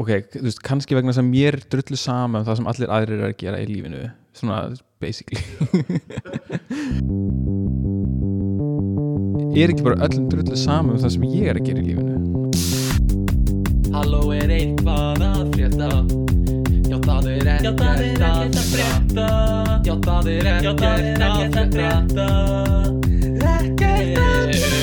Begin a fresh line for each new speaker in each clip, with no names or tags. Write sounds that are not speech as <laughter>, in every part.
ok, þú veist, kannski vegna sem mér er drullu sama um það sem allir aðrir eru að gera í lífinu svona, basically <laughs> er ekki bara öllum drullu sama um það sem ég er að gera í lífinu
Halló er eitthvað að frétta Já það er ekkert að frétta Já það er ekkert að frétta Ekkert að frétta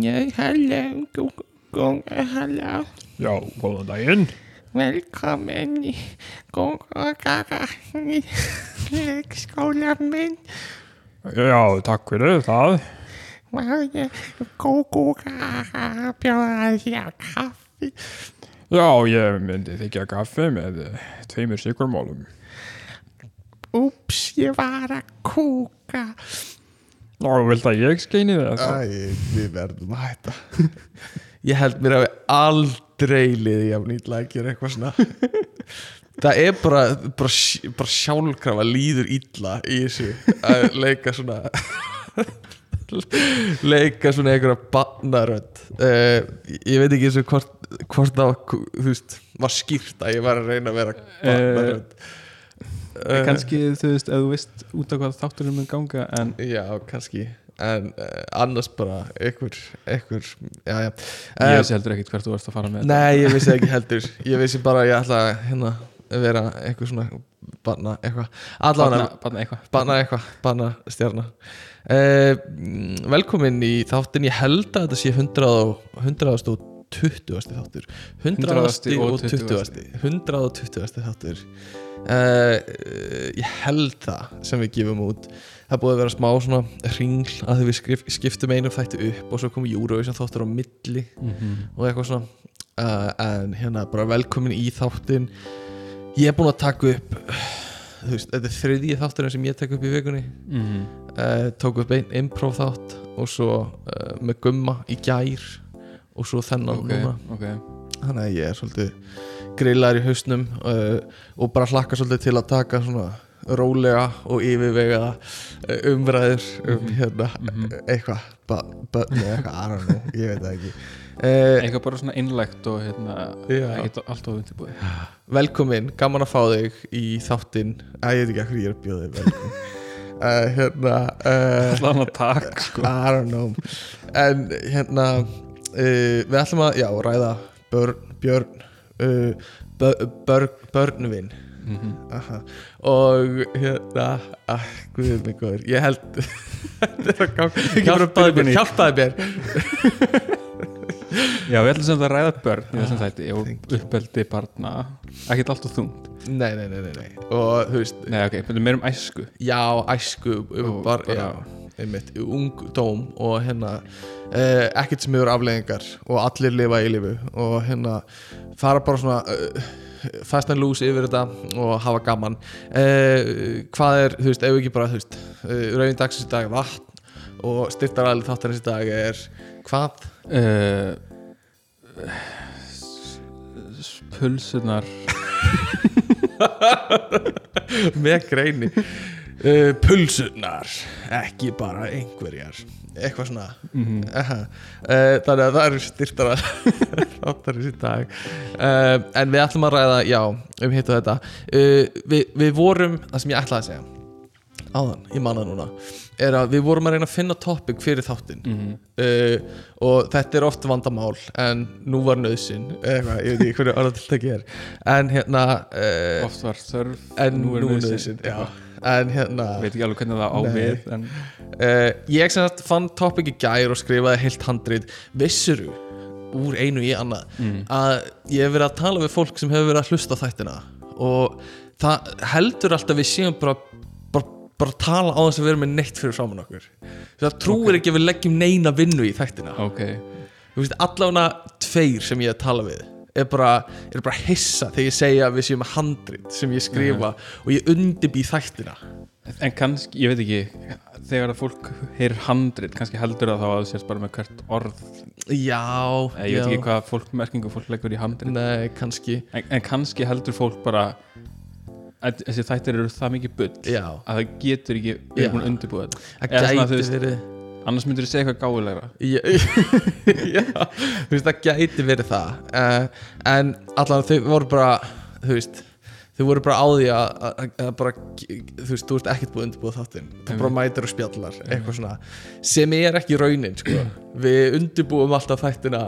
Ég halló, góð, góð, halló,
Já, góðan daginn
velkomin í góða daga í leikskóla minn.
Já, takk fyrir það
Má ég góða að bjóða þér kaffi?
Já, ég myndi þykja kaffi með eh, tveimur sykurmálum
Úps, ég var að kúka.
Já, vilt að ég skeini það?
Æ, við verðum að hætta sko. <laughs> Ég held mér að við aldrei liði jafn ítla að gera eitthvað svona <laughs> Það er bara, bara, sj- bara sjálfkrafa líður ítla í þessu að leika svona <laughs> leika svona einhverja barnarönd uh, Ég veit ekki eins og hvort, hvort það var, þú veist, var skýrt að ég var að reyna að vera barnarönd Eh,
uh, kannski, þú veist, ef þú veist út af hvað þátturinn mun ganga en
Já, kannski En uh, annars bara einhver, einhver Já, já
ég
Eh,
veist heldur ekkit hvert þú ert að fara með
Nei, ég vissi það ekki heldur Ég vissi bara að ég ætla að hérna, vera eitthvað svona Banna eitthvað Allavega
Barna- barna eitthvað
Banna eitthvað, banna stjarna eh, mm, Velkomin í þáttin Ég held að þetta sé 100 og, 100 og 20 þáttur 100 og 20 120 þáttur eh, eh, Ég held það sem við gefum út Það er búið að vera smá svona ringl að því við skrif, skiptum einum þætti upp og svo kom Eurovision þáttur á milli
Mhm,
og eitthvað svona uh, en hérna bara velkomin í þáttin ég er búinn að taka upp þú veist, þetta er þriðji þátturinn sem ég tek upp í vikunni
mm -hmm.
uh, tók upp einn improv þátt og svo uh, með gumma í gær og svo þennan
ok,
núna
ok
þannig að ég er svolítið grillar í hausnum uh, og bara hlakka svolítið til að taka svona rólega og yfirvega uh, umræður um hérna
mhm.
eitthvað, bönni eitthvað, I don't know, ég veit það ekki uh,
eitthvað bara svona innlegt og hérna
Já.
ekkert allt of undirbúið <laughs>
Velkomin, gaman að fá þig í þáttinn Æ, ég veit ekki að hverju ég er að bjóða þig velkomin uh, Hérna uh,
allan að takk
I don't know En hérna uh, Við ætlum að, já, ræða Börn, björn uh, börn, börn, Börnvin
Mhm.
Aha. Og hérna ah, Guðið mig góður, ég held <laughs> Þetta er að ganga Hjálpaði mér, hjálpaði mér
Já, við ætlum sem það að ræða börn í
Ah,
þessum þætti og uppeldi barna ekkert allt og þungt
Nei, nei, nei, nei, nei Og þú veist,
Nei, ok, þetta er meir um æsku
já, æsku
Og
og bara,
bara-
já, einmitt, ungdóm og hérna eh, ekkert sem hefur afleðingar og allir lifa í lifu og hérna fara bara svona eh, fast and loose yfir þetta og hafa gaman eh, hvað er, þú veist, ef ekki bara þú veist, eh, rauðin dagsins í dag er vatn og styrtar alveg þáttarins í dag er hvað?
uh, s- Pulsunar
<laughs> með greini uh, pulsunar ekki bara einhverjar eitthvað svona mm þannig að það eru styrtara <laughs> þáttarins í dag uh, en við ætlum að ræða, já, um hitt og þetta uh, við, við vorum það sem ég ætlaði að segja áðan, ég manna núna er að við vorum að reyna að finna topic fyrir þáttinn uh, og þetta er oft vandamál en nú var nöðsin eitthvað, ég veit ekki hvernig orðatiltæki er en hérna uh,
oft var þörf
en nú er
nauðsyn.
nöðsinn já en hérna
Veit ekki alveg hvernig það á
Nei.
við en,
uh, ég sem sagt fann topic í gær og skrifaði heilt handrið vissuru úr einu í annað að ég hef verið að tala við fólk sem hefur verið að hlusta á þættina og það heldur alltaf við séum bara, bara, bara að tala á þess að við erum með neitt fyrir framann okkur það trúir ekki að við leggjum neina vinnu í þættina
Ok,
þú veist, allavega tveir sem ég er að tala við er bara, er bara hissa þegar ég segja að við séum með handrit sem ég skrifa og ég undirbý þættina
en kannski, ég veit ekki þegar að fólk heyr handrit kannski heldur það þá að þú sérst bara með hvert orð
Já,
Eða ég
já.
veit ekki hvað fólk, merkingu fólk leggur í handrit
Nei, kannski
en, en kannski heldur fólk bara að þessi þættir eru það mikið bull
Já.
að það getur ekki verið
Já.
búin að undirbúa þetta
Það
Eða svona, þú
gæti
veist,
verið
á annars myndur þú segja eitthvað gáðulegra
Já, <laughs> já, þú veist það gæti verið það uh, en allan þau voru bara þú veist þau voru bara á því að, að, að bara, þú veist, þú veist ekkert búið að undirbúið þáttinn þú bara mætir og spjallar, eitthvað svona sem er ekki raunin, sko við undirbúum alltaf þættina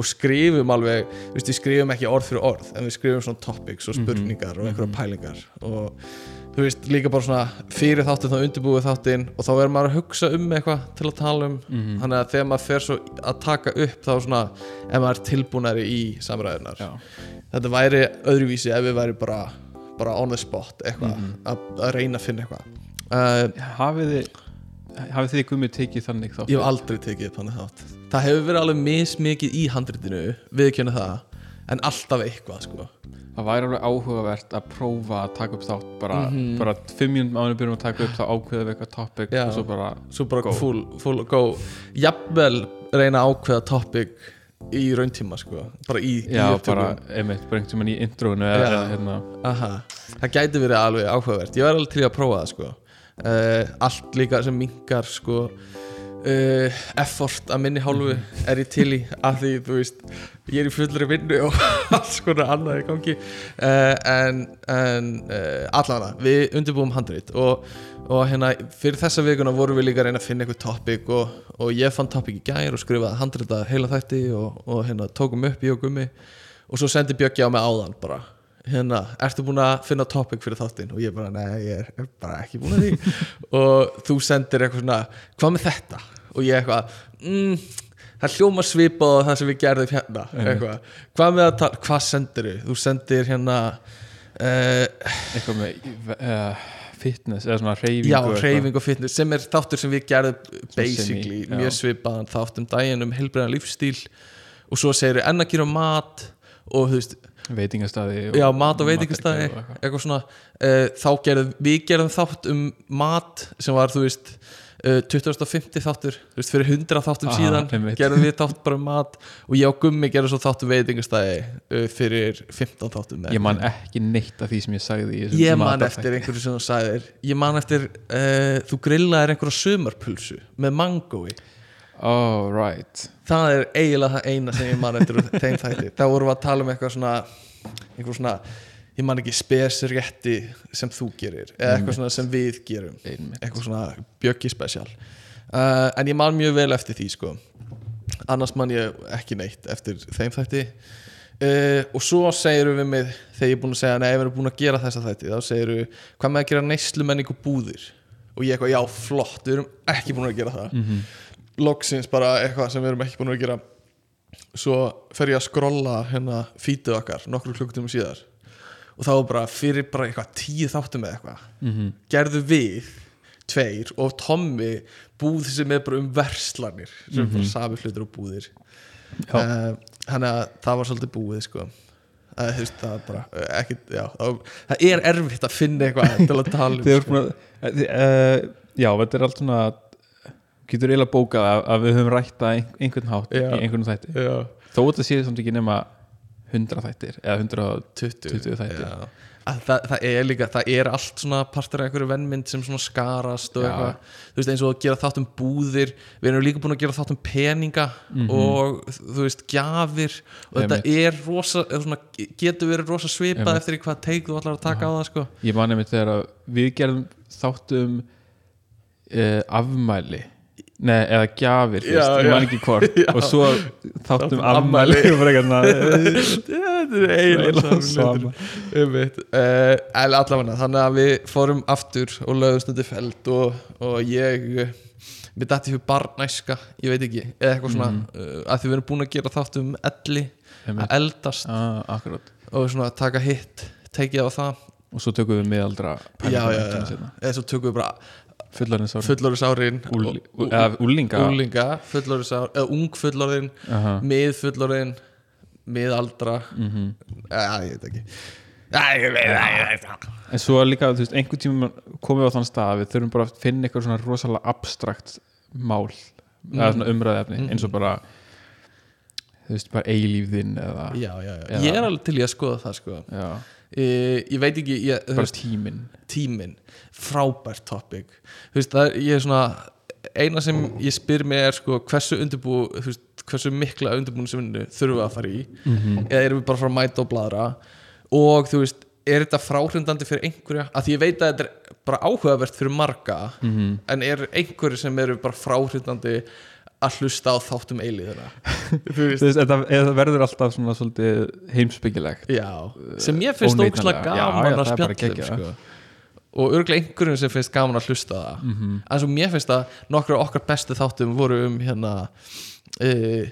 og skrifum alveg, þú veist, við skrifum ekki orð fyrir orð, en við skrifum svona topics og spurningar og einhverja pælingar og þú veist, líka bara svona fyrir þáttinn þá undirbúið þáttinn og þá verður maður að hugsa um eitthvað til að tala um
Mm.
þannig að þegar maður fer svo að taka upp þá svona, ef maður er tilbúnari í samræðunar
Já.
þetta væri öðruvísi ef við væri bara, bara on the spot eitthvað,
Mhm.
að, að reyna að finna eitthvað uh,
hafið þið hafið þið gumið tekið þannig þá
ég hef aldrei tekið upp þannig þátt það hefur verið alveg mismikið í handritinu viðkjöna það, en alltaf eitthvað sko.
það væri alveg áhugavert að prófa að taka upp þátt bara, bara fimm mínútum ánum byrjum að taka upp þá ákveðum við eitthvað topic
Mhm. Já.
og svo bara
svo bara
Go.
full, full go jafnvel reyna að ákveða topic í rauntíma sko. bara í, í
já,
upptöku.
bara, einmitt, bara einhvern tímann í introinu eða,
Já.
eða hérna,
Aha. það gæti verið alveg áhugavert ég var alveg til í að prófa það sko. uh, allt líka sem mingar sko, uh, effort að minni hálfu er ég til í af því þú veist, ég er í fullri vinnu og <laughs> alls konar annað í gangi uh, en, en uh, allavega, við undirbúum handrit og, og hérna, fyrir þessa vikuna vorum við líka að reyna að finna eitthvað topic og, og ég fann topic í gær og skrifaði handrita heila þætti og, og hérna, tókum upp í og gummi og svo sendi Bjöggi á mig áðan bara hérna, ertu búin að finna topic fyrir þáttinn og ég bara, nei, ég er bara ekki búin að
<laughs>
því og þú sendir eitthvað svona hvað með þetta? og ég eitthvað, mm, það hljóma svipað á það sem við gerðum hérna eitthvað, hvað með að tala, hvað sendir þú sendir hérna uh,
eitthvað með uh, fitness eða svona reyfingu
já,
og eitthvað.
hreyfing og fitness sem er þáttur sem við gerðum basically,
semi, já.
mjög svipaðan þátt um daginn um heilbreyðan lífstíl og svo segir enn að gera mat og þú veist,
veitingastæði og-
já, mat og veitingastæði
matargerð og eitthvað.
eitthvað svona uh, þá gerðum, við gerðum þátt um mat sem var, þú veist uh, 2050 þáttur, þú veist, fyrir 100 þáttum
Aha,
síðan,
Ah, einmitt.
gerðum við þátt bara um mat og ég og Gummi gerðum svo þátt um veitingastæði uh, fyrir 15 þáttum eða
ég man ekki neitt af því sem ég sagði í þessum
ég man
matarþætti.
eftir einhverju sem þú sagðir ég man eftir, uh, þú grillaðir einhverja sumarpulsu með mangói
oh, right
það er eiginlega það eina sem ég man eftir úr þeim þætti, þá vorum við að tala um eitthvað svona einhver svona ég man ekki spesrétti sem þú gerir eða eitthvað svona sem við gerum
Einmitt.
eitthvað svona bjöggi spesial uh, en ég man mjög vel eftir því sko annars man ég ekki neitt eftir þeim þætti uh, og svo segir við mig þegar ég er búin að segja nei, við erum búin að gera þessa þætti þá segir við, hvað með að gera neyslumenningu búðir og ég eitthvað, já flott, við erum ekki búin að gera það loksins bara eitthvað sem við erum ekki búin að gera svo fer ég að skrolla hérna fítið okkar nokkru klukkutum síðar og þá var bara fyrir bara eitthvað tíu þáttum eða eitthvað
Mhm.
-hmm. gerðu við tveir og Tommy búð sem er bara um verslanir sem er bara sami hlutur og búðir
Mhm. Já.
Eh, þannig að það var svolítið búið sko Eh, þú veist, það, er bara, eh, ekki, já, það, það er erfitt að finna eitthvað til að tala um
Þið voru
sko.
búin að, eh, þið, uh, já, þetta er allt svona getur eiginlega bókað að, að við höfum rætt að ein- einhvern hátt
Já.
í einhvern þætti
sko. Já.
þó þetta séu samt ekki nema 100 þættir eða 100
20,
20 þættir.
já. Að það, það er líka, það er allt svona partur af einhverju vennmynd sem svona skarast og
Já.
eitthvað, þú veist eins og að gera þátt um búðir við erum líka búin að gera þátt um peninga
Mhm.
og þú veist gjafir og þetta er rosa eða svona, getur verið rosa svipað
Einmitt.
eftir í hvað teik þú allar að taka á það sko
ég mani mig þegar að við gerum þáttum uh, afmæli Nei, eða gjafir, þú
Já,
veist, ég
já.
man ekki hvort
<laughs> Já.
og svo þáttum
Þáttum
afmæli
afmæli.
og bara eitthvað svona,
þetta er
eiginlega sama.
einmitt uh, en allavega þannig að við fórum aftur og lögðum undir feld og, og ég eh, mér dætti fyrir barnæska, ég veit ekki eða eitthvað svona, mm að því við erum búin að gera þátt um elli,
Mhm. Einmitt.
að eldast
ah, akkurát
og svona taka hitt tekið á það
og svo tökum við miðaldra
já, já, já.
hérna.
eða svo tökum við bara
fullarins ári
fullorðis árin
Úl- eða úlinga.
úlinga fullorðis árin, eða ung fullorðin
Aha.
mið fullorðin miðaldra mm
Mhm.
-hmm. ég veit ekki Æ, ég veit ekki
En svo líka, þú veist, einhvern tíma komum við á þann stað að við þurfum bara að finna eitthvað svona rosalega abstrakt mál
Mm.
eða svona umræðefni, eins og bara þú veist, bara eilífðin eða,
já, já, já.
Eða-
ég er alveg til í að skoða það sko.
já,
e, ég veit ekki ég, þú
bara
veist,
tíminn
tíminn, frábært topic þú veist, það, er- ég er svona eina sem ég spyr mig er sko, hversu undirbú veist, hversu mikla undirbúinisvinnu þurfum við að fara í eða erum við bara að fara að mæta og bladra og þú veist, er þetta fráhrindandi fyrir einhverja, að því ég veit að þetta er bara áhugavert fyrir marga
Mm.
en er einhverju sem eru bara fráhrindandi að hlusta á þáttum eilíðina þú veist,
Þú veist, þetta- eða það verður alltaf svona svolítið heimsbyggilegt
já sem ég finnst ókslega
Óneitanlega. Já, já,
gaman
það
að
er bara
spjalla um
geggjað.
sko. og örglega einhverjum sem finnst gaman að hlusta á það
Mhm.
en svo mér finnst að nokkru af okkar bestu þáttum voru um hérna Uh,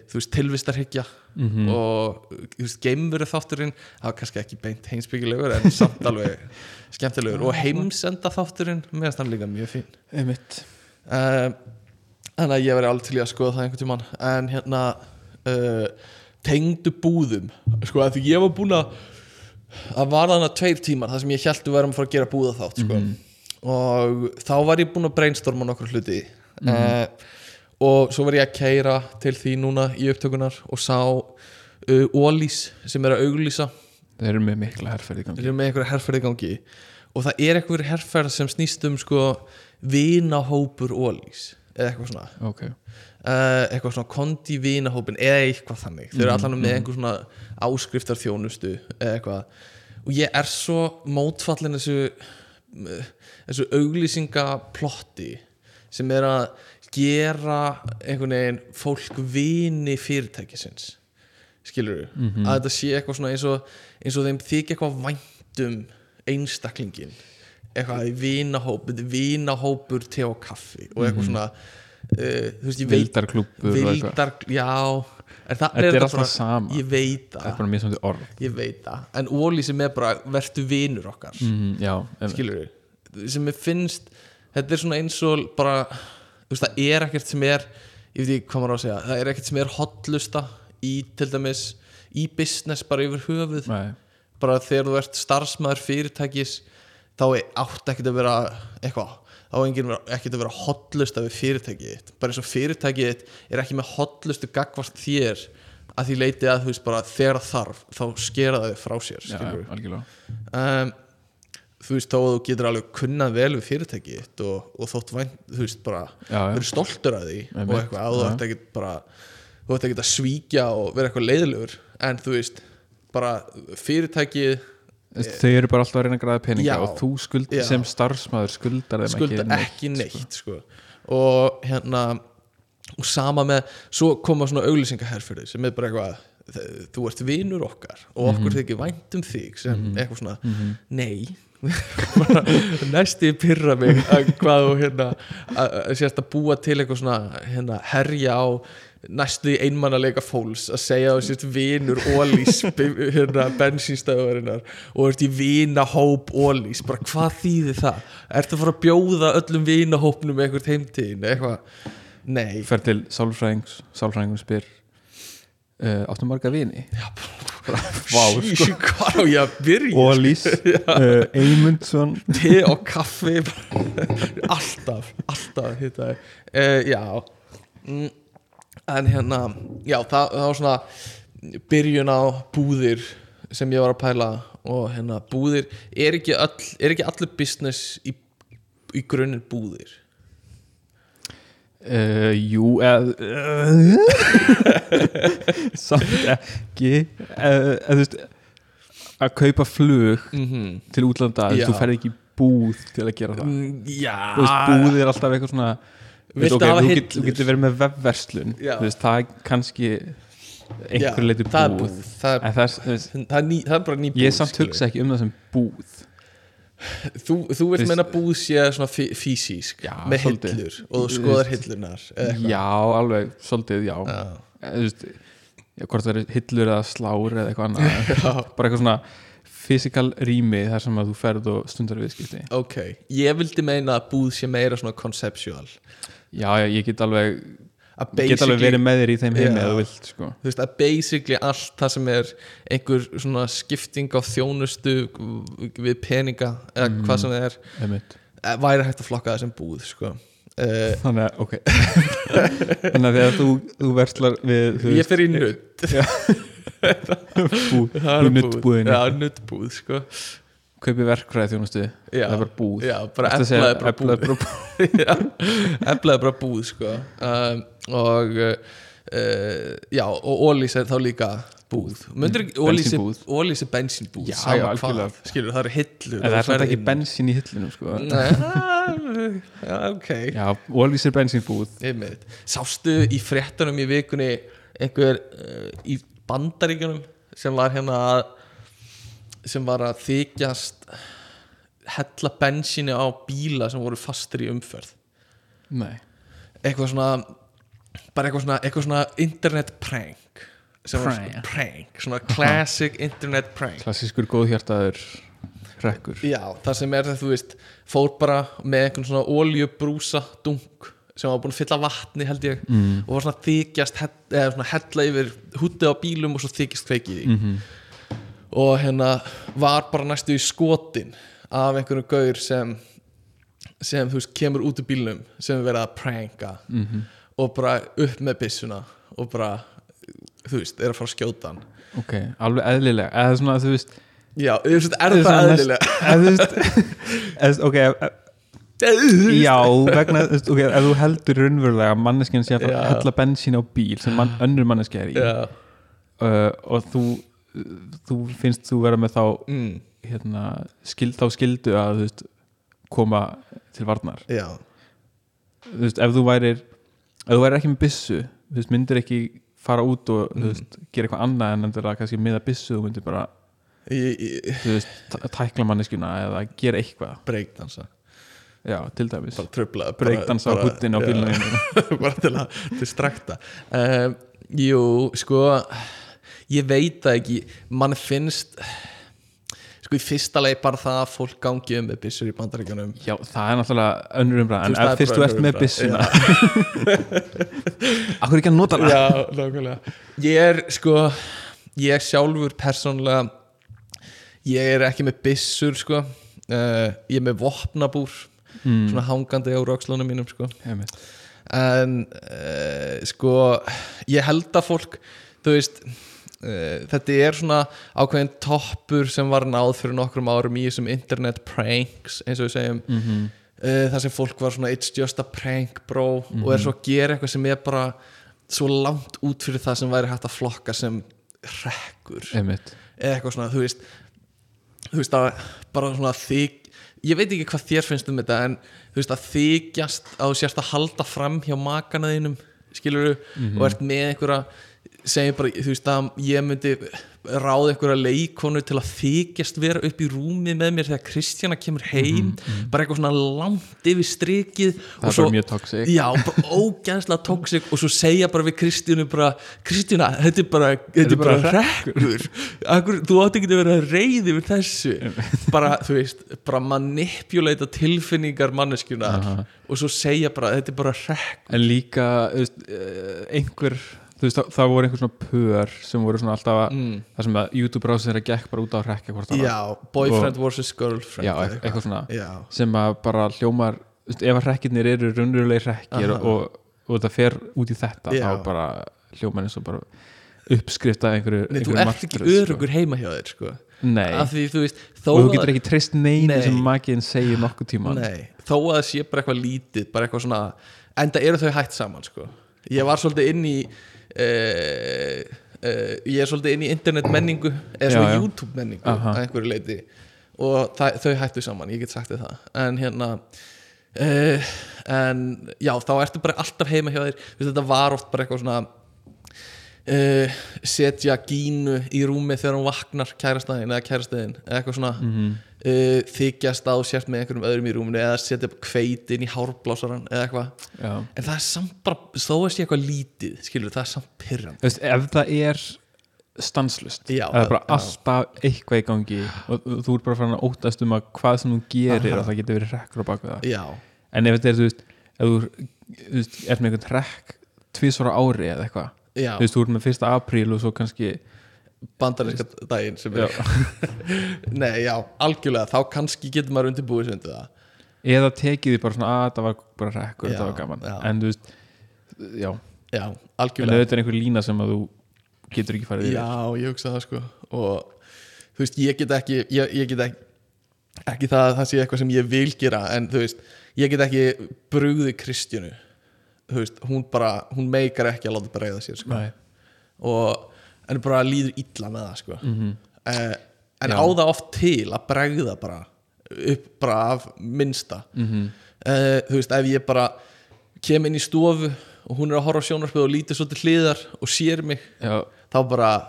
þú veist, tilvistarhyggja
Mhm.
og þú veist, geimveru þátturinn það var kannski ekki beint heimsbyggilegur en samt
<laughs>
alveg skemmtilegur og heimsenda þátturinn, mér finnst hann líka mjög fín
einmitt
Eh, Þannig að ég verði alveg til í að skoða það einhvern tímann En hérna uh, Tengdu búðum Sko að því ég var búinn að Það var þannig tveir tímar þar sem ég held við verðum að fara að gera búða þátt sko. Og þá var ég búinn að brainstorma nokkur hluti mm Og svo var ég að keira til því núna í upptökunar Og sá uh, Ólís sem er að auglýsa
þeir eru með mikla herrferð í gangi
Þeir eru með einhverja herferð í gangi og það er einhver herferð sem snýst um sko vinahópur ólís eða eitthvað svona
ok,
uh, eitthvað svona kondi vinahópin eða eitthvað þannig þeir eru allan með einhver svona áskriftar þjónustu eða eitthvað og ég er svo mótfallin þessu eh, þessu auglýsingaplotti sem er að gera einhvern veginn fólk vini fyrirtækisins skilur við, að þetta sé eitthvað svona eins og, eins og þeim þykja eitthvað væntum einstaklingin eitthvað vinahóp, þetta er vinahópur te og kaffi og eitthvað svona uh, þú veist, ég veit
vildarklúpur og eitthvað.
vildar, já en það
Þetta er alltaf
svona-
sama.
ég veit
það er
það,
bara mjög samt orð
ég veit það en Óli sem er bara, vertu vinur okkar
mm, já, einmitt.
skilur við sem ég finnst, þetta er svona eins og bara, þú veist það er ekkert sem er ég veit ekki hvað maður á að segja það er ekkert sem er hotlusta í til dæmis, í business bara yfir höfuð
Nei.
bara þegar þú ert starfsmæður fyrirtækis þá er átt ekkert að vera eitthvað þá er enginn vera- ekkert að vera hotlusta við fyrirtækið þitt bara eins og fyrirtækið þitt er ekki með hotlustu gagvart þér að því leiti að þú veist bara þegar þarf þá skera það frá sér
já,
skilurðu
algjörlega
um, þú veist þá að þú getur alveg kunnað vel við fyrirtæki þitt og, og þótt vænt, þú veist bara
Já, já.
verið stoltur að því
Einmitt,
og eitthvað, að þú
já.
ert ekkert bara þú ert ekkert að svíkja og vera eitthvað leiðilegur en þú veist, bara fyrirtækið
Þú veist, þau eru bara alltaf að reyna að græða peninga
Já.
og þú skuld,
Já.
sem starfsmaður skuldar þeim
skulda
ekki
ekki neitt, sko. og hérna og sama með, svo koma svona auglýsingaherfyrði sem er bara eitthvað þ- þú ert vinur okkar og okkur þykir vænt um þig sem eitthvað svona nei <laughs> Bara næsti pyrra mig að hvað þú hérna að- að sérst að búa til eitthvað svona hérna, herja á næstu einmannalega fólks að segja þú sérst vinur ólís <laughs> hérna, bensínstæðurinnar og ert í vinahóp ólís bara hvað þýðir það? Ertu að fara að bjóða öllum vinahópnum eitthvað heimtíðin? Eitthvað, nei
fer til sálfræðings sálfræðingum spyr uh, áttu marga vini Vá, sko.
Sjísjú, hvar á ég að byrja
Ólís, uh, Eymundsson
te og kaffi <laughs> alltaf, alltaf hitta uh, já mm, en hérna já, það, það var svona byrjun á búðir sem ég var að pæla og hérna búðir er ekki, all, er ekki allir business í, í grunnir búðir
uh, jú eð, uh, <laughs> samt ekki uh, eð, veist, að kaupa flug
mm
til útlanda, þú
Já.
veist, þú ferð ekki í búð til að gera það
Ah, já
þú veist, búð er alltaf eitthvað svona þú veist,
Viltu
ok,
hafa
þú, get,
hillur?
þú getur verið með vefverslun
Já.
þú veist, það er kannski einhver leiti
það er
búð,
búð það er,
En það, er- þú veist,
það, er ný, það er bara ný búð
ég samt
skilurðu.
hugsa ekki um það sem búð
Þú, þú vilt
Veist-
meina búð sé svona fí- físísk
Já,
með
svolítið.
hillur og þú
Veist-
skoðar hillurnar eða eitthvað.
já, alveg, svolítið, já, Eh,
Já.
Þú veist, já hvort það eru hillur eða slár eða eitthvað annað bara eitthvað svona fysikal rými þar sem að þú ferð og stundar viðskipti
Ok, ég vildi meina að búð sé meira svona conceptual
já, já, ég get alveg
að
get alveg
basically,
verið með þér í þeim heimi
Já.
eða þú vilt, sko
þú veist, að basically allt það sem er einhver svona skipting á þjónustu við peninga eða
Mhm.
hvað sem það er
Einmitt.
eh, væri hægt að flokka það sem búð sko. uh,
þannig að, ok <laughs> þannig að þegar þú, þú verslar við þú
ég fer
<laughs>
í nutt
bú,
<laughs> það er
í
búð.
nuttbúðinu
Já, nuttbúð sko.
kaupi verkfræði þjónustu
Já.
það er bara búð
Já, bara
Ertu að segja
eflaði bara búð
eflaði bara búð
Já, eflaði bara búð sko. um, og uh, já, og Ólís er þá líka búð, Myndir, Ólís, er,
Bensínbúð.
Ólís er bensínbúð
Já,
sama
algjörlega.
hvað. skilur það eru hillur
en það
<laughs> þú
er samt
ferð
ekki
inn.
bensín í hillinu sko.
Nei, já, ok
já, ólýsir bensínbúð
Einmitt. sástu í fréttunum í vikunni einhver uh, í bandaríkjunum sem var hérna að sem var að þykjast hella bensíni á bíla sem voru fastir í umferð
nei,
eitthvað svona bara eitthvað svona, eitthvað svona internet prank sem var svona
Prank.
prank svona classic internet prank
klassískur góðhjartaður rekkur
já, það sem er það þú veist fór bara með einhvern svona oljubrúsa dunk sem var búin að fylla vatni held ég mm. og var svona þykjast hell- eða svona hella yfir húttið á bílum og svo þykjast kveikið í mm -hmm. og hérna var bara næstu í skotin af einhverjum gaur sem sem þú veist kemur út úr bílnum sem er verið að pranka -hmm. og bara upp með byssuna og bara þú veist, er að fara að skjóta hann
ok, alveg eðlilega eða svona þú veist
já, þú veist, er
eða
það
svona næst-
eðlilega
<laughs> eða þú veist eða- ok, ef- já, vegna þú veist, ok, ef þú heldur raunverulega að manneskinn sé að fara að
Já.
hella bensín á bíl sem mann, önnur manneski er í
já,
uh, og þú þú finnst þú vera með þá
mm,
hérna, skil, þá skildu að þú veist, koma til varnar
já
þú veist, ef þú værir ef þú værir ekki með byssu þú veist, myndir ekki fara út og
Mm.
þú veist, gera eitthvað annað en endilega kannski miða byssu þú myndir bara
Ég- ég-
þú veist, tæ- tækla manneskjuna eða gera eitthvað
breakdansa,
já, til dæmis
bara tröfla
breakdans á húttin á bílunum
<laughs>
þínum.
bara til að distrakta um, jú, sko ég veit það ekki mann finnst sko í fyrsta leið bara það að fólk gangi um með byssur í bandaríkjunum
já, það er náttúrulega önnur umræð en
Þú veist,
ef
það er
fyrst
bara
þú ert
önnur
með
umræða,
byssuna
<laughs>
akkur ekki að nota það
já, nákvæmlega ég er sko, ég er sjálfur persónlega ég er ekki með byssur sko uh, ég er með vopnabúr svona hangandi á rökslunum mínum sko
Einmitt.
en uh, sko ég held að fólk þú veist uh, þetta er svona ákveðin toppur sem var náð fyrir nokkrum árum í þessum internet pranks eins og við segjum mm
Mhm,
þar sem fólk var svona it's just a prank bro og er svo að gera eitthvað sem er bara svo langt út fyrir það sem væri hægt að flokka sem hrekkur
Einmitt.
eða eitthvað svona, þú veist þú veist að bara svona þig ég veit ekki hvað þér finnst um þetta en þú veist að þykjast að þú sérst að halda fram hjá makana þínum skilur
Mhm.
og ert með einhverja segjum bara, þú veist að ég myndi ráða einhverja leikonu til að þykjast vera upp í rúmi með mér þegar Kristjana kemur heim bara eitthvað svona langt yfir strikið
Mhm, það
og
er
svo-
bara mjög toxic
Já, bara ógænslega tóksik og svo segja bara við Kristínu bara Kristína, þetta er bara, þetta er bara rekkur Akkur, Þú átt ekki að vera reyði við þessu bara, þú veist, bara manipuleita tilfinningar manneskjunar og svo segja bara, þetta er bara rekkur
en líka þú veist, eh, einhver þú veist, það, það voru einhver svona pör sem voru svona alltaf að
Mm.
það sem að YouTube rásin þeirra gekk bara út á hrekja hvort annað.
Já, boyfriend versus girlfriend
já eitthvað, eitthvað svona
Já,
sem að bara hljómar þú veist, ef að hrekkirnir eru raunverulegi hrekkir og, og það fer út í þetta
Já.
þá bara hljómar eins og bara uppskrifta einhverju,
Nei, þú
einhverju
ert
martröð,
ekki
sko.
örugur heima hjá þér sko.
Nei,
af því þú veist, þó
og þú
að-
getur ekki treyst neina
Nei.
sem makiðin segir nokkuð tíma
Nei, þó að það sé bara eitthvað lítið bara eitthvað svona, enda eru þau hætt saman sko. ég var svolítið inn í uh, uh, ég er svolítið inn í internet menningu eða
Já,
svona
já.
YouTube menningu
Aha.
að einhverju leiti og það, þau hættu saman, ég get sagt þið það en hérna uh, en já, þá ertu bara alltaf heima hjá þér, Þú veist, þetta var oft bara eitthvað svona uh, setja gínu í rúmi þegar hún vaknar kærastæðin eða kærastæðin eða eitthvað svona mm þykjast á sért með einhverjum öðrum í rúminu eða setja kveitin í hárblásaran eða eitthvað
Já.
en það er samt bara, þó að sé eitthvað lítið skilur, það er samt pyrrand
Þú veist, ef það er stanslust
Já,
það er bara
já.
alltaf eitthvað í gangi og og þú ert bara farin að óttast um að hvað sem þú gerir að það getur verið rekkur á baku það
Já,
en ef þetta er, þú veist, ef þú þú veist, ert með einhvern rekk tvisvara ári eða eitthvað
já,
þú veist, þú ert með fyrsta apríl og svo kannski
bandarinska daginn sem er <laughs> Nei, já, algjörlega, þá kannski getur maður undirbúið sem undir það
eða tekið því bara svona að það var bara rekkur,
Já,
þetta var gaman
já.
en þú veist, já,
Já,
en
algjörlega
auðvitað er einhver lína sem að þú getur ekki farið yfir
Já, ég hugsa það sko og þú veist, ég get ekki ég, ég get ekki ekki það að það sé eitthvað sem ég vil gera en þú veist, ég get ekki brugði Kristjánu þú veist, hún bara, hún meikar ekki að láta breyða sér sko.
Nei.
og en bara líður illa með það sko. -hmm. en
Mhm. Já.
á það oft til að bregða bara upp bara af minnsta
Mhm.
-hmm. þú veist, ef ég bara kem inn í stofu og hún er að horfa á sjónarspið og lítur svo til hliðar og sér mig
Já,
þá bara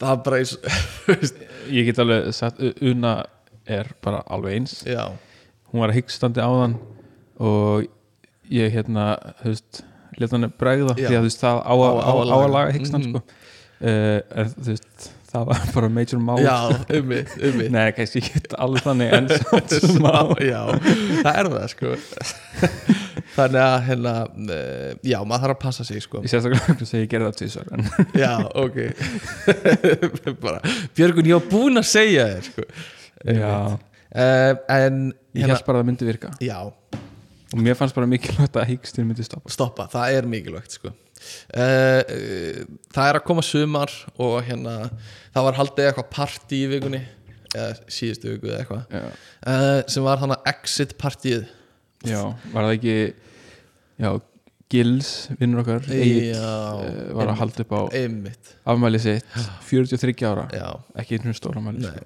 það er bara eins <laughs> þú veist,
ég get alveg sagt Una er bara alveg eins
já,
hún var hyggstandi á þann og ég hérna þú veist, leta hann bregða
Já.
því að þú veist, það á, á, á, á að laga hyggstan
Mhm.
sko. uh, en þú veist það var bara major mál
já, um ummi, ummi
<laughs> Nei, kannski ekki alveg þannig <laughs> en samt sem á
<laughs> já, það er það sko <laughs> þannig að hérna, eh, já, maður þarf að passa sig sko
Ég sérstaklega ekki að segja ég gerði það tvisar en
já, ok <laughs> bara, Björgun, ég var búinn að segja þér sko
já,
uh, en,
ég held bara að það myndi virka
já,
og mér fannst bara mikilvægt að hyggstin myndi stoppa
stoppa, það er mikilvægt sko Uh, það er að koma sumar og hérna það var haldið eitthvað partí í vikunni eða síðustu viku eða eitthvað
Já,
uh, sem var þannig exit partíð
já var það ekki já, Gils, vinnur okkar Egill, eh, var að halda upp á
einmitt
afmæli sitt 43 ára,
já,
ekki einhvern stóra afmæli
nei.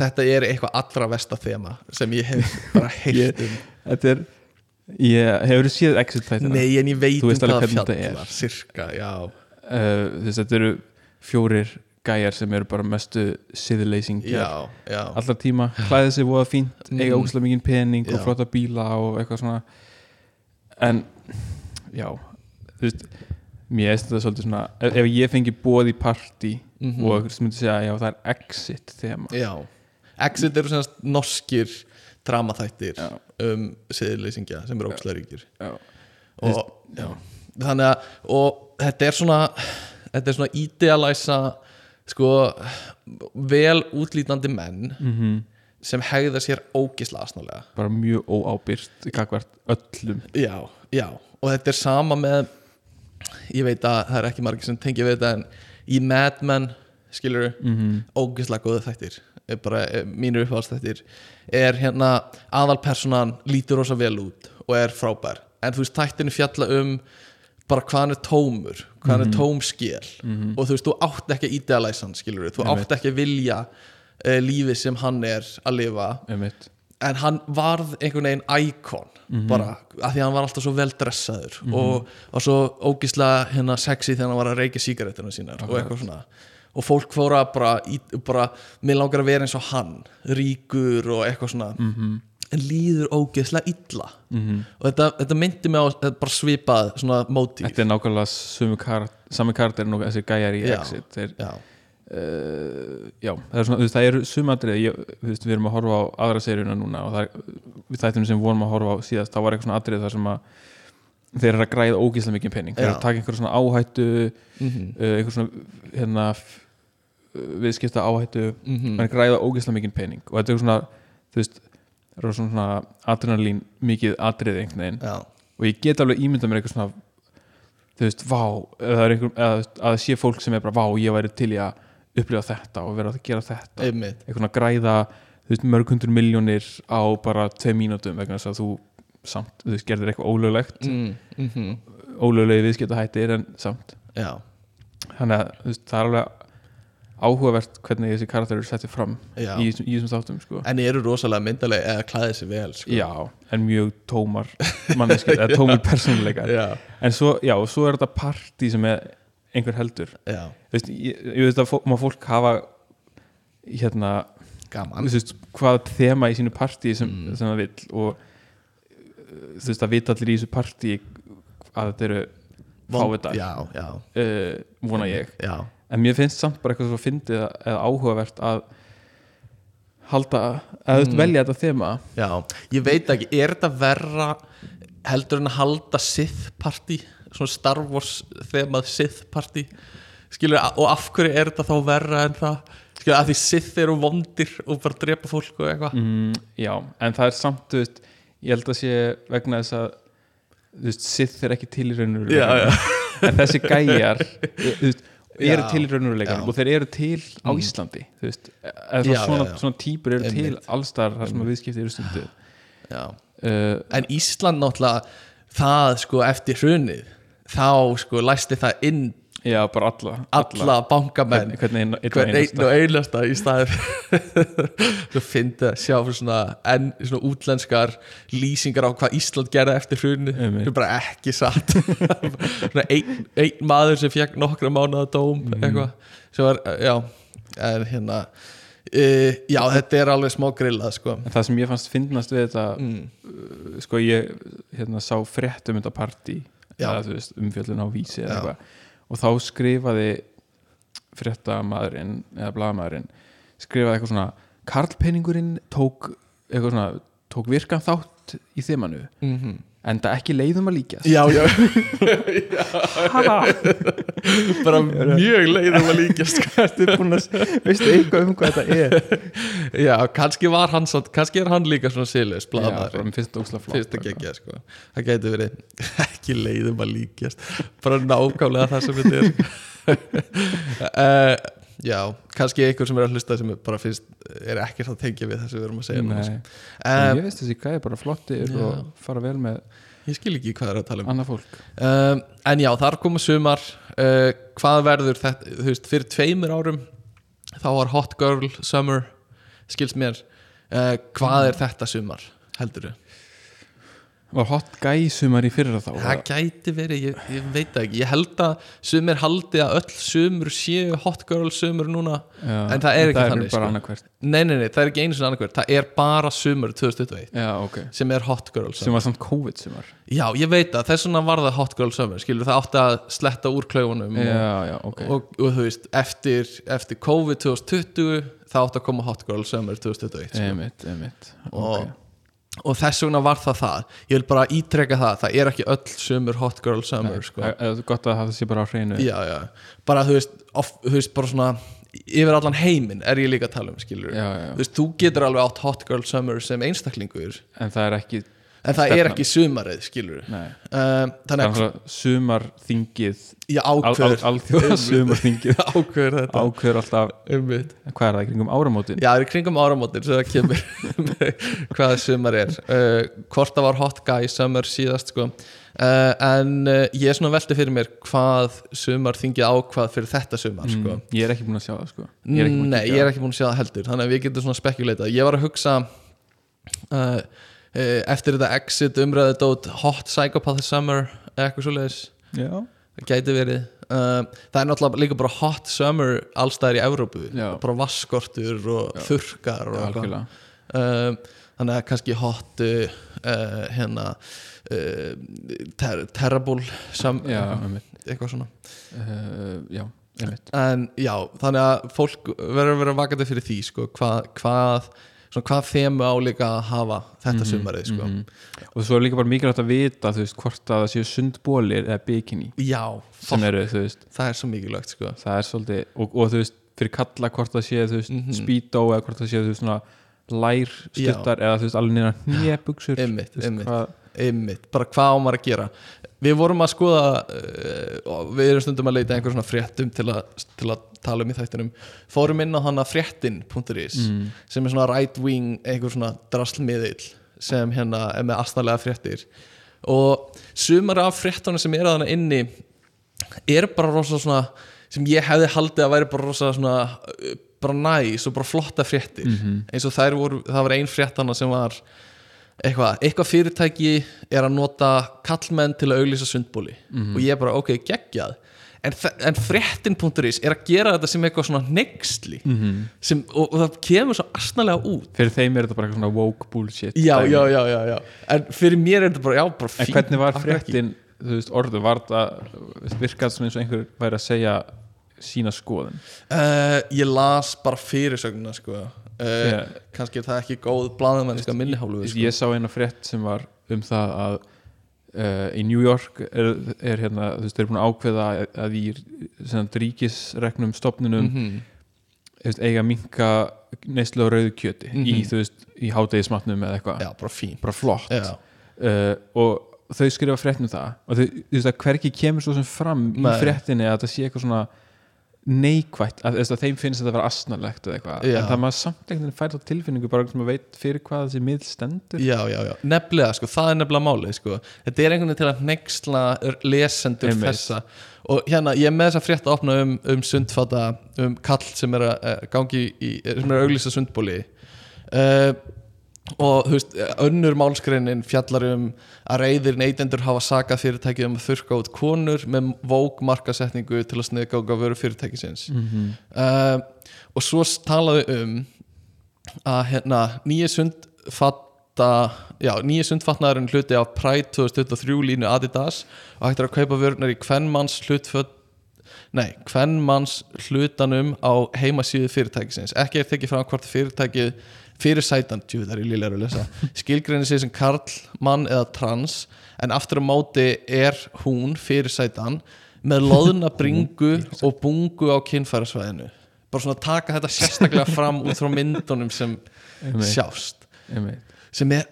þetta er eitthvað allra vesta þema sem ég hef
<laughs>
bara heilt um
Þetta er, ég hefur séð exit þættina
nei en ég veit
Þú
um
veist alveg
hvað
hvernig þetta
fjallar sirka, já,
uh, þess, Þetta eru fjórir gæjar sem eru bara mestu siðleysingjar
já, já
allar tíma, klæðið sér voða fínt eiga
Mm.
óslega mikinn pening
Já.
og flotta bíla og eitthvað svona en já þú veist, mér eist þetta svolítið svona e- ef, ef ég fengi bóð í partí
Mhm.
og þú myndi segja, já það er exit þema,
já, exit eru semast norskir dramaþættir
Já.
um siðleysingja sem eru ókslega ríkir
Já.
og já. þannig að og þetta er svona þetta er svona idealæsa sko vel útlítandi menn
-hmm.
sem hegða sér ógisla asnálega
bara mjög óábyrgt gagvart öllum
já, já, og þetta er sama með ég veit að það er ekki margir sem tengja við þetta en í Mad Men skilur, mm -hmm. ógislega góða þættir er bara er mínir uppáðstættir er hérna aðalpersonan lítur rosa vel út og er frábær en þú veist þættinu fjalla um bara hvað hann er tómur hvað hann er tómskil og þú veist, þú átt ekki að idealæsa hann skilur, þú átt ekki að vilja uh, lífið sem hann er að lifa
einmitt.
en hann varð einhvern veginn íkon
Mhm.
bara, af því að hann var alltaf svo veldressaður og var svo ógislega hérna sexy þegar hann var að reykja sígarettuna sínar og eitthvað svona og fólk fóra bara, í, bara mér langar að vera eins og hann ríkur og eitthvað svona
Mm. Mhm.
en líður ógislega illa -hmm. og þetta, þetta myndi mig á þetta bara svipað svona mótíf
þetta er nákvæmlega sumu karat, sami karakter og þessi gæjar í
Já.
exit þeir,
já,
já, það er svona, þú veist, það eru sumadrið ég, þú veist, við erum að horfa á aðra seríuna núna og það er, við þættum sem vorum að horfa á síðast, þá var eitthvað svona atrið þar sem að þeir eru að græða ógíslega mikið pening þeir eru að
Já.
taka einhverja svona áhættu
mm
uh, einhverja svona, hérna f- uh, viðskipta áhættu mm
Mhm.
-hmm. græða ógíslega mikið pening og þetta er svona, þú veist það eru svona adrenalín mikið atrið einhvern veginn
já,
og ég get alveg ímyndað mér eitthvað svona þú veist, vá eða, það er einhver, eða þú veist, að það sé fólk sem er bara, vá, ég væri til í að upplifa þetta og vera að gera þetta
einmitt
eitthvað svona græða, þú veist, mörg hundur miljónir á bara tvei mínútum vegna þess að þú samt, þú veist, gerðir eitthvað ólöglegt
mm -hmm.
ólöglegi viðskiptahættir en samt
já,
þannig að, þú veist, það er alveg áhugavert hvernig þessi karakter eru settið fram
Já.
í, þessum- í þessum þáttum, sko
en eru rosalega myndalega eða klæðið sér vel sko.
Já, en mjög tómar manneskir, eða tómar persónuleikar
já,
en svo, já, og svo er þetta partí sem er einhver heldur
já,
Þú veist, ég, ég veist að fó, maður fólk hafa hérna,
gaman
þú veist, hvað þema í sínu partí sem, sem það vill og uh, þú veist, það vita allir í þessu partí að þetta eru
Vond-
fávitar,
já, já,
uh, vona ég
já,
en mér finnst samt bara eitthvað svo fyndið að- eða áhugavert að halda, að þú veist, velja þetta þema
já ég veit ekki, er þetta verra heldur en að halda Sith party svona Star Wars þemað Sith party skilur, og af hverju er þetta þá verra en það skilur, að því Sith eru vondir og bara drepa fólk og eitthvað
Mm, já, en það er samt, þú veist, ég held að sé vegna þess að, þú veist, Sith er ekki til í raunur.
Já, já. <laughs>
En þessi gæjar, þú veist, eru
Já.
til í raunveruleikanum
Já. Mm.
og þeir eru til á Íslandi þú veist, eða
Já,
svona, svona,
já, já.
svona típur eru til
Einmitt.
allstar þar sem að viðskipti eru stundu
já.
uh,
en Ísland náttúrulega það sko eftir hrunið þá sko læsti það inn
já, bara alla
alla bankamenn
hvern, hvern einn hvern
hvern einn
einasta.
og einasta í staði <laughs> þú fyndi að sjá fyrir svona, en, svona útlenskar lýsingar á hvað Ísland gerði eftir hrunni
Einmitt.
það er bara ekki satt <laughs> svona einn ein maður sem fekk nokkra mánuða dóm eitthvað sem var, já, en hérna Uh, já, þetta er alveg smá grillað sko. Mm.
En það sem ég fannst finnast við þetta uh, sko ég hérna, sá frétt um þetta partí
Já.
eða þú veist umfjöllun á vísi eða
Já.
eitthvað og þá skrifaði fréttamaðurinn eða blagamæðurinn skrifaði eitthvað svona Karlpenningurinn tók eitthvað svona tók virkan þátt í þimanu
mm -hmm.
en það ekki leiðum að líkjast
Já, <laughs> já Bara mjög leiðum að líkjast sko.
Ertu búin að, <laughs> veistu eitthvað um hvað
<laughs>
þetta er
Já, kannski var hann samt- kannski er hann líka svona síðlega
Já, bara
blaðmaður
mér finnst þetta ógeðslega flott.
fyrst að gegja sko. það gæti verið <laughs> ekki leiðum að líkjast bara nákvæmlega það sem þetta er <laughs> uh, já, kannski einhver sem er að hlusta sem er bara finnst er ekki að tengja við það sem við erum að segja núna,
Nei,
sko.
en
um,
ég veist þessi gæði bara flottir
Já.
og fara vel með
ég skil ekki hvað það er að tala um
annað fólk
um, en já, þar koma sumar uh, hvað verður þetta þú veist, fyrir tveimur árum þá var Hot Girl Summer skilst mér, uh, hvað er þetta sumar heldur
Var hot guy sumar í fyrra þá?
Það gæti verið, ég, ég veit það ekki Ég held að sumir haldi að öll sumur séu hot girl sumur núna
Já,
en það er ekki
það
þannig,
Það er bara
sko.
annarkvært
Nei, nei, nei, það er ekki einu svona annarkvært Það er bara sumur 2021
Já, ok
sem er hot girl sumur
Sem var samt COVID sumar
Já, ég veit það, þess vegna var það hot girl sumur Skilur það átti að sletta úr klaufunum og,
Já, já, ok
og, og þú veist, eftir, eftir COVID 2020 það átti að koma hot girl sumur 2021 sko
Einmitt, einmitt
og,
Ok.
og þess vegna var það það ég vil bara ítreka það, það er ekki öll sumur hot girl summer sko.
Það er gott að hafa þessi bara á hreinu
já, já. bara þú veist, of, þú veist bara svona, yfir allan heiminn er ég líka að tala um skilur
Já, já.
Þú, veist, þú getur alveg átt hot girl summer sem einstaklingur
En það er ekki
en það er
Stefnan.
ekki sumarið skilur um,
Nei Það er
þannig að
svona sumarþingið
ég
al- al-
ákveður <laughs>
Alþjóða sumarþingið
ákveður þetta
Ákveður alltaf
um
Hvað er það, kringum áramótin?
Já, það er í kringum áramótin sem það kemur <laughs> hvað sumar er uh, hvort það var hot guy summer síðast sko. uh, en uh, ég er svona velti fyrir mér hvað sumar þingið ákvað fyrir þetta sumar sko.
Mm, Ég er ekki búin að sjá það, sko
Nei, ég er ekki búin að sjá það heldur þannig að við getum svona spekuleitað ég var að hugsa uh, uh, eftir þetta exit umræðu dót hot psychopath summer eða eitthvað svoleiðis
ekki Já
Það gæti verið uh, það er náttúrulega líka bara hot summer allstæðar í Evrópu
Já.
bara vasskortur og þurrkar og eitthvað.
Algjörlega
Um, þannig að kannski hot uh, uh, hérna uh, ter terrible sam,
Já, einmitt
eitthvað svona
Uh, Já, einmitt
en já, þannig að fólk verður að vera vakandi fyrir því sko, hvað, hvað, svona, hvað þemu álíka að hafa þetta
Mhm,
sumarið sko.
Og svo er líka bara mikilvægt að vita, þú veist, hvort að það séu sundbólir eða bikini
já,
sem
fólk,
eru, þú veist
það er svo mikilvægt sko.
það er svolítið, og, og þú veist fyrir kalla hvort það sé, þú veist,
Mhm.
mm speedo eða hvort það sé, þú veist, svona lær stuttar eða þú veist, alveg nýra hnébuxur
Einmitt,
þú veist,
einmitt.
hvað-
einmitt, bara hvað á maður að gera við vorum að skoða uh, og við erum stundum að leita að einhver svona fréttum til að, til að tala um í þættunum fórum inn á hana fréttin.is
Mhm.
sem er svona right wing einhver svona draslmiðill sem hérna er með astalega fréttir og sumar af fréttunum sem eru þarna inni er bara rosa svona sem ég hefði haldið að væri bara rosa svona uh, bara næs og bara flotta fréttir eins og þær voru, það var ein fréttana sem var eitthvað, eitthvað fyrirtæki er að nota kallmenn til að auglýsa sundbóli og ég er bara ok, geggjað en, þe- en fréttin.is er að gera þetta sem eitthvað svona nexli sem, og, og það kemur svo asnalega út
fyrir þeim er þetta bara eitthvað svona woke bullshit
já,
dæmi.
já, já, já, já en fyrir mér er þetta bara, já,
en
bara fínt
hvernig var
af hverju ekki?
fréttin, þú veist, orðu var það virkað sem eins og einhver væri að segja sína skoðun
Uh, ég las bara fyrirsögnuna sko. uh,
Já.
kannski er það ekki góð blaðamennska minnihálfu
Ég-
sko.
ég sá eina frétt sem var um það að uh, í New York er, er hérna, þú veist, þeir eru búin að ákveða að, að í sem sagt, ríkisreknum stopnunum
Mhm.
mm -hmm. veist, eiga minka neyslu á rauðu kjöti í, þú veist, í hátegismatnum eða eitthvað,
Mhm. já, bara fín
bara flott
Já.
uh, og þau skrifa frétt um það og þau, þú veist, að hverki kemur svo sem fram
Nei.
í fréttinni að það sé eitthvað svona neikvætt að, þú veist, að þeim finnst þetta að vera asnalegt eða eitthvað,
Já.
en það maður samt einhvern veginn fær þá tilfinningu bara sem að veit fyrir hvað þessi miðl stendur
Já, já, já, nefnilega sko, það er nefnilega málið sko Þetta er einhvern veginn til að nexla lesendur
Einmitt.
þessa og hérna, ég er með þess að frétta opna um, um sundfata, um kall sem er að eh, gangi í, eh, sem er að auglýsa sundbóli uh, og þú veist, önnur málskreinin fjallar um að reyðir neytendur hafa sakað fyrirtækið um að þurrka út konur með vók markasetningu til að sniðgáka vöru fyrirtækisins uh, og svo talaðu um að hérna nýja sundfatta já, nýja sundfatnaðurinn hluti af Pride 2023 línu Adidas og hægt er að kaupa vörunar í kvennmanns hlutföt nei, kvennmanns hlutanum á heimasíðu fyrirtækisins ekki er tekið fram hvort fyrirtækið fyrir sætan, tjú, það er í lílega að lesa skilgreinir sig sem karl, mann eða trans en aftur á móti er hún fyrir sætan með loðna bringu og bungu á kynfærasvæðinu bara svona taka þetta sérstaklega fram út frá myndunum sem
Einmitt,
sjást
einmitt.
sem er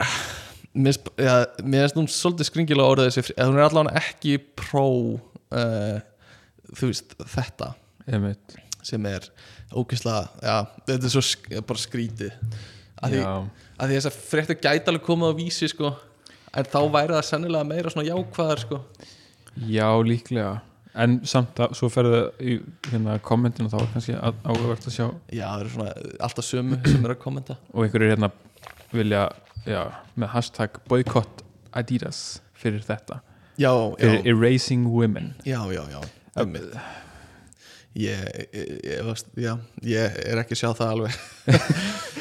mér finnst- já, mér finnst hún svolítið skringilega orðið þessi eða hún er allavega ekki pró uh, þú veist þetta
einmitt.
sem er ógeðslega, já, þetta er svo sk bara skrítið að því,
Já.
að því þess að fréttu gæti alveg komið á vísi sko en þá væri það sennilega meira svona jákvæðar sko
já, líklega en samt að svo ferðu í hérna, kommentinu þá er kannski að- áhugavert að sjá
já, það eru svona alltaf <clears throat> sömu sem eru að kommenta
og einhverjir hérna vilja já, með hashtag boycott Adidas fyrir þetta
já, já,
fyrir erasing women
já, já, já, ömmið Ég, ég, ég, varst, já, ég er ekki að sjá það alveg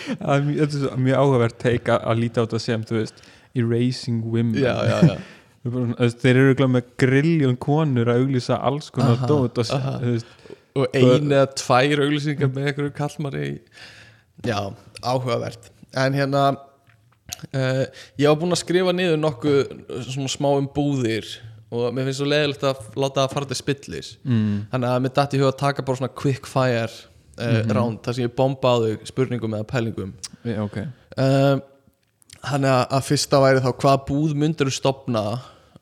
það er mjög, þetta er svo mjög áhugavert teik að, að líta á þetta sem þú veist erasing women
Já, já, já
Við bara svona, þú veist, þeir eru glæð með grilljón konur að auglýsa alls konar
Aha,
dót og,
aha.
þú veist,
og ein eða tvær auglýsingar með einhverju kallmari í- já, áhugavert en hérna uh, ég var búinn að skrifa niður nokkuð svona smá um búðir og mér finnst svo leiðilegt að láta það fara til spillis mm. þannig að mér datt í huga að taka bara svona quick fire uh, round þar sem ég bomba á þau spurningum eða pælingum
já, ok
um, Þannig að, að fyrsta væri þá hvaða búð myndur stopna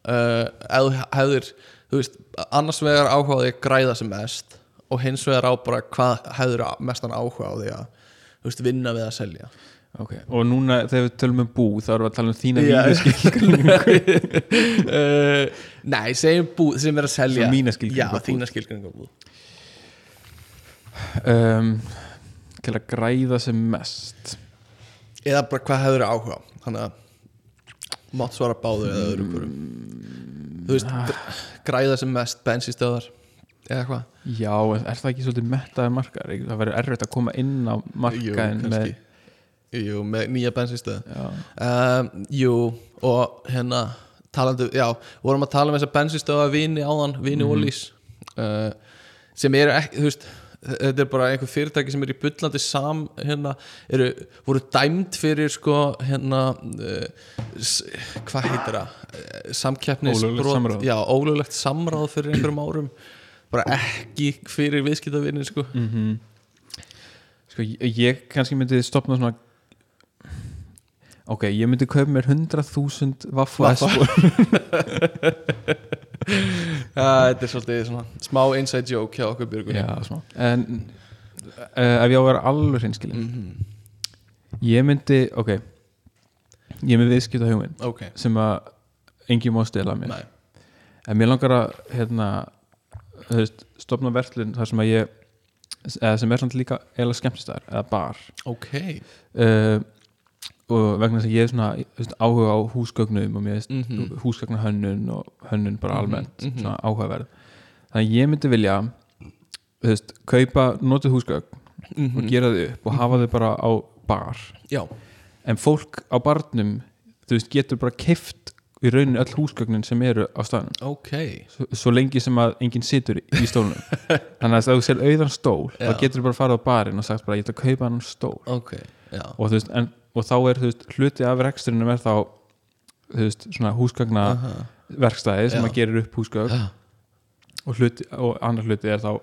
uh, ef þú hefðir þú veist, annars vegar áhuga á því að græða sem mest og hins vegar á bara hvað hefðir mestan áhuga á því að þú veist, vinna við að selja
Ok, og núna þegar við tölum um bú þá erum við að tala um þína
Já.
mína
<laughs>
skilgreiningu
uh, Nei, segjum búð sem er að selja
Sem Eh, mína skilgreiningu á
Já,
búð.
þína skilgringa búð
um, til að græða sem mest
Eða bara hvað hefðir áhuga á Þannig að mátt svara báðu eða öðru hverju Þú veist,
Ah.
gr- græða sem mest bensinstöðar eða hvað
Já, en er það ekki svolítið mettaði markar? Það verður erfitt að koma inn á markaðin
Jú,
með,
kannski. Jú, með nýja bensinstöð
já,
um, Jú, og hérna talandi, já, vorum að tala um þess að bensinstöða vini áðan, vini
Mhm.
mm. ólís uh, sem eru ekki, þú veist þetta er bara einhver fyrirtæki sem er í bullandi sam, hérna, eru voru dæmd fyrir, sko, hérna uh, s- hvað heitir það Eh, samkeppnisbrot
Ólöglegt samráð.
já, ólöglegt samráð fyrir einhverjum árum bara ekki fyrir viðskiptavinni, sko
Mhm. Sko, ég- ég kannski myndi stopna svona Ok, ég myndi kaupa mér 100.000 vaffa
Vaffa.
S-ból.
Já, þetta er svolítið svona smá inside joke hjá okkur Björgun
<laughs> Já, smá En uh, ef ég á að vera alveg hreinskilin
Mhm,
Ég myndi, ok Ég myndi viðskipta hugmynd
Ok,
sem að engin má stela mér
nei
en mér langar að hérna, þú veist, stopna verslun þar sem að ég eða sem er samt líka eða skemmtistar eða bar
Ok,
uh, og vegna þess að ég er svona þú veist, áhuga á húsgögnum og mér veist, mm
Mhm.
húsgagnahönnun og hönnun bara almennt
mhm.
svona áhugaverð þannig að ég myndi vilja þú veist, kaupa notið húsgögn og
Mhm.
gera þau upp og hafa þau bara á bar
já,
en fólk á barnum þú veist, getur bara keift í raunin öll húsgögnin sem eru á staðnum
ok
svo, svo lengi sem að enginn situr í stólunum
<laughs>
þannig að ef þú sér auðan stól
Já.
þá getur þú bara að fara á barinn og sagt bara ég ætla að kaupa hann stól
Ok, já,
og, þú veist, en, og þá er þú veist, hluti af reksturinnum er þá þú veist, svona húsgagna verkstæði sem
Já.
að gerir upp húsgögn
Já.
og, hluti, og annar hluti er þá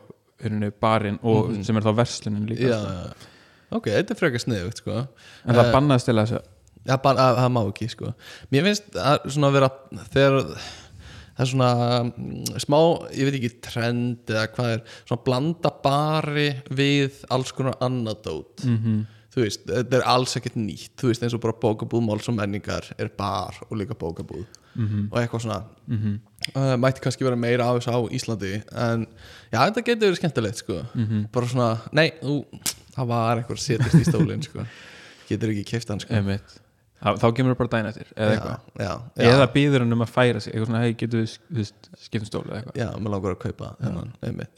hérna, barinn og sem er þá verslunin líka
Mhm. já,
sko.
já Ok, þetta er frekar sniðugt sko
en það bannaði stila þessu
Já, bara, að, það má ekki sko Mér finnst að svona vera þegar það er svona mm, smá, ég veit ekki trend eða hvað er, svona blanda bari við alls konar anadót -hmm. þú veist, þetta er alls ekkert nýtt þú veist eins og bara bókabúð, máls og menningar er bar og líka bókabúð -hmm. og eitthvað svona -hmm. uh, mætti kannski vera meira af þessu á Íslandi en já, þetta getur verið skemmtilegt sko. -hmm. bara svona, nei, ú, það var eitthvað að setjast í stólinn sko. getur ekki keift hann sko.
einmitt Þá- þá kemur það bara dæn eftir eða
já,
eitthvað
já, já.
eða býður hann um að færa sig eitthvað svona, hei, getur við þú veist, skiptum stóla eitthvað
já, maður langar að kaupa þennan, einmitt.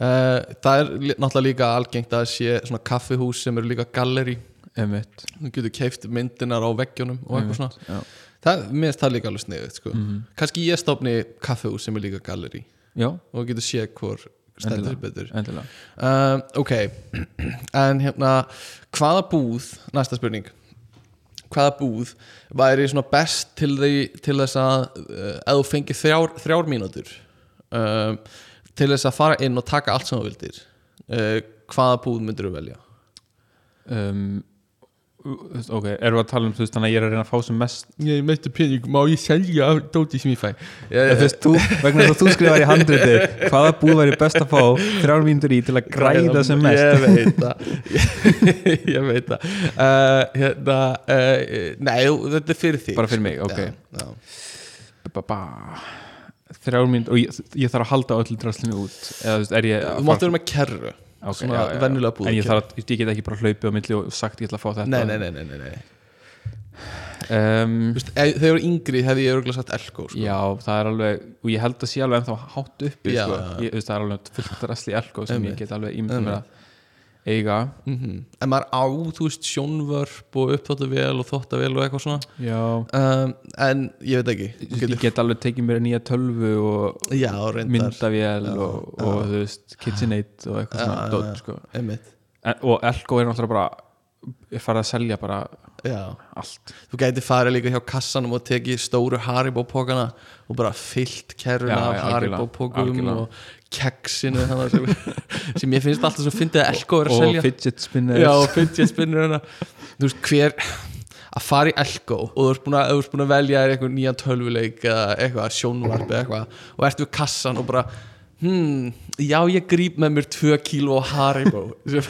uh, það er li- náttúrulega líka algengt að sé svona kaffihús sem eru líka galleri
emitt,
þú getur keift myndinar á veggjunum og
Mhm.
eitthvað svona
já.
það, mér finnst það líka alveg sniðið sko.
Mhm.
kannski ég stofni kaffihús sem er líka galleri
já,
og getur sé hvor stendur
Endilega.
betur
endilega
um, ok en hérna hvaða búð, næsta spurning hvaða búð væri svona best til, því, til þess að uh, að þú fengir þrjár, þrjár mínútur um, til þess að fara inn og taka allt sem þú vildir uh, hvaða búð myndir þú velja
um, þú veist, ok, erum við að tala um þú veist, þannig að ég er að reyna að fá sem mest
ég mestu pening, má ég selja dóti sem ég fæ
Eða, þú veist, þú, vegna þess að þú skrifar í handritið hvaða búð væri best að fá þrjár mínútur í til að græða sem mest
ég veit það <laughs> ég, ég veit það uh, hérna, uh, nei, þetta er fyrir því
Bara fyrir mig, ok.
já, já.
ba, ba. þrjár mínútur og ég, ég þarf að halda öllu draslinu út eða þú veist, er ég
Þú máttu vera með kerru
Ok,
svona
já, já, já.
venjulega búð
en ég, þarf, að- ég get ekki bara hlaupið á milli og sagt ég ætla að fá þetta
Nei, nei, nei, nei, nei, nei.
Um,
Þú Veist, ef, Þegar ég var yngri hefði ég örgulega sagt elko sko.
já, það er alveg og ég held að sé alveg ennþá hátt uppi
Já,
sko.
já,
Ég,
já.
þú veist, það er alveg fullt drasli elko sem
Einmitt.
ég get alveg ímyndað mér að eiga
Mhm. En maður á, þú veist, sjónvörp og uppþóttavél og þóttavél og eitthvað svona
já
um, En ég veit ekki Þú
Ég
getur-
get alveg tekið mér nýja tölvu og
Já, reyndar
myndavél og, og þú veist, KitchenAid og eitthvað svona
já, já.
dót, sko.
Einmitt.
en, og Elko er náttúrulega bara ég farið að selja bara
Já.
allt
Þú gæti farið líka hjá kassanum og tekið stóru Haribo-pókana og bara fyllt kerruna
Já, já,
af Haribo-pókum
algjörlega, algjörlega.
og keksinu þannig sem, <laughs> sem ég finnst alltaf svo fyndið að elko er að
og
selja
fidget spinners
Já, og fidget spinner
hérna.
hana Þú veist, hver að fara í Elko og þú ert búin að, þú ert búin að velja þér einhvern nýjan tölvuleik eða eitthvað, sjónvarp eða eitthvað og ert við kassan og bara hmm, já, ég gríp með mér 2 kíló af Haribo <laughs> Sem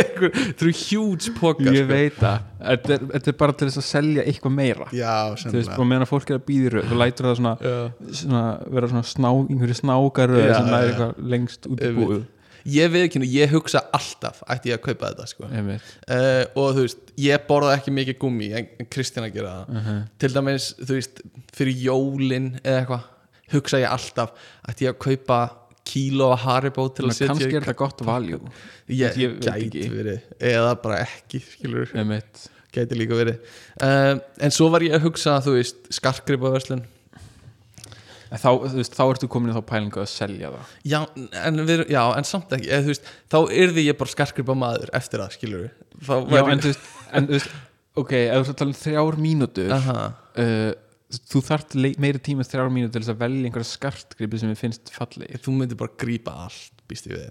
einhver, þú eru sko. hjúts pokar
ég veit það þetta er, þetta er bara til þess að selja eitthvað meira
Já,
þú veist, sko-
sennilega
og meðan að fólk er að býðir þú lætur það svona,
Já.
svona vera svona sná, einhverju snákaru
Já,
sem
já.
er eitthvað lengst út í
Einmitt.
búið
Ég veið ekki nú, ég hugsa alltaf ætti ég að kaupa þetta sko
einmitt,
uh, og þú veist, ég borða ekki mikið gummi en en Kristín að gera það
Mhm.
til dæmis, þú veist, fyrir jólin eða eitthvað, hugsa ég alltaf að ég að kaupa kíló af Haribo til
Þannig
að
að
setja
kannski
í
er þetta gott valjú
ég,
ég veit
gæti
ekki.
verið, eða bara ekki skilur,
einmitt,
gæti líka verið uh, en svo var ég að hugsa, þú veist skarkgripaverslun
En þá, þú veist, þá ertu komin í þá pælingu að selja það
Já, en, við, já, en samt ekki eða, þú veist, þá yrði ég bara skarkgripa maður eftir það, skilur
já, en þú veist, en, þú veist ok, ef þú ert að tala um þrjár mínútur
Aha,
uh, þú þarft le- meiri tíma en þrjár mínútur til þess að velja einhverja skartgripi sem þið finnst fallegir
þú myndir bara grípa allt býst ég við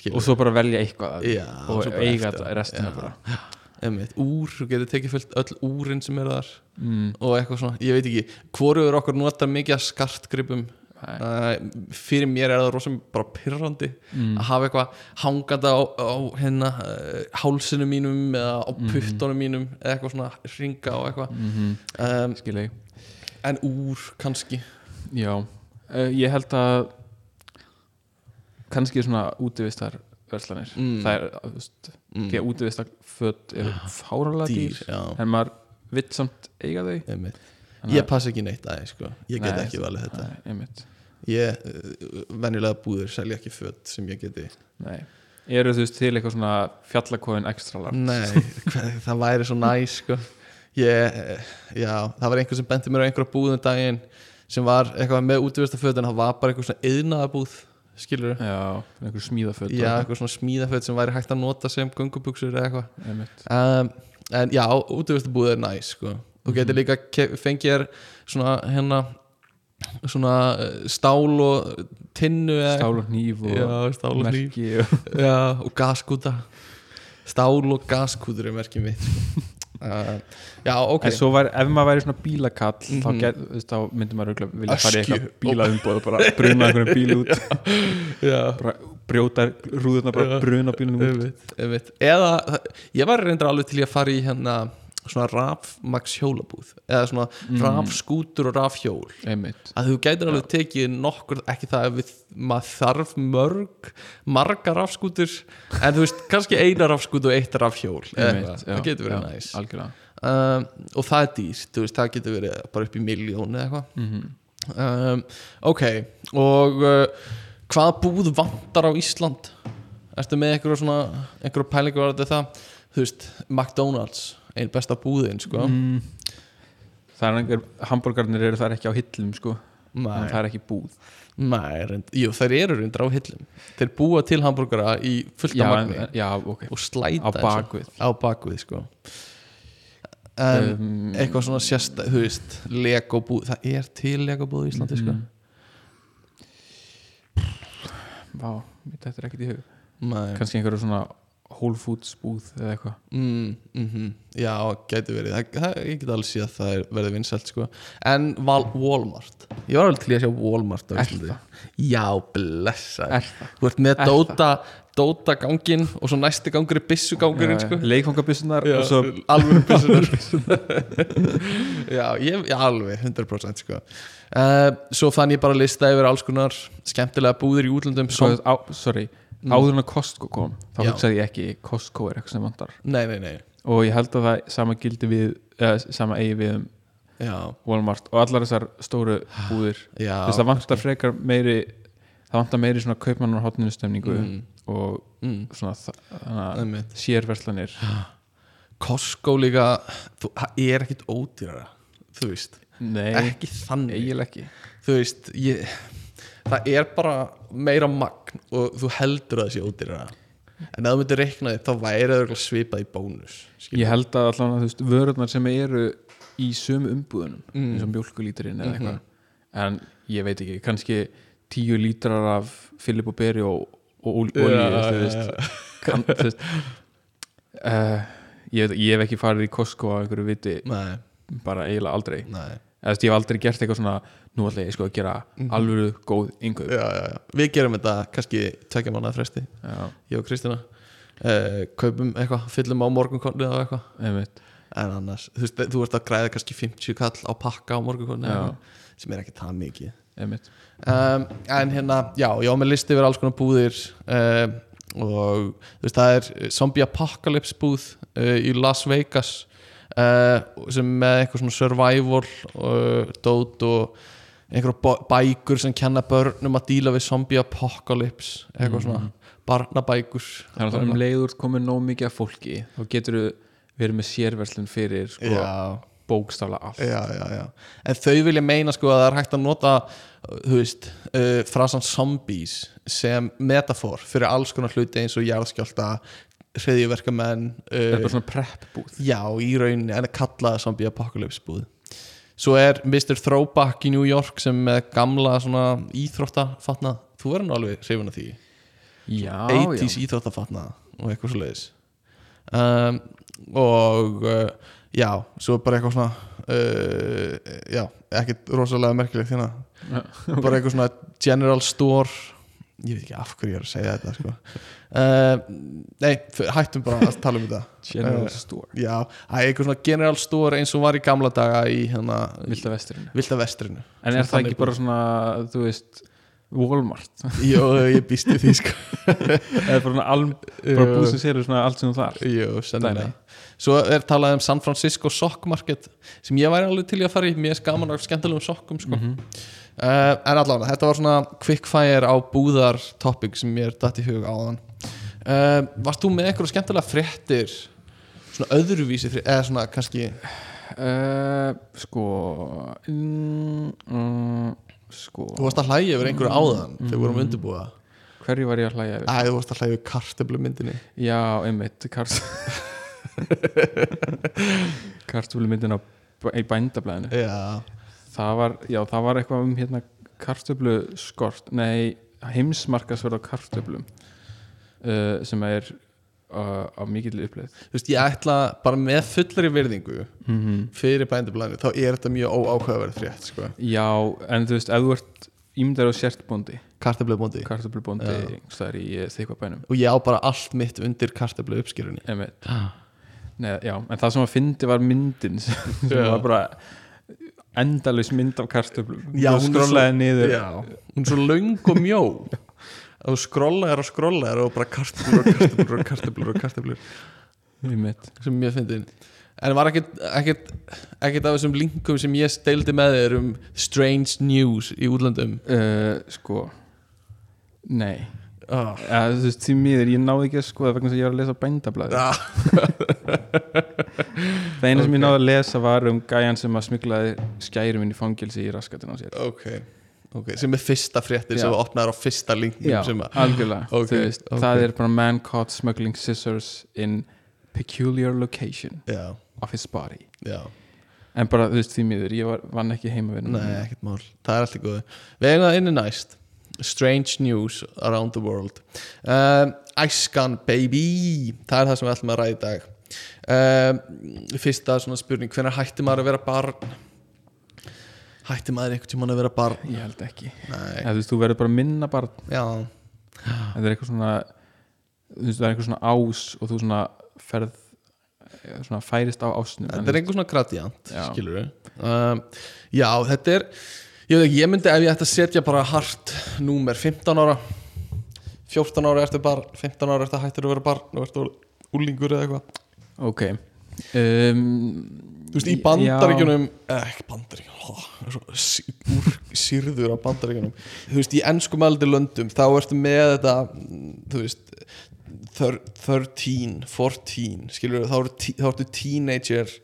skilur.
og svo bara velja eitthvað af því
Já,
og
svo bara
eiga
eftir.
þetta restina
Já.
bara
Einmitt, úr, þú getur tekið fullt öll úrin sem eru þar mm. og eitthvað svona, ég veit ekki hvoruður okkur notar mikið að skartgripum uh, fyrir mér er það rosa bara pyrrandi
mm,
að hafa eitthvað hangandi á, á hérna, uh, hálsinu mínum eða á puttunum mínum eða eitthvað svona ringa og eitthvað
mhm,
um,
skilja ég
en úr kannski
Já, uh, ég held að kannski svona útivistar verslanir
Mm.
það er, þú veist,
Mm. Ah.
því að útivistar föt eru fáralega dýr,
dýr, já,
en maður vill samt eiga þau
einmitt
Þannig
ég
að-
passa ekki neitt aðeins sko. ég get
Nei,
ekki valið þetta
Nei, einmitt.
ég, uh, venjulega búður selja ekki föt sem ég geti
Nei. Eru þú veist til eitthvað svona fjallakóðin ekstra large?
Nei, hvað, það væri svo næs sko. ég, eh, já, það var einhver sem benti mér á einhverja búðum daginn sem var eitthvað með útivistaföt en það var bara eitthvað svona yðnaðabúð skilur
Já, einhver smíðaföt og
já,
eitthvað,
eitthvað svona smíðaföt sem væri hægt að nota sem gungubuxur eða eitthvað
einmitt.
um, en já, útivistafbúð er næs sko. þú getur líka ke- fengið þér svona hérna svona eh, stál og tinnu eða
Stál og hníf Eh, og
já, stál og hníf
merki og <laughs>
Já, og gaskúta Stál og gaskútur er merkið mitt sko. uh, já, ok
En svo var, ef maður væri svona bílakall þá,
Mhm.
get, þú veist, þá myndi maður örugglega vilja fara í
Öskju.
eitthvað bílaumboð
<laughs>
og bara bruna einhverjum bíl út
já,
bara brjóta rúðurna bara
Já.
bruna bílunum út
einmitt, einmitt. eða ég var reyndar alveg til í að fara í hérna svona rafmax hjólabúð eða svona
Mm.
rafskútur og rafhjól
einmitt
að þú gætir alveg tekið nokkur ekki það að við, maður þarf mörg marga rafskútur en þú veist, kannski eina rafskút og eitt rafhjól eða
Einmitt,
eitthvað,
já,
Eh, það getur verið
já,
næs
algjörlega
um, og það er dýrt, þú veist, það getur verið bara upp í miljón eða eitthvað
Mhm.
um, ok, og uh, hvaða búð vantar á Ísland? Ertu með einhverju svona einhverju pælingu var þetta það? Þú veist, McDonalds, einn besta búðin sko,
mm. það er einhver hambúrgarnir eru þar ekki á hillum sko
nei,
það er ekki búð
nei reynd, jú, þær eru reyndar á hillum þeir búa til hambúrgara í fullt
já,
af
en,
magni
já, ok
og slæta
á
þessu.
bakvið
á bakvið sko en
um,
eitthvað svona sérsta, þú veist Lego búð, það er til Lego búð í Íslandi sko,
Mm. vá, þetta er ekkert í hug
nei
kannski einhverju svona Whole Foods búð eða eitthvað
mm, mm Já, gæti verið það, það, Ég get alveg séð að það er, verði vinsælt sko. En Val Walmart Ég var alveg til í að sjá Walmart á
Er
Íslandi Já, blessa
Er það?
Þú ert með
Er
Dota, Dota gangin og svo næsti gangur er byssu gangurinn sko.
leikfangabissunar og svo
alveg byssunar <laughs> Já, ég, já, alveg 100% sko. uh, Svo fann ég bara lista yfir alls konar skemmtilega búðir í útlöndum
Svo,
som,
á, sorry, áður en að Costco kom þá
Mm. Já.
hugsaði ég ekki Costco er eitthvað sem vantar
Nei, nei, nei
og ég held að það sama gildi við eða, sama eigi við um
Já,
Walmart og allar þessar stóru búðir
já
þess að vantar frekar meiri það vantar meiri svona kaupmann og hotnunustemningu
Mm,
og
mm,
svona þa- þannig
einmitt.
að sérverslanir
Costco líka þú, það er ekkit ódýrara þú veist,
nei,
ekki þannig
eiginlega ekki
þú veist, ég það er bara meira magn og þú heldur að það sé ódýrara en ef þú myndir reikna þig, þá væri það örugglega svipað í bónus skilur.
ég held að allan að þú veist vörurnar sem eru í sömu umbúðunum
Mm.
eins og mjólkulíturinn eða
Mhm.
eitthvað en ég veit ekki, kannski tíu lítrar af Filip og Beri og, og ol- olíu
Já,
þú veist,
já, já.
kann, þú veist uh, ég, veit- ég hef ekki farið í Costco á einhverju viti
Nei,
bara eiginlega aldrei
nei,
Eða, þú veist, ég hef aldrei gert eitthvað svona nú ætla ég sko að gera alvöru góð yngöp
já, já, já. Við gerum þetta kannski tvekja mannað fresti,
já,
ég og Kristina eh, kaupum eitthvað, fyllum á morgunkornið og eitthvað
einmitt
en annars, þú veist, þú ert að græða kannski 50 kall á pakka á morgunkornið
Já.
eitthvað, sem er ekki það mikið
einmitt
um, en hérna, já, ég á með listi yfir alls konar búðir um, og þú veist, það er zombie apocalypse búð uh, í Las Vegas uh, sem með eitthvað svona survival uh, dót og einhverja bo- bækur sem kenna börnum að díla við zombie apocalypse eitthvað svona barnabækur
þannig að Mhm. það er um leiður komið nóg mikið af fólki þá getur þú verið með sérverslun fyrir sko,
já,
bókstaflega allt
já, já, já. en þau vilja meina sko að það er hægt að nota þú veist, uh, frasan zombies sem metafor fyrir alls konar hluti eins og jarðskjálta hreðjuverkamenn
það er
uh,
bara svona prep búð
já, í rauninni en að kalla það zombie apocalypse búð svo er Mr. Throwback í New York sem með gamla svona íþróttafatna þú verður nú alveg hrifin af því
já,
80s íþróttafatna og eitthvað svo leiðis um, og uh, já, svo bara eitthvað svona uh, já, ekkert rosalega merkilegt hérna,
já.
bara eitthvað svona general store ég veit ekki af hverju ég er að segja þetta sko. uh, nei, f- hættum bara að tala um þetta
general
Eh,
store,
já, það er eitthvað svona general store eins og var í gamla daga í hérna
vilda vesturinn
Vilda vestrinu
en er
Svona
það
þannig
ekki bara svona, þú veist Walmart,
Jó, ég býst í því sko
eða bara, svona
<laughs>
alm, bara búð sem séru svona allt sem þú þar
Jú, sennilega
Dæmi.
Svo er talað um San Francisco Sock Market sem ég væri alveg til í að fara í mér er skaman af skemmtilegum sokkum sko. uh, En allavega, þetta var svona quickfire á búðar topic sem mér datt í hug áðan uh, Varst þú með eitthvað skemmtilega fréttir svona öðruvísi fréttir eða svona kannski
uh, sko mm, mm, sko
þú varst að hlæja yfir einhverju áðan þegar við vorum undirbúða
hverju var ég að hlæja við?
Æ, þú varst að hlæja yfir kartöflu myndinni
já, einmitt,
<laughs>
kart kartúli myndin á í bændablaðinu
Já,
það var, já, það var eitthvað um hérna kartöflu skort, nei heimsmarkasverð á kartöflum uh, sem er uh, á mikill uppleið
Þú veist, ég ætla bara með fullari virðingu
mm -hmm.
fyrir bændablaðinu þá er þetta mjög óáhugaverð frétt sko.
Já, en þú veist, ef þú ert ímyndar og sért bóndi,
kartablöðbóndi
kartöflubóndi
Já.
einhvers staðar í þeikva bænum
og ég á bara allt mitt undir kartablu uppskýrunni
Einmitt.
Ah.
Nei, já, en það sem að fyndi var myndin <laughs> sem sem
Já.
var bara endalaus mynd af kartöflum
Já,
og
hún er
skrollaði
svo-
niður
Já, hún er svo löng og mjó og skrollaðar og skrollaðar og bara kartablur og kartablur og kartablur og kartablur
Einmitt.
sem ég fyndin en var ekkert, ekkert, ekkert af þessum linkum sem ég steildi með þér um strange news í útlöndum
Uh, sko nei
ah.
ja, þú veist, því miður, ég náði ekki að skoða vegna þess að ég var að lesa bændablaði
Ah.
<laughs> það eina sem
ok.
ég náði að lesa var um gæjan sem að smiglaði skærum inn í fangelsi í raskatina á sér
ok, ok sem er fyrsta fréttir sem
Já.
opnaður á fyrsta linknum
já,
sem að <laughs>
algjörlega
Ok,
þú veist,
ok.
það er bara man caught smuggling scissors in peculiar location
já,
of his body
já,
en bara, þú veist, því miður, ég var, vann ekki heima við
nei, ekkert mál það er allt í góðu, við eigum það inni næst strange news around the world um, æskan baby það er það sem við ætlum að ræða í dag um, fyrsta svona spurning hvenær hætti maður að vera barn hætti maður einhvern tímann að vera barn
ég held ekki
nei, Ah.
Eða, þú veist, þú verður bara að minna barn
já,
það er eitthvað svona þú veist, það er eitthvað svona ás og þú svona ferð eh, svona færist á ásnum en
þetta er einhver svona gradient
Já.
skilur við um, já, þetta er ég, veit ekki, ég myndi ef ég ætti að setja bara hart númer 15 ára 14 ára ertu barn, 15 ára ertu hættur að vera barn og ertu úlingur eða eitthvað
ok um,
Þú veist, í bandaríkjunum eh, ekki bandaríkjunum úr sýrður af bandaríkjunum þú veist, í ennskumældi löndum þá ertu með þetta mm, þú veist thir- 13, 14 skilur þá, eru tí- þá ertu teenager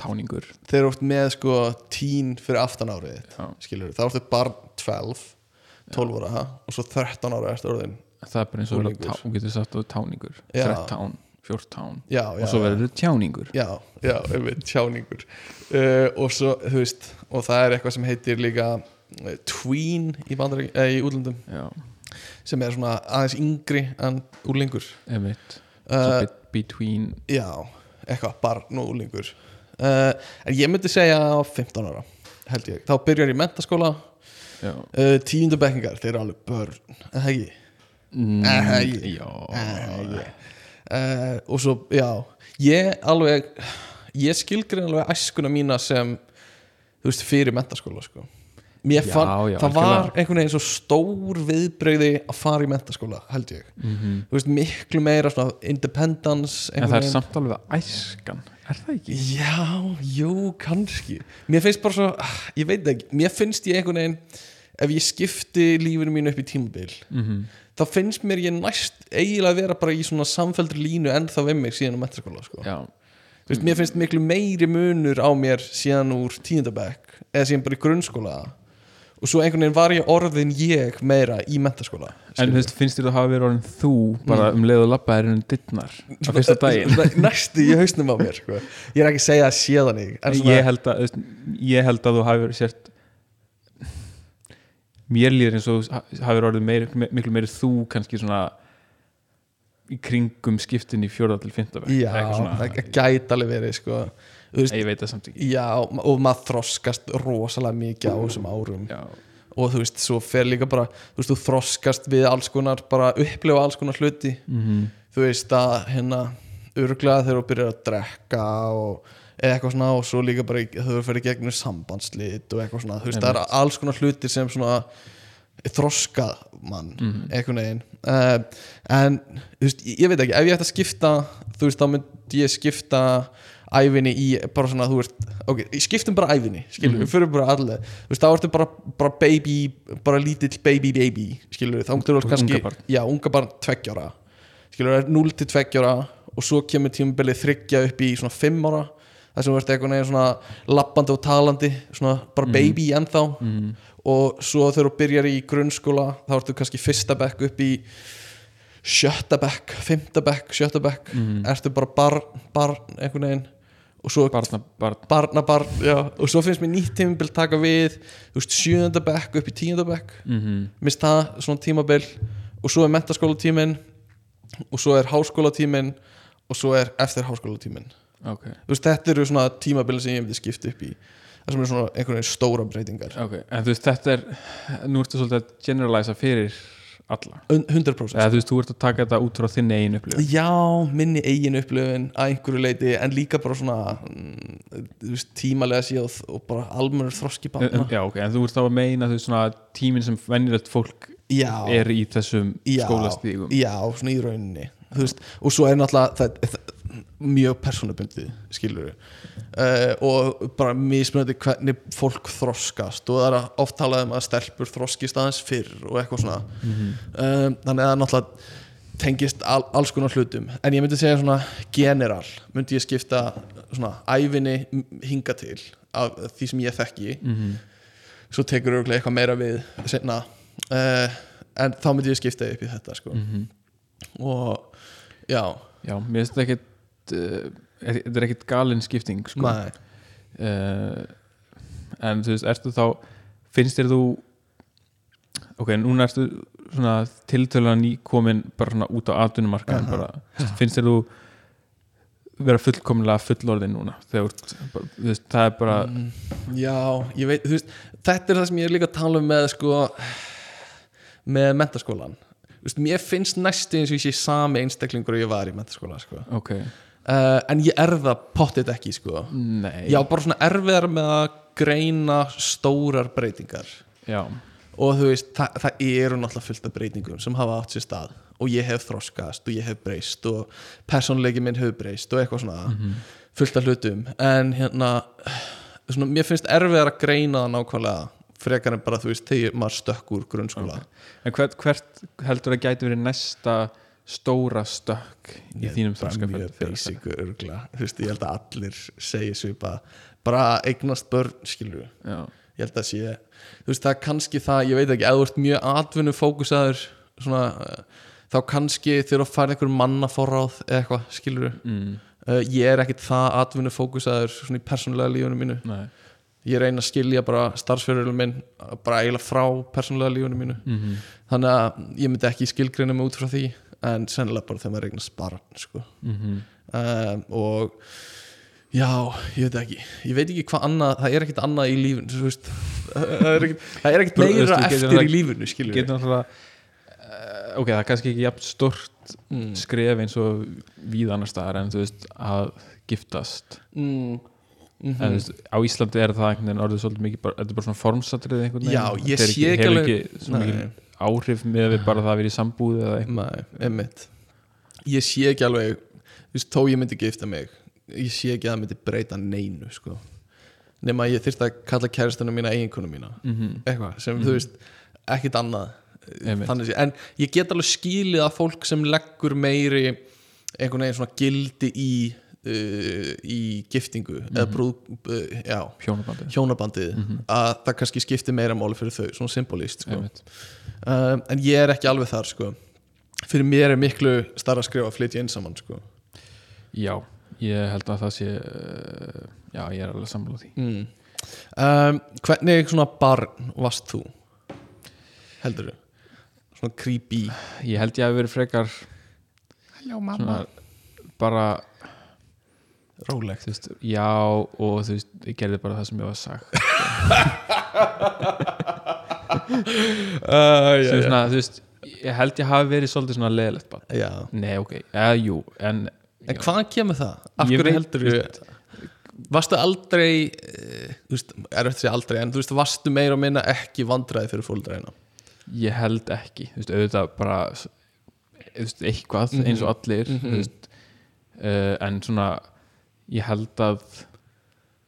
táningur
þeir eru oft með sko teen fyrir aftan árið þitt,
Já.
skilur þá ertu barn 12 12 ára og svo 13 ára ertu orðin
það er bara eins og þú
Unglingur.
tá- þú getur sagt og táningur
Já.
13, 14
já, já,
og svo
já.
verður þú tjáningur
já, já, einmitt, tjáningur uh, og svo, þú veist og það er eitthvað sem heitir líka uh, tween í, bandarík, eh, í útlöndum
já,
sem er svona aðeins yngri en úlingur
einmitt
uh,
uh, between
já, eitthvað, barn og úlingur uh, en ég myndi segja á 15 ára held ég, þá byrjar ég mentaskóla
já,
uh, tíundu bekkingar, þeir eru alveg börn er það ekki,
mm,
Eh, ég-
já.
uh, uh, og svo, já ég alveg ég skilgrein alveg æskuna mína sem þú veist, fyrir mentaskóla sko. mér
Já,
fann,
já,
það var
algjörlega.
einhvern veginn svo stór viðbreyði að fara í mentaskóla, held ég þú veist, miklu meira svona independence
Mhm. en það
einhvern
er
veginn.
samt alveg æskan er það ekki?
Já, jú, kannski Mér finnst bara svo, ah, ég veit það ekki Mér finnst ég einhvern veginn Ef ég skipti lífinu mínu upp í tímabil
Mhm.
Þá finnst mér ég næst eiginlega að vera bara í svona samfelldri línu ennþá við mig síðan á metaskóla sko.
já,
Þú veist, Mér finnst miklu meiri munur á mér síðan úr tíundabæk eða síðan bara í grunnskóla og svo einhvern veginn var ég orðin ég meira í metaskóla
En þú veist, finnst þér þú hafa verið orðin þú
Mm.
bara um leið og lappa er um dittnar á
<laughs>
fyrsta daginn?
Næstu í hausnum á mér sko. Ég er ekki að segja að séðan ég en svona-
Ég held að, þú veist, ég held að þú hafi verið sért mér líður eins og þú hafi verið orðin meir, me- miklu meiri þú kannski svona í kringum skiptin í fjórða til fymta
Já, það gæti alveg verið sko. Þú veist,
Ég veit það samt ekki
Já, og maður þroskast rosalega mikið á þessum árum
Já,
og þú veist, svo fer líka bara þú veist, þú þroskast við alls konar bara upplifa alls konar hluti
Mhm.
þú veist að hérna örglega þegar þú byrjar að drekka og eða eitthvað svona og svo líka bara í- þau fyrir gegnum sambandslit og eitthvað svona þú veist, það er alls konar hlutir sem svona þroskað mann
Mhm.
einhvern veginn uh, en þú veist, ég, ég veit ekki, ef ég ætti að skipta þú veist, þá myndi ég skipta æfinni í bara svona þú veist ok, skiptum bara æfinni, skilur,
Mhm.
við fyrir bara allir þú veist, þá ertu bara, bara baby bara lítill baby baby skilur, þá ertu
Unga
kannski,
barn.
já, unga barn tveggjára, skilur, er 0 til tveggjára og svo kemur tímabilið þryggja upp í svona 5 ára þar sem þú ert einhvern veginn svona lappandi og talandi svona
Mhm.
bara baby ennþá og svo þegar þú byrjar í grunnskóla þá ertu kannski fyrsta bekk upp í sjötta bekk, fymta bekk, sjötta bekk ertu bara barn, barn einhvern veginn og svo
barna, barna
barnabarn, já, og svo finnst mér nýtt tímabil taka við, þú veist, sjöunda bekk upp í tíunda bekk,
mm -hmm.
minnst það svona tímabil og svo er mentaskóla tímin og svo er háskólatíminn og svo er eftir háskólatíminn
ok,
Þú veist, þetta eru svona tímabilin sem ég myndi skipta upp í það sem eru svona einhvern veginn stóra breytingar
ok en þú veist þetta er, nú ertu svolítið að generalisa fyrir alla
Un- 100%
eða þú veist, þú ert að taka þetta út frá þinn eigin upplifun
Já, minni eigin upplifin að einhverju leiti en líka bara svona mm, þú veist, tímalega síðan og bara almennur þroski
En-
barna
en- já, Eh, ok, en þú ert þá að meina þú veist svona tíminn sem venjulegt fólk
Já,
er í þessum
já,
skólastígum
Já, svona í rauninni þú veist, og svo er náttúrulega það, það, mjög persónubundið skilur uh, og bara mismunandi hvernig fólk þroskast og það er að oft talað um að stelpur þroskist aðeins fyrr og eitthvað svona um, þannig að það náttúrulega tengist al, alls konar hlutum en ég myndi segja svona general myndi ég skipta svona ævinni m- hinga til af því sem ég þekki
Mhm,
svo tekur örugglega eitthvað meira við senna uh, en þá myndi ég skipta upp í þetta
Mhm.
sko og já,
já, mér finnst þetta ekkit uh, er- þetta er ekkit galin skipting sko.
nei
uh, en þú veist, ertu þá finnst þér þú ok, núna ertu svona tiltölan nýkomin bara svona út á atvinnumarkaðin bara, finnst þér þú vera fullkomlega fullorðin núna þegar þú ert- bara- þú veist, það er bara
Mm. Já, ég veit, þú veist þetta er það sem ég er líka að tala um með sko, með mentaskólan Þú veist, mér finnst næstu eins og ég sé sami einstaklingur og ég var í mentaskóla sko.
ok,
uh, en ég er það pottit ekki sko.
nei
Já, bara svona erfiðar með að greina stórar breytingar
já,
og þú veist, það, það eru náttúrulega fullt af breytingum sem hafa átt sér stað og ég hef þroskast og ég hef breyst og persónleiki minn hefur breyst og eitthvað svona
Mhm.
fullt af hlutum en hérna, svona, mér finnst erfiðar að greina það nákvæmlega frekar en bara þú veist, þegar maður stökk úr grunnskóla
en hvert, hvert heldur það gæti verið næsta stóra stökk í þínum
bara
þroska
mjög basic örgla, þú veist, ég held að allir segi svipa, bara eignast börn skilur við
já,
ég held að sé, þú veist það er kannski það ég veit ekki, ef þú ert mjög atvinnu fókusaður svona, eh, þá kannski þegar þú færð einhver manna forráð eða eitthvað, skilur du
mm,
ég er ekkit það atvinnu fókusaður svona í persónulega lífunum mínu
nei
ég reyna að skilja bara starfsfjörðurum minn eh, bara eiginlega frá persónulega lífunum mínu
mm
þannig að ég myndi ekki skilgreina mig út frá því en sennilega bara þegar maður eignar sparn sko. um, og já, ég veit ekki ég veit ekki hvað annað, það er ekkert annað í lífun þú veist það er ekkert, það er ekkert
Þú veist, við
meira
getum
eftir í
það-
lífunu skilur
getur náttúrulega uh, ok, það er kannski ekki jafn stort
Mm.
skref eins og víð annar staðar en þú veist að giftast
mm, mhm.
en þú veist, á Íslandi er það einhvern veginn orðið svolítið mikið, bara, þetta er bara svona formsatrið einhvern
Já,
veginn,
ég
Þetta er
sé ekki
hefur
alveg-
ekki svo
Nei.
mikið áhrif með við bara það að vera í sambúð eða eitthvað,
Nei, einmitt Ég sé ekki alveg Þú veist, þó ég myndi gifta mig Ég sé ekki að það myndi breyta neinu sko. Nefn að ég þyrst að kalla kæristuna mína eiginkonu mína
Mhm.
Eitthvað sem, þú veist, ekkit annað
Einmitt.
Þannig sé, en ég get alveg skilið að fólk sem leggur meiri einhvern veginn svona gildi í uh, í giftingu
Mhm.
eða brúð, uh, já,
hjónabandið
hjónabandið
Mhm.
að það kannski skipti meira máli fyrir þau, svona symbolist sko.
Einmitt.
um, en ég er ekki alveg þar sko. fyrir mér er miklu starra að skrifa að flytja inn saman sko.
já, ég held að það sé uh, já, ég er alveg sammála því
mm. um, hvernig svona barn varst þú heldur þú svona creepy
ég held ég að verið frekar
Halló mamma.
svona, bara
rólegt
þú veist, já og þú veist, ég gerði bara það sem ég var sagt
uh,
sem svona, þú veist, ég held ég hafi verið svolítið svona leðilegt bara,
já.
nei ok, eða jú en,
en hvaðan kemur það? af
Ég
hverju
veit-
heldur þú varstu aldrei eh, þú veist, er eftir að segja aldrei en þú veist, varstu meira og minna ekki vandræði fyrir fólkdræðina
ég held ekki, þú veist, auðvitað bara s- þú veist, eitthvað
Mhm.
eins og allir þú veist uh, en svona, ég held að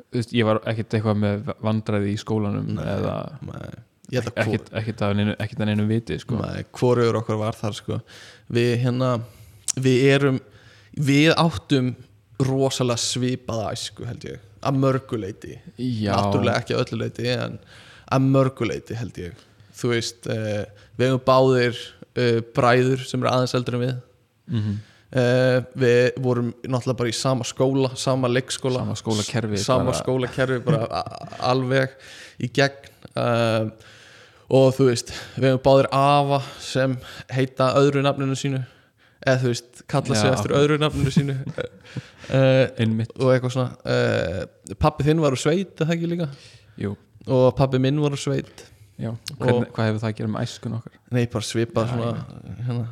þú veist, ég var ekkert eitthvað með vandræði í skólanum eða
ég held að hvor-
ekkert, ekkert að neinu, ekkert að neinu viti sko.
Nei, hvorugur okkur var þar sko. við hérna við erum, við áttum rosalega svipaða æsku held ég, að mörguleiti
já,
náttúrulega ekki að öllu leiti en að mörguleiti held ég þú veist, uh, við hefum báðir uh, bræður sem eru aðeins eldri en við
mm
uh, við vorum náttúrulega bara í sama skóla sama leikskóla
Sama skólakerfi,
sama
bara-
skólakerfi bara a- alveg í gegn um, og þú veist við hefum báðir afa sem heita öðru nafninu sínu eða þú veist, kalla sig
Já.
eftir öðru nafninu sínu
<laughs>
uh,
einmitt,
og eitthvað svona uh, pappi þinn var úr sveit, er það ekki líka
jú
og pappi minn var úr sveit
já, Hvern, hvað hefur það að gera með æskun okkar
Nei, bara svipað
Já,
svona hérna,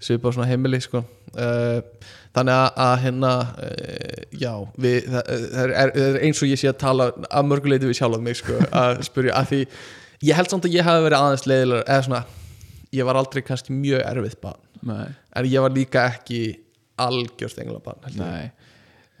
svipað svona heimili sko. uh, þannig að, að hérna uh, já, við, það, eh, það, er, það er eins og ég sé að tala að mörguleiti við sjálf mig sko, að spyrja að því ég held samt að ég hafi verið aðeins leiðilega eða svona, ég var aldrei kannski mjög erfið barn,
nei,
en ég var líka ekki algjörst engla barn held ég.
nei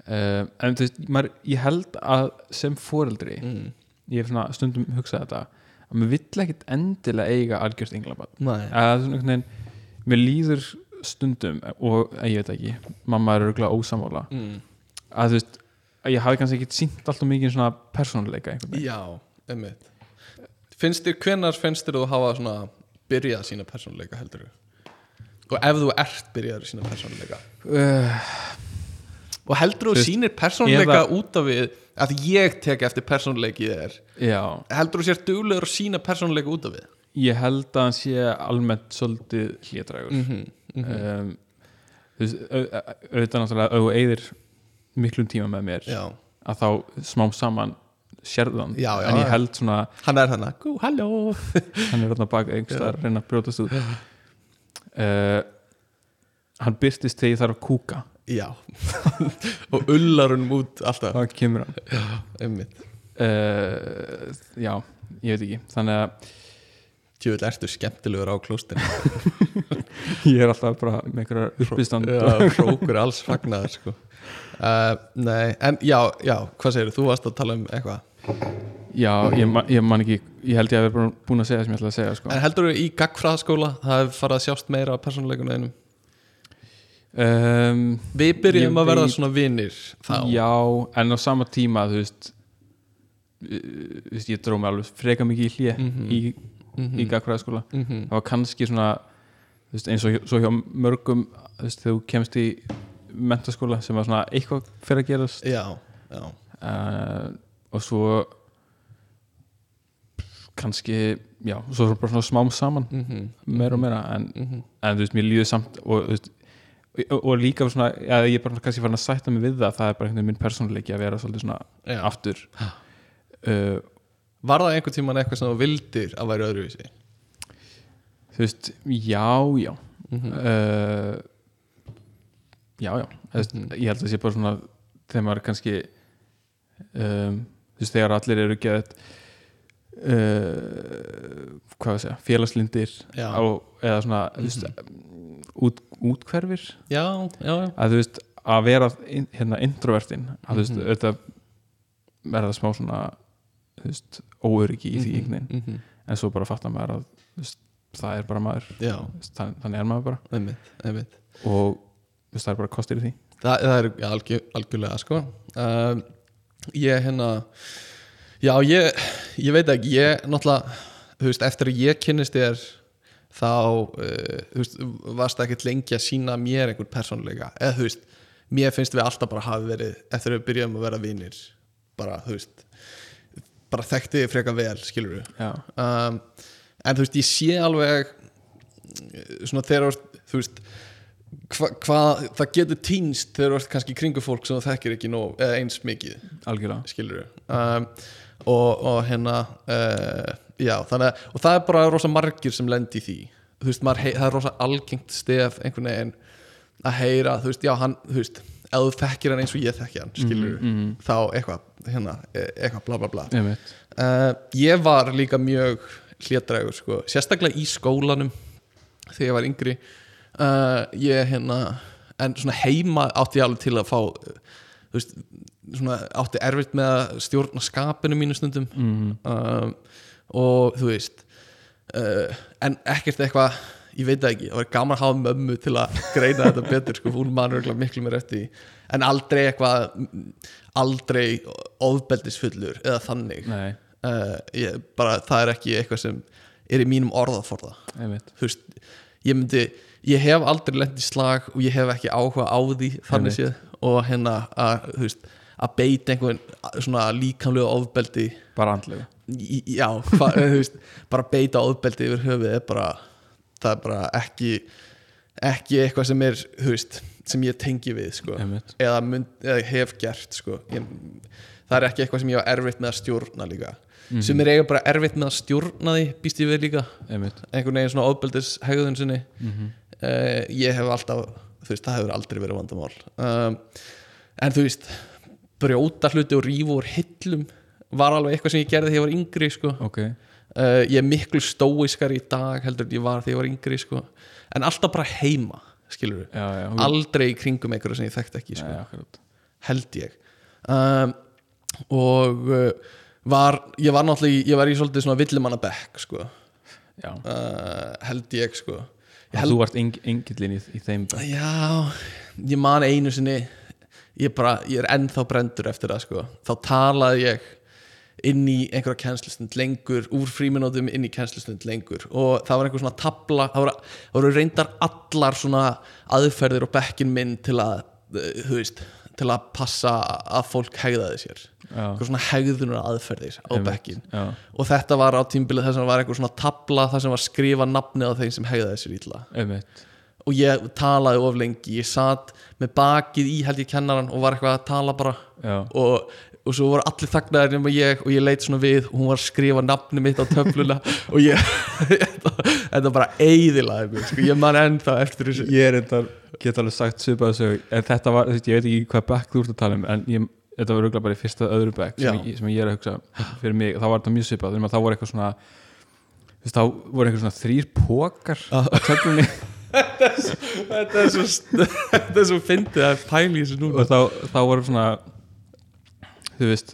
uh, en þú veist, maður, ég held að sem foreldri,
Mm.
ég hef svona stundum hugsað þetta, að maður vill ekkit endilega eiga algjörst englabann
Nei.
að það er svona einhvern veginn mér líður stundum og að ég veit ekki, mamma er örgulega ósamála
Mm.
að þú veist, að ég hafi kannski ekki sínt alltaf mikið svona persónuleika einhvern veginn.
já, emmitt finnst þér, hvenar finnst þér þú hafa svona byrjað sína persónuleika heldur og ef þú ert byrjaður sína persónuleika
uh,
og heldur þú
Þú veist,
sínir persónuleika
eða-
út af við að ég tek eftir persónuleikið er
Já,
heldur þú sér duglegur að sína persónuleika út af við
ég held að hann sé almennt svolítið hlétrægur
-hmm.
um, þú veist, au- au- auðvitað náttúrulega ef þú eyðir miklum tíma með mér
já,
að þá smám saman sérðan,
Já, já,
en
já.
ég held svona
hann er hann að gú, halló
<laughs> hann er rannar baka einhvers staðar að reyna að brjótast út uh, hann byrtist þegar ég þarf að kúka
já og ullar hann út alltaf
þá kemur hann
einmitt,
uh, já, ég veit ekki þannig að
tjóðvill ertu skemmtilegur á klóstinu
<laughs> ég er alltaf bara með einhverjar uppistand
já, hrókur er alls fagnaður sko. uh, nei, en já, já hvað segir þú, varst að tala um eitthvað
já, ég, ma- ég man ekki ég held ég að vera búin að segja það sem ég ætla að segja sko.
en heldur þú í gagfræðaskóla það hefur farið að sjást meira á persónuleikuna einum
um,
við byrjum
Ég
að verða
veit-
svona vinir þá,
já, en á sama tíma þú veist, uh, þú veist ég dróð mig alveg freka mikið í hlje í, í gagfræðaskóla
mm -hmm.
það var kannski svona þú veist, eins og hjá- svo hjá mörgum þú veist, þegar þú kemst í mentaskóla sem var svona eitthvað fyrir að gerast
já, já
uh, og svo kannski, já, svo er bara svona smám saman
mm -hmm.
meira og meira en, en þú veist, mér líður samt og, þú veist, og, og líka svona, já, ég er bara kannski farin að sætta mig við það, það er bara einhvern veginn minn persónuleiki að vera svolítið svona
já.
aftur uh,
var það einhvern tíman eitthvað sem þú vildir að væri öðruvísi
þú veist, já, já uh, já, já Þess, mm
Mhm.
ég held að sé bara svona þegar maður er kannski um, þú veist, þegar allir eru geðið uh, hvað að segja, félagslindir
Já. Mhm.
á, eða svona þú veist, út, útkverfir
já, já, já
að þú veist, að vera in, hérna introvertin, að þú veist,
Mhm.
auðvitað verða smá svona þú veist, óöryggi í því mm -hmm.
mm -hmm.
en svo bara fattar maður að þú veist, það er bara maður
já,
Þú veist, þann- þannig er maður bara
einmitt, einmitt
og þú veist, það er bara kostir í því
Þa, það er ja, algjör, algjörlega sko um, ég hérna já ég, ég veit ekki ég náttúrulega, þú veist, eftir að ég kynnist þér þá uh, þú veist, varst ekkert lengi að sína mér einhvern persónuleika eða þú veist, mér finnst við alltaf bara hafi verið eftir að við byrjum að vera vinir bara, þú veist bara þekkti þig frekar vel, skilur við
já,
um, en þú veist, ég sé alveg eh, svona þegar þú ert- þú veist hvað hva, það getur týnst þegar þú ert kannski í kringu fólk sem þú þekkir ekki nóg, eða eins mikið,
algjörlega
skilur um, og, og hérna uh, já, þannig að og það er bara rosa margir sem lendi í því þú veist, maður, hei- það er rosa algengt stef einhvern veginn að heyra þú veist, já, hann, þú veist, ef þú þekkir hann eins og ég þekki hann, skilur
mm,
þá eitthvað, hérna, eh, eitthvað bla bla bla
einmitt,
Uh, ég var líka mjög hlétrægur sko, sérstaklega í skólanum þegar ég var yngri uh, ég hérna en svona heima átti ég alveg til að fá uh, þú veist, svona átti erfitt með að stjórna skapinu mínu stundum
mm,
um, og þú veist uh, en ekkert eitthvað ég veit það ekki, það var gaman að hafa mömmu til að greina þetta betur, sko, hún manur miklu mér eftir, því. en aldrei eitthvað mm, aldrei ofbeldisfullur eða þannig
nei,
uh, ég, bara það er ekki eitthvað sem er í mínum orðaforða
einmitt
þú veist, ég myndi ég hef aldrei lent í slag og ég hef ekki áhuga á því þannig séð og hérna að, þú veist, að beita einhvern svona líkamlega ofbeldi
bara andlega
í- í- já, <laughs> hva, þú veist, bara beita ofbeldi yfir höfuð er bara, það er bara ekki ekki eitthvað sem er, þú veist sem ég tengi við, sko
Einmitt.
eða, mynd, eða hef gert, sko ég, það er ekki eitthvað sem ég á erfitt með að stjórna líka sem er eiga bara erfitt með að stjórna því býst ég við líka,
einmitt
einhvern veginn svona ofbeldis hegðun sinni
mm
uh, ég hef alltaf, þú veist, það hefur aldrei verið vandamál um, en þú veist brjóta hluti og rífa úr hillum var alveg eitthvað sem ég gerði þegar ég var yngri sko.
ok,
uh, ég er miklu stóiskar í dag heldur en ég var þegar ég var yngri sko. en alltaf bara heima, skilur
já, já hún-
aldrei í kringum einhverju sem ég þekkt ekki sko
Nei, akkurat.
held ég um, og uh, var, ég var náttúrulega í- ég var í svolítið svona villumannabekk sko.
já,
uh, held ég sko ég
þú varst eng- engillinn í, í þeim bekk.
já, ég man einu sinni ég, bara, ég er ennþá brendur eftir það sko. þá talaði ég inn í einhverja kennslustund lengur úr fríminótum inn í kennslustund lengur og það var einhver svona tabla það voru, það voru reyndar allar svona aðferðir og bekkin minn til að eh, þú veist, til að passa að fólk hegðaði sér
já,
einhver svona hegðunar aðferðir á bekkin
já,
og þetta var á tímbilið þess að var einhver svona tabla þar sem var skrifa nafnið á þeim sem hegðaði sér ítla
einmitt
og ég talaði of lengi ég satt með bakið í held ég kennaran og var eitthvað að tala bara
já,
og, og svo voru allir þagnaðir nema ég og ég leit svona við og hún var að skrifa nafni mitt á
<laughs>
töfluna og ég <laughs> þetta bara eyðilaði mig sko. ég man ennþá eftir þessu
ég er endar, get alveg sagt svipaðu sög, en þetta var, þú veist, ég veit ekki hvað bekk þú ert að tala um, en ég, þetta var auðvitað bara í fyrsta öðru bekk sem,
Já.
ég- sem ég er að hugsa fyrir mig, þá var þetta mjög svipað þannig að þá voru eitthvað svona þú veist, þá voru eitthvað svona þrýr pókar á <laughs> töflunni
þetta er svo <laughs> þetta er svo fyndið að pæli þessu núna
og þá, þá voru svona þú veist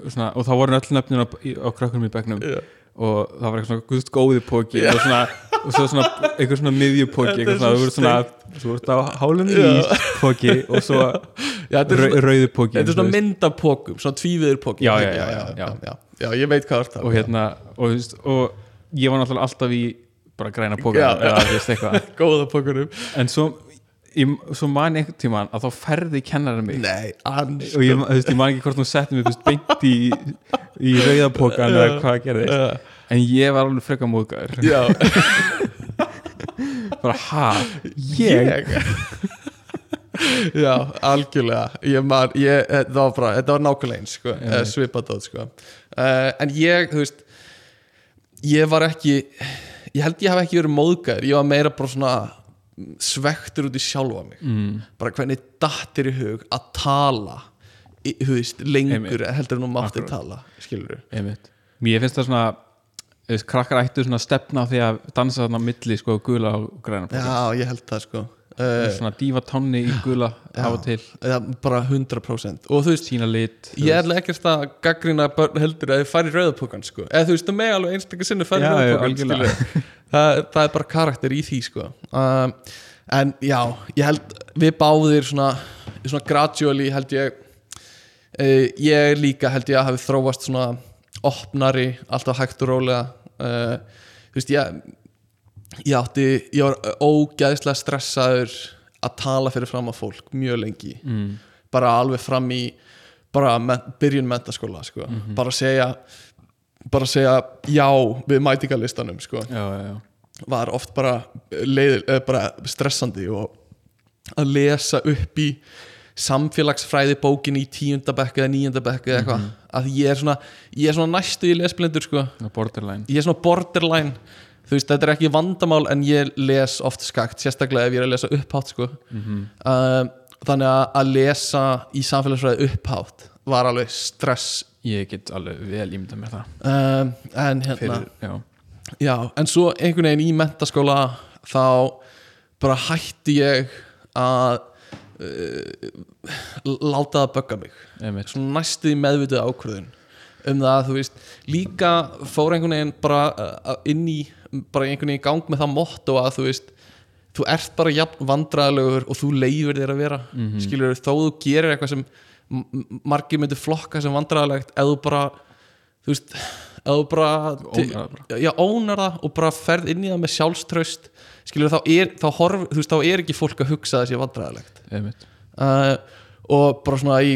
svona, og þá voru öll nöfnin á, í- á krakkunum í bekknum
Já.
og það var eitthvað svona guðst góði póki og, svona, og svo svona eitthvað svona miðjupóki
Þetta er
eitthvað svona,
svo
þú voru svona, þú voru á hálunni
Já.
í póki og svo
Já, þetta er
rau,
svona-
rauði póki
þetta er
þú
svona
veist.
myndapokum, svona tvíviður pokum
Já, já, já, já,
já, já, já, ég veit hvað það
og hérna, og þú veist og ég var náttúrulega alltaf í bara græna póka
Já, já.
eða þú veist eitthvað
góða pokunum
en svo, ég, svo man einhvern tímann að þá ferði kennarinn mig
nei, sko. ans
og ég, þú veist, ég man ekki hvort hún setti mig þú veist, beint í, í rauðapokan eða hvað gerðist en ég var alveg frekar móðgæður
já,
<laughs> bara ha, ég,
<laughs> já, algjörlega ég man, ég, þetta var bara þetta var nákvæmlega eins, sko, yeah. svipadóð sko. uh, en ég, þú veist ég var ekki ég held ég hafi ekki verið móðgæður ég var meira bara svona svektur út í sjálfa mig mm. bara hvernig dattir í hug að tala í, þú veist, lengur heldur en hún mátti tala, skilur
einmitt mér finnst það svona þú veist, krakkar ættu svona að stefna á því að dansa þarna á milli sko gula og græna poka
já, ég held það, sko uh,
svona dífa tánni í gula af og til
eða bara 100% og þú veist,
sína lit þú
ég er
veist.
alveg ekkert að gaggrína börn heldur að þið fari rauðapokan sko. eða þú veist það með alveg einstaklega sinni fari
Já, já,
rauðapokan
algjörlega.
það, það er bara karakter í því sko. um, en já, ég held við báðir svona, svona gradually held ég uh, ég líka held ég að hafi þróast svona opnari, alltaf hægt og rólega uh, þú veist ég ég átti, ég var ógæðslega stressaður að tala fyrir fram að fólk mjög lengi mm. bara alveg fram í bara men, byrjun mentaskóla sko. bara segja bara segja já við mætingalistanum sko.
já, já, já,
var oft bara, leið, eh, bara stressandi og að lesa upp í samfélagsfræði bókin í tíundabekk eða níundabekk eða eitthvað að ég er svona, ég er svona næstu í lesblindur sko
svona borderline
ég er svona borderline þú veist, þetta er ekki vandamál en ég les oft skakt, sérstaklega ef ég er að lesa upphátt sko. um, þannig að, að lesa í samfélagsfræði upphátt var alveg stress
ég get alveg vel ímynda mér það
um, en hérna
fyrir, já,
já, en svo einhvern veginn í mentaskóla þá bara hætti ég að uh, láta það bögga mig
einmitt
svona næstuði meðvitið ákvörðun um það að þú veist líka fór einhvern veginn bara uh, inn í bara einhvern veginn í gang með það motto að þú veist þú ert bara jafn vandræðalegur og þú leifir þér að vera mm skilur þó þú gerir eitthvað sem m- m- margir myndir flokka sem vandræðalegt eða þú bara þú veist eða þú bara
Ónar það
bara. Já, ónar það og bara ferð inn í það með sjálfströst skilur þá er, þá, horf, þú veist, þá er ekki fólk að hugsa þessi vandræðalegt
einmitt,
uh, og bara svona í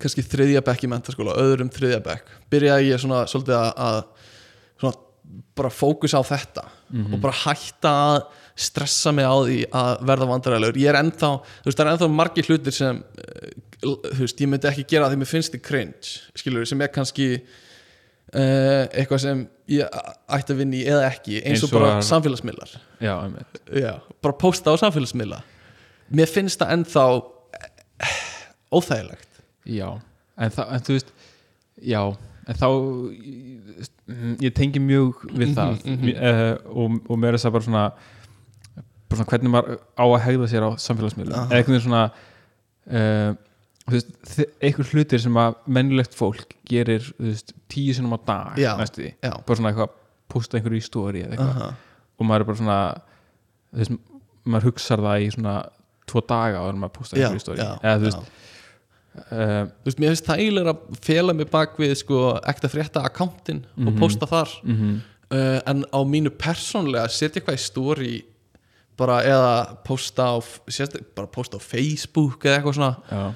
kannski þriðja bekk í mentaskóla öðrum þriðja bekk, byrjaði ég svona
Mhm.
svolítið að, að svona bara fókus á þetta og bara hætta að stressa mig á því að verða vandaræðilegur ég er ennþá, þú veist, það er ennþá margir hlutir sem eh, l- þú veist, ég myndi ekki gera því mér finnst þið cringe, skilur sem er kannski uh, eitthvað sem ég a- ætti að vinna í eða ekki, eins
Eins
og
og
bara
að-
samfélagsmiðlar
já, einmitt
Já, bara posta á samfélagsmiðla Mér finnst það ennþá eh, óþægilegt
já, en, þa en þú veist já, en þá ég, ég tengi mjög við
Mhm,
það mm og, og mér er það bara svona, bara svona hvernig maður á að hegða sér á samfélagsmiðlum
Aha.
eða einhvern veginn svona uh, þú veist, þi- einhver hlutir sem að mennilegt fólk gerir þú veist, tíu sinnum á dag
Já,
næstu því,
já.
bara svona eitthvað posta einhverju í stóri eða eitthvað
Aha.
og maður er bara svona þú veist, maður hugsar það í svona tvo daga áður en maður posta
Já,
einhverju stóri
já,
eða þú
já.
veist uh,
Þú veist, mér finnst þægilega að fela mig bak við sko, ekta frétta akkántin og posta þar uh, en á mínu persónlega setja eitthvað í story bara eða posta á, sérst, bara posta á Facebook eða eitthvað svona
já.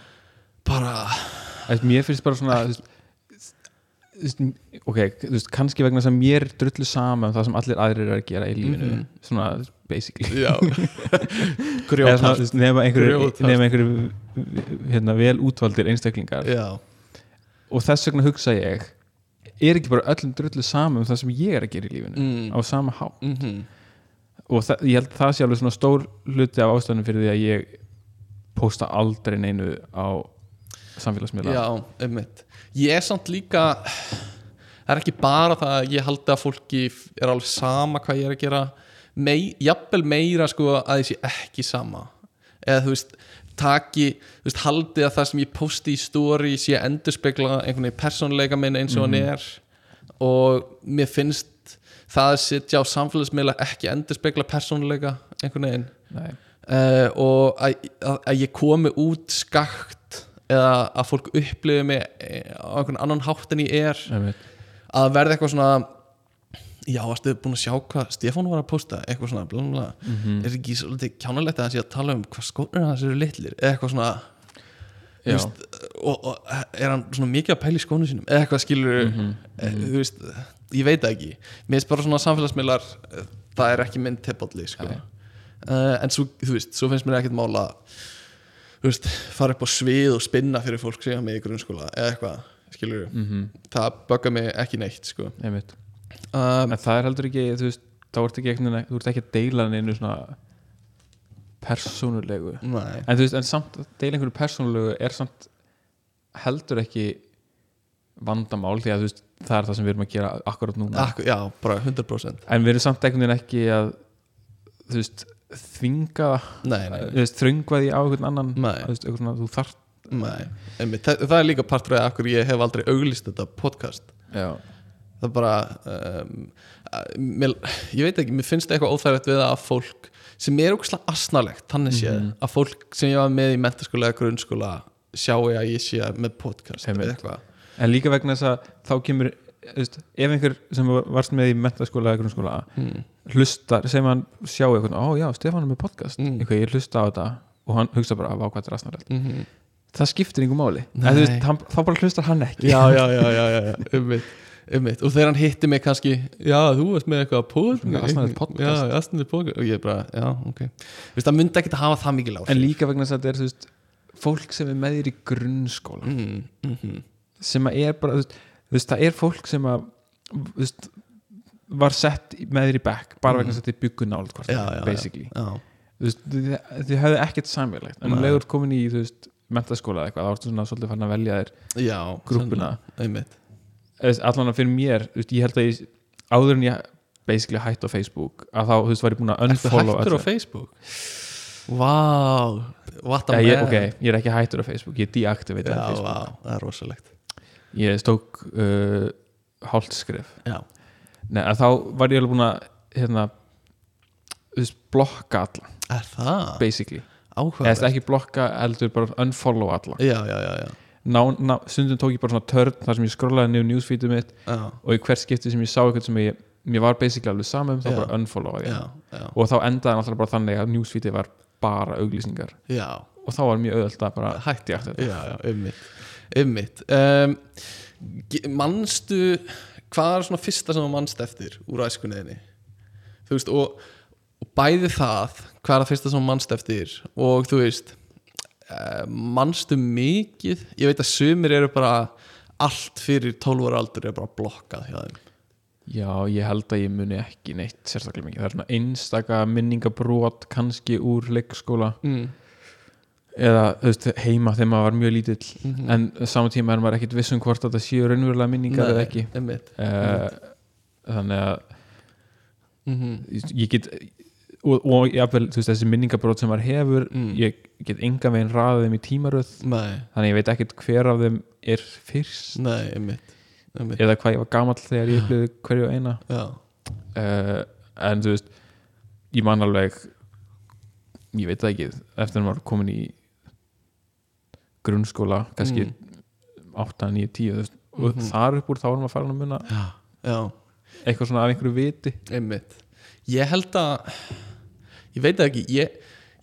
bara,
Þú veist, mér finnst bara svona þú veist, þú veist, ok, þú veist, kannski vegna sem mér er drullu sama um það sem allir aðrir eru að gera í lífinu
Mhm.
svona basically
<laughs> já
Eða svona,
grjótart
þú veist, nema einhverju,
Grjótart.
nema einhverju hérna, vel útvaldir einstaklingar
já,
og þess vegna hugsa ég er ekki bara öllum drullu sama um það sem ég er að gera í lífinu
Mm.
á sama há
mm
og það, ég held að það sé alveg svona stór hluti af ástæðanum fyrir því að ég posta aldrei neinu á samfélagsmiðla
Já, einmitt Ég er samt líka Það er ekki bara það að ég haldi að fólki er alveg sama hvað ég er að gera Mei, jafnvel meira sko að ég sé ekki sama eða þú veist taki, þú veist haldið að það sem ég posti í story sé að endurspegla einhvern veginn persónuleika minn eins og hann er og mér finnst það að sitja á samfélagsmiðla ekki endurspegla persónuleika einhvern veginn
Nei.
uh, og að, að, að ég komi út skakt eða að fólk upplifi mig eh, á einhvern annan hátt en ég er
einmitt.
að verða eitthvað svona já, varstu búin að sjá hvað Stefán var að posta eitthvað svona, bla bla bla
Mm.
er ekki svolítið kjánalegt að hann sé að tala um hvað skónir hans eru litlir eða eitthvað svona þú
Já.
veist, og, og er hann svona mikið að pæla í skónu sínum eða eitthvað skilur þú veist, ég veit það ekki mér finnst bara svona samfélagsmiðlar eh, það er ekki minn teppalli sko. uh, en svo, þú veist, svo finnst mér ekkert mála þú veist, fara upp á svið og spinna fyrir fólk sem ég hafa með í grunnskóla eða eitthvað, skilur það böggar mig ekki neitt sko.
mhm, einmitt
um,
en það er heldur ekki, þú veist þá ert ekki, ekki, þú ert ekki að deila neinu svona persónulegu
nei,
en þú veist, en samt að deila einhverju persónulegu er samt heldur ekki vandamál því að þú veist, það er það sem við erum að gera akkurat núna
akkur, já, bara 100%
en við erum samt einhvern veginn ekki að þú veist, þvinga
nei, nei,
þú veist, þröngva því á einhvern annan
Nei.
þú veist, einhvern svona, þú þart
nei. Einmitt, það, það er líka partur af akkur ég hef aldrei auglist þetta podcast
já,
það er bara um, að- mér, ég veit ekki, mér finnst eitthvað óþægilegt við það að fólk sem er ógustlega asnalegt, þannig séð að fólk sem ég var með í mentaskóla eða grunnskóla sjáu að ég sé með podcast eða
Einmitt.
eitthvað
en líka vegna þess að þá kemur þú veist, ef einhver sem varst með í mentaskóla eða grunnskóla
Mm.
hlustar, sem hann sjá einhvern ó já, Stefán er með podcast,
Mm.
eitthvað ég hlusta á þetta og hann hugsa bara að hvað þetta er aðsnarlegt
mm
það skiptir einhver máli,
Nei.
en þú veist, hann, þá bara hlustar hann ekki
já,
<laughs>
já, já, já, já, já. Einmitt, einmitt. og þegar hann hitti mig kannski já, þú varst með eitthvað pod
Svona asnalegt podcast.
já, asnalegt podcast og ég bara, já, ok Þú veist, það myndi ekkert að hafa það mikið lág
en líka vegna þess að þetta er þú veist, fólk sem er með þér í grunnskóla
mm, mm -hmm.
sem að er bara þú veist, þú veist, það er fólk sem að þú veist, var sett í- með þér í bekk bara vegna þess að þetta er byggu nált hvort
já,
annað,
já,
basically
já, já.
Þú veist, þið, þið höfðu ekkert samvegilegt en
Nei.
um leiður komin í þú veist, mentaskóla eða eitthvað, þá ertu svona svolítið farin að velja þér
já
grúppuna
svona, einmitt
Þú veist, allan að fyrir mér, þú veist, ég held að ég, áður en ég basically hætti á Facebook að þá, þú veist, var ég búin að
Ertu
unfollow
hættur á
öllu.
Facebook? Vá, what a
Eh,
man
ég, ok, ég er ekki hættur á Facebook, ég deaktivita
Já,
Facebook
vá, það er rosalegt
ég stók uh, hálft skref
Já,
Nei, að þá var ég alveg búin að hérna, þú veist, blokka alla
er það?
basically, eða þú veist,
Áhverfært
ekki blokka heldur bara unfollow alla
Já, já, já, já,
ná, ná, stundum tók ég bara svona törn þar sem ég skrollaði niður newsfeedu mitt
já,
og í hvert skipti sem ég sá eitthvað sem ég mér var basically alveg sama um, þá
Já.
bara unfollowaði ég
já, já,
og þá endaði hann alltaf bara þannig að newsfeedið var bara auglýsningar
já.
og þá var mjög auðvöld að bara hætti ég þetta <laughs>
já, já, ummitt ummitt um, ge- manstu hvað er svona fyrsta sem þú manst eftir úr æskunniðinni þú veist og og bæði það hvað er að fyrsta sem þú manst eftir og þú veist eh, manstu mikið ég veit að sumir eru bara allt fyrir 12 ára aldur er bara blokkað hjá þeim
Já, ég held að ég muni ekki neitt sérstaklega mikið. Það er svona einstaka minningabrót kannski úr leikskóla
mm.
eða þú veist, heima þegar maður var mjög lítill
Mhm.
en saman tíma er maður ekkit viss um hvort þetta séu raunverulega minningar eða ekki
einmitt.
uh, Þannig að
Mhm.
ég get og, og jafnvel, þú veist, þessi minningabrót sem maður hefur
Mm.
ég get enga veginn raðið þeim í tímaröð
Nei,
þannig að ég veit ekkit hver af þeim er fyrst
nei, einmitt, einmitt.
eða hvað ég var gamall þegar ég upplýði hverju eina
Já.
uh, en þú veist ég man alveg ég veit það ekki, eftir að maður komin í grunnskóla kannski
Mm.
8, 9, 10 þú veist, og
Mhm.
þar upp úr þá erum að fara að muna
Já. Já.
eitthvað svona af einhverju viti
Einmitt. Ég held að ég veit það ekki ég,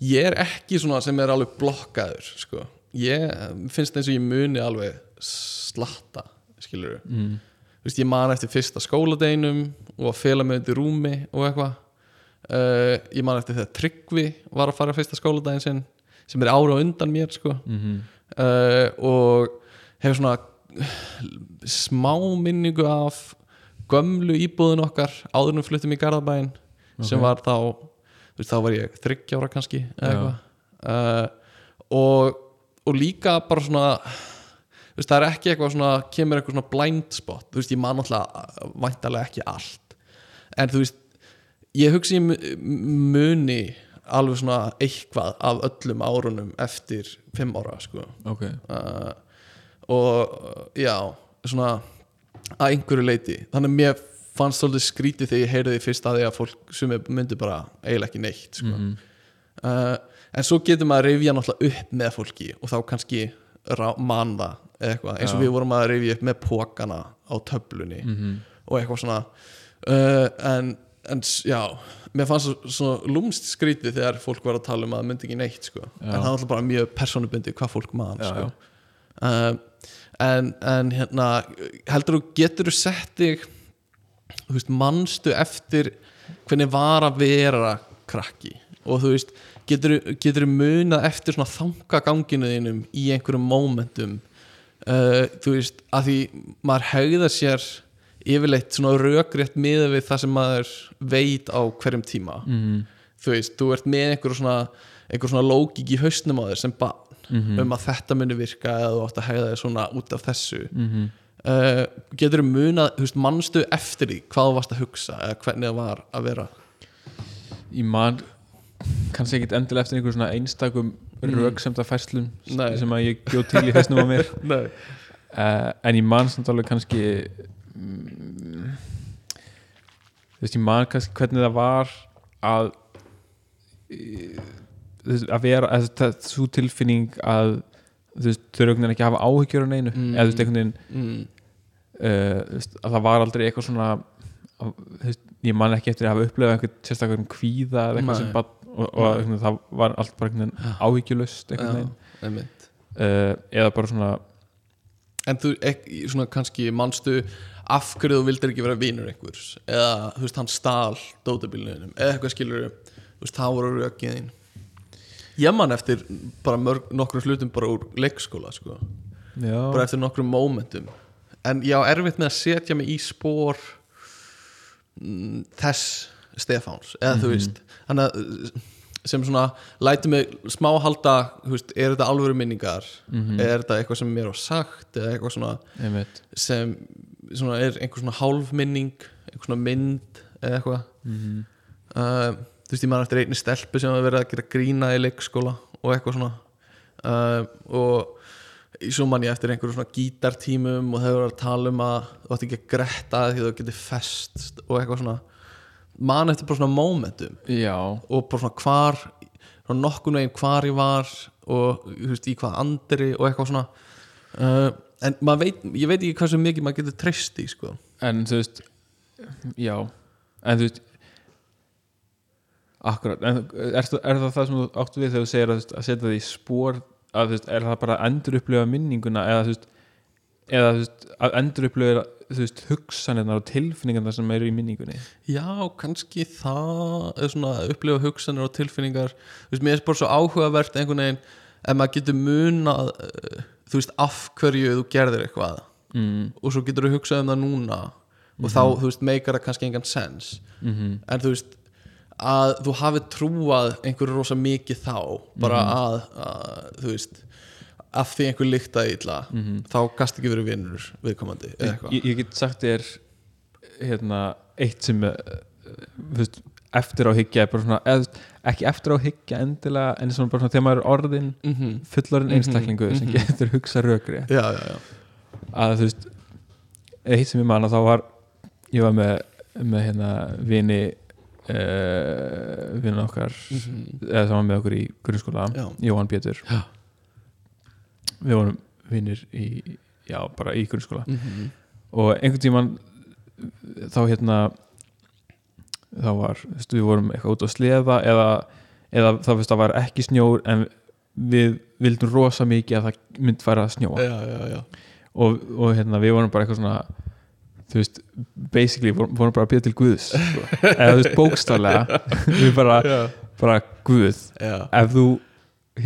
ég er ekki svona sem er alveg blokkaður sko. ég finnst eins og ég muni alveg slatta skilur
mm.
Vist, ég man eftir fyrsta skóladeinum og að fela mig undir rúmi og eitthvað uh, ég man eftir þegar Tryggvi var að fara fyrsta skóladegin sinn sem er ára á undan mér sko.
Mm
uh, og hefur svona smá minningu af gömlu íbúðin okkar áðurum fluttum í Garðabæin sem var þá þú veist, þá var ég 30 ára kannski eða
Já.
eitthvað uh, og, og líka bara svona þú veist, það er ekki eitthvað svona kemur eitthvað svona blind spot þú veist, ég man alltaf væntalega ekki allt en þú veist ég hugsi ég mu- muni alveg svona eitthvað af öllum árunum eftir 5 ára sko
ok,
uh, og uh, já svona að einhverju leiti þannig að mér fannst svolítið skrítið þegar ég heyrði því fyrst að því að fólk sem myndi bara eiginlega ekki neitt sko. uh, en svo getur maður að rifja náttúrulega upp með fólki og þá kannski rá- man það eða eitthvað eins og við vorum að rifja upp með pókana á töflunni
Mhm.
og eitthvað svona uh, en, en s- já mér fannst svo- svona lúmst skrítið þegar fólk var að tala um að það myndi ekki neitt sko. en það er alltaf bara mjög personubundið hvað fólk man
Já,
sko. Uh, en, en hérna heldur þú getur þú sett þig þú veist, manstu eftir hvernig var að vera krakki og þú veist getur, getur munað eftir svona þangaganginu þínum í einhverjum momentum uh, þú veist, að því maður hegða sér yfirleitt svona rökrétt miða við það sem maður veit á hverjum tíma
mm.
þú veist, þú ert með einhver svona, einhver svona lógik í hausnum á þér sem bann
Mhm. Mm.
um að þetta muni virka eða þú átt að hegða þér svona út af þessu mm
Mhm.
-hmm. getur þú munað, þú veist, mannstu eftir því hvað þú varst að hugsa eða hvernig það var að vera
ég man kannski ekkit endilega eftir einhverjum svona einstakum mm. röksemdafærslum
Mhm. Nei.
sem að ég gjóð til í þessnum á mér
<laughs> Nei.
uh, en ég man samt alveg kannski mm, þú veist, ég man kannski hvernig það var að eh, þú veist, að vera að það svo tilfinning að þú veist, þau eru einhvern veginn ekki að hafa áhyggjur en einu,
Mm.
eða þú veist, einhvern veginn
mm.
uh, þú veist, að það var aldrei eitthvað svona að, þú veist, ég man ekki eftir að hafa upplefað eitthvað sérstakar um kvíða eða eitthvað
Nei.
sem bara og, og einhvern veginn, það var allt bara einhvern veginn áhyggjulöst einhvern
Já,
veginn
einmitt
uh, eða bara svona
en þú ek, svona kannski manstu af hverju þú vildir ekki vera vinur einhvers eða þú veist hann stál dótabílunum eða eitthvað skilur þú veist það voru rökiðin ég man eftir bara mörg, nokkrum hlutum bara úr leikskóla sko.
já,
bara eftir nokkrum momentum en ég á erfitt með að setja mig í spór mm, þess Stefáns eða þú veist þannig að uh, sem svona læti mig smá halda þú veist, er þetta alvöru minningar er þetta eitthvað sem mér var sagt eða eitthvað svona
Mhm, einmitt
sem svona er einhver svona hálfminning einhver svona mynd eða eitthvað uh, þú veist ég maður eftir einni stelpu sem var verið að gera grína í leikskóla og eitthvað svona uh, og í- svo man ég eftir einhverjum svona gítartímum og þau voru að tala um að þú ætti ekki að gretta því þú getur fest og eitthvað svona man eftir bara svona momentum
já,
og bara svona hvar svona nokkun veginn hvar ég var og þú veist, í hvað andri og eitthvað svona uh, en maður veit, ég veit ekki hversu mikið maður getur treyst í sko.
en þú veist já, en þú veist akkurat en er, er það það sem þú áttu við þegar þú segir að, þú veist, að setja það í spór að þú veist, er það bara að endur upplifa minninguna eða þú veist eða þú veist, að endur upplifa þú veist, hugsanirnar og tilfinningarnar sem eru í minningunni
Já, kannski það eða svona upplifa hugsanir og tilfinningar þú veist, mér er bara svo áhugavert einhvern veginn ef maður getur munað eh, þú veist, af hverju þú gerðir eitthvað
mm,
og svo getur þú hugsað um það núna og þá, þú veist, meikar það kannski engan sens -hmm. en þú veist að þú hafi trúað einhverju rosa mikið þá bara að, að þú veist af því einhver lyktaði illa þá gast ekki verið vinnur viðkomandi mhm. eða eitthvað
ég, ég get sagt þér hérna, eitt sem eh, þú veist, eftir á hyggja er bara svona, eð, ekki eftir á hyggja endilega, en svona bara svona þegar maður er orðin
mm -hmm.
fullorinn einstaklingu sem getur hugsa rökri
já, já, já
að þú veist eitt sem ég man að þá var ég var með, með hérna vini uh, vinnan okkar eða það var með okkur í grunnskóla
Já.
Jóhann Pétur
Já.
við vorum vinnir í já, bara í grunnskóla
mm
og einhvern tímann þá hérna þá var, þú veist, við vorum eitthvað út á sleða eða, eða þá veist það var ekki snjór en við vildum rosa mikið að það mynd færa að snjóa
já, já, já.
og, og hérna við vorum bara eitthvað svona þú veist, basically vorum, vorum bara að bíða til Guðs sko. eða þú veist, bókstaflega <laughs> við bara,
Já.
bara Guð
Já.
ef þú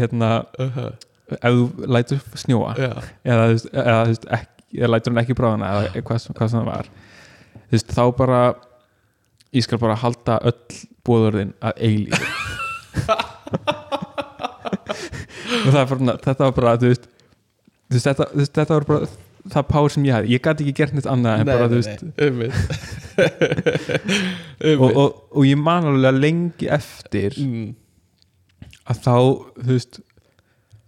hérna,
Uh-huh.
ef þú lætur snjóa
Já.
eða, þú veist, eða, þú veist, ekki, eða lætur hann ekki bráðina eða hvað, sem- hvað sem það var þú veist, þá bara ég skal bara halda öll bóðurðin að eilíð og það var bara þetta var bara, þú veist, þú veist þetta, þú veist, þetta var bara það pár sem ég hafði, ég gat ekki gert neitt annað en bara, þú veist,
einmitt
og, og, og ég man alveg lengi eftir
Mm.
að þá, þú veist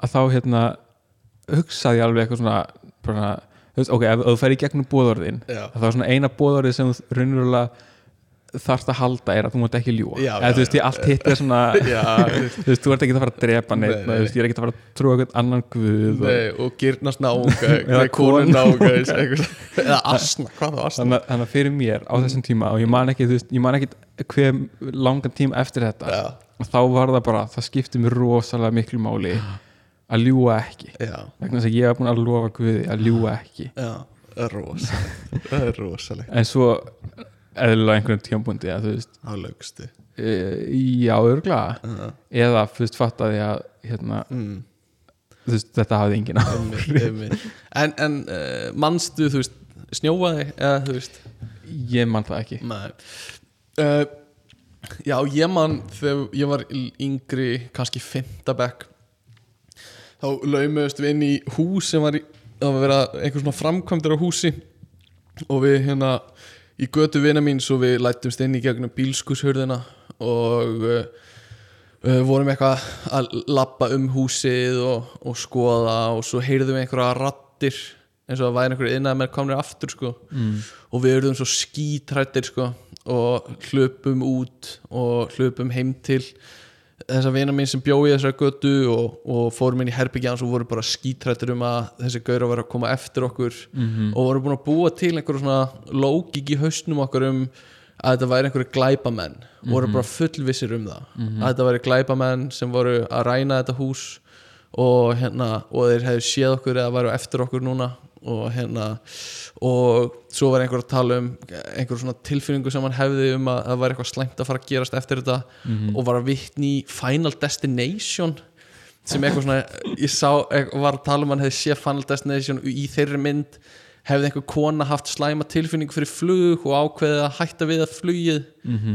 að þá, hérna hugsaði ég alveg eitthvað svona, svona þú veist, ok, ef, ef þú fer í gegnum bóðorðin
Já.
að það er svona eina bóðorðið sem þú raunverulega þarft að halda er að þú mátt ekki ljúa
Já,
eða
já,
þú veist, ég allt hitt er svona
<laughs>
<laughs>
Já,
þú veist, þú ert ekki að fara að drepa neitt
Nei, nei.
þú veist, ég er ekki að fara að trúa eitthvað annan guð og,
Nei, og girnast <laughs> náunga
Eða
eða konur
konu.
náunga <laughs> eða asna, hvað þá asna
þannig, að- þannig að fyrir mér á þessum tíma og ég man ekki, þú veist, ég man ekki hver langan tíma eftir þetta
Já,
og þá var það bara, það skipti mér rosalega miklu máli að ljúa ekki
já,
vegna þess að ég var búin að lofa Guði að ljúa ekki
já Það er rosalegt Það er rosalegt
en svo eðlilega á einhverjum tíambundi að þú veist,
á lögstu
e, já, örglega
uh,
eða fyrst fattaði að hérna,
mm,
þú veist, þetta hafði engin á
einmitt, einmitt. En, en uh, manstu, þú veist, snjóaði eða þú veist
ég man það ekki
Nei uh, Já, ég man þegar ég var l- yngri kannski fymta bekk þá laumuðust við inn í hús sem var í, það var verið að einhver svona framkvæmdur á húsi og við hérna í götu vina mín svo við lættumst inn í gegnum bílskurshurðina og uh, uh, vorum eitthvað að lappa um húsið og, og skoða og svo heyrðum við einhverja rattir eins og það væri einhverju innað með komnir aftur sko mm. og við erum svo skítrættir sko og hlöpum út og hlöpum heim til þessa vina mín sem bjói þessari götu og, og fórum inn í herbyggja hans og vorum bara skítrættir um að þessi gaur var að koma eftir okkur -hmm. og vorum búin að búa til einhverju svona lógik í hausnum okkur um að þetta væri einhverju glæpamenn og voru bara fullvissir um það að þetta væri glæpamenn sem voru að ræna þetta hús og hérna og þeir hefðu séð okkur eða væru eftir okkur núna og hérna og svo var einhver að tala um einhver svona tilfinningu sem hann hefði um að það var eitthvað slæmt að fara að gerast eftir þetta og var að vitni í Final Destination sem eitthvað svona ég sá, ek- var að tala um að hann hefði séð Final Destination og í þeirri mynd hefði einhver kona haft slæma tilfinningu fyrir flug og ákveðið að hætta við að flugið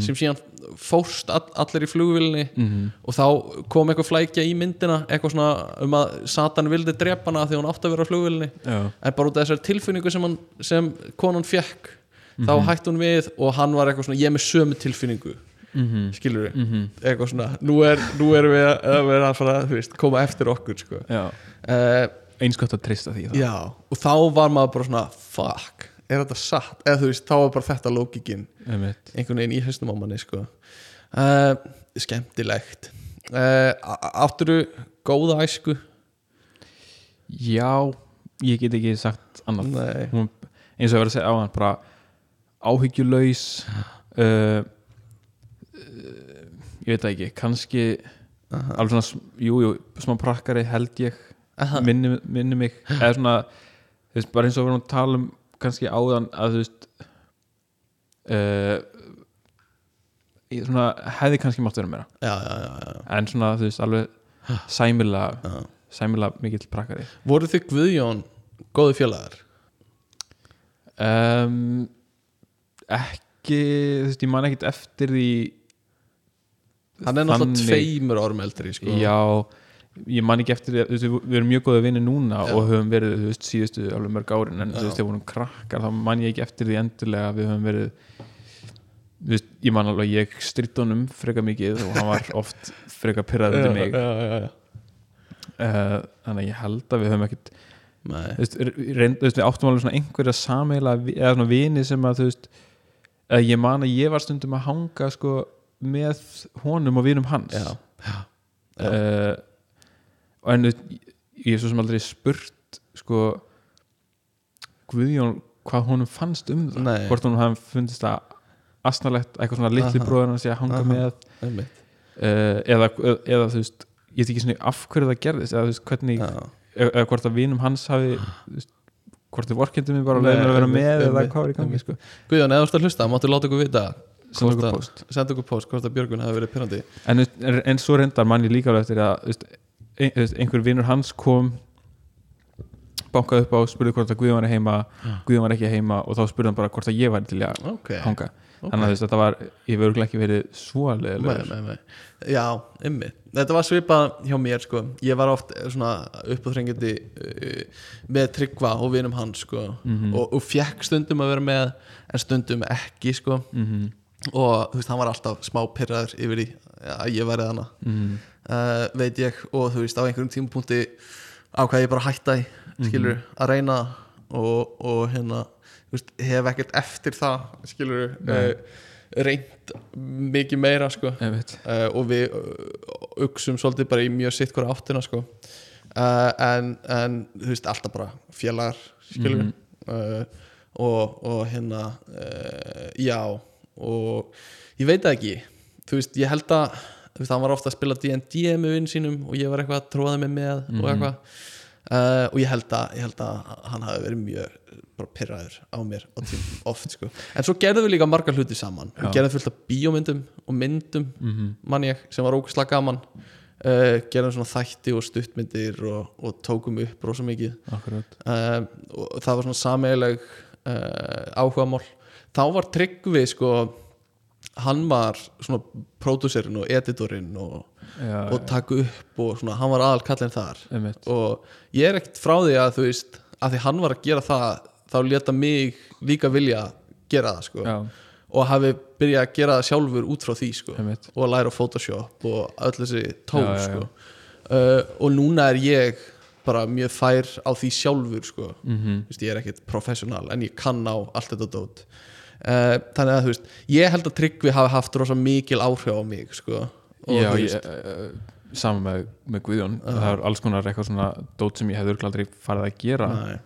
sem síðan fórst all, allir í flugvilni
Mhm.
og þá kom eitthvað flækja í myndina eitthvað svona um að Satan vildi drepa hana því hún átti að vera á flugvilni
já,
en bara út af þessari tilfinningu sem, hann, sem konan fekk þá hætti hún við og hann var eitthvað svona ég er með sömu tilfinningu
Mhm.
skilur við, eitthvað svona nú, er, nú erum við að, að vera að fara þú veist, koma eftir okkur sko.
já.
uh,
eins gott að treysta því það
já, og þá var maður bara svona fuck, er þetta satt eða þú veist, þá var bara þetta lókikin
Einmitt.
einhvern veginn í haustum á manni sko. uh, skemmtilegt uh, átturu góða æsku
já, ég get ekki sagt annað
Nei.
Hún, eins og ég var að segja á hann bara áhyggjulaus uh, uh, ég veit það ekki kannski alveg svona, sm- jú, jú, smá prakkari held ég
Aha.
minni, minni mig eða svona, þú veist, bara eins og við erum að tala um kannski áðan að þú veist uh, ég svona hefði kannski mátt vera meira
já, já, já, já.
en svona þú veist alveg sæmilega sæmilega mikill prakkari
Voru þið Guðjón góði félagar?
um, ekki þú veist ég man ekkit eftir því
Hann er náttúrulega
Þannig-
tveimur árum eldri sko.
já ég man ekki eftir því þú veist, við, við erum mjög góða vinni núna og höfum verið þú veist síðustu alveg mörg árin en þú veist þegar vorum krakkar þá man ég ekki eftir því endilega að við höfum verið þú veist ég man alveg að ég stritt honum freka mikið og hann
<laughs>
var oft freka pyrraðið til mig
já, já, já.
uh, þannig að ég held að við höfum ekkit
Nei.
þú veist, reynd, þú veist, við áttum alveg svona einhverja sameila eða svona vini sem að þú veist að ég man að ég var stundum að hanga sko með honum og vinum hans
Já, já.
Eh, og en þú veist, ég er svo sem aldrei spurt sko Guðjón hvað honum fannst um það
Nei.
hvort honum hafði fundist það asnalegt eitthvað svona litli
Aha.
bróður hans ég að hanga
Aha.
með
einmitt
uh, eða, eða þú veist ég veit ekki svona af hverju það gerðist eða þú veist hvernig
Já,
eða eða hvort að vinum hans hafi þú veist, hvort þið vorkindi mig bara að
Ah. Nei,
leiða mér að vera
einmitt,
með eða
einmitt,
hvað var í gangi sko.
Guðjón, eða þú ert að hlusta, máttu láta okkur vita
Senda okkur
hvort að-
póst.
Senda okkur post, hvort að Björgun hafi verið pyrrandi
en, þú veist, en, en svo reyndar mann ég líka alveg eftir að þú veist, ein, þú veist, einhver vinur hans kom bankaði upp á og spurði hvort að Guðjón var heima Guðjón var ekki heima og þá spurði hann bara hvort að ég var til að
Ah. Ok,
hanga
ok.
þannig að þú veist, þetta var, ég verður ekki verið svo
Nei,
leðilegur
nei, nei. Já, ymmi Þetta var svipað hjá mér sko Ég var oft eh, svona uppáþrengjandi uh, með tryggva og vinum hans sko og, og fekk stundum að vera með en stundum ekki sko og þú veist, hann var alltaf smá pyrraður yfir því að ég væri þarna
Mm.
uh, veit ég og þú veist á einhverjum tímapunkti ákvað ég bara að hætta í skilur að reyna það og, og hérna þú veist, hef ekkert eftir það skilur uh, reynt mikið meira sko uh, og við uh, uksum svolítið bara í mjög sitt hverja áttina sko. uh, en, en þú veist alltaf bara félagar skilur uh, og, og hérna uh, já og ég veit það ekki þú veist ég held að þú veist, hann var ofta að spila D&D með vinn sínum og ég var eitthvað að tróða mig með og eitthvað Uh, og ég held, að, ég held að hann hafi verið mjög bara pyrraður á mér á tím, oft sko. en svo gerðum við líka margar hluti saman við gerðum fullt af bíómyndum og myndum mann ég sem var ógæslega gaman uh, gerðum svona þætti og stuttmyndir og, og tókum upp rosa mikið
akkurat
uh, og það var svona sameileg uh, áhugamál þá var Tryggvi sko hann var svona pródúserinn og editorinn og,
Já,
og taka upp og svona hann var aðal kallinn þar
Einmitt.
og ég er ekkert frá því að þú veist að því hann var að gera það þá leta mig líka vilja gera það sko
já,
og hafi byrjað að gera það sjálfur út frá því sko
Einmitt.
og að læra á Photoshop og öll þessi tól
Já, já, já.
sko Uh, og núna er ég bara mjög fær á því sjálfur sko
Mhm.
-hmm. Vist, ég er ekkert professional en ég kann á allt þetta dót uh, þannig að þú veist ég held að Tryggvi hafi haft rosa mikil áhrif á mig sko og,
já
þú
ég,
veist,
uh, saman með, með Guðjón það er alls konar eitthvað svona dót sem ég hefði örugglega aldrei farið að gera
nei.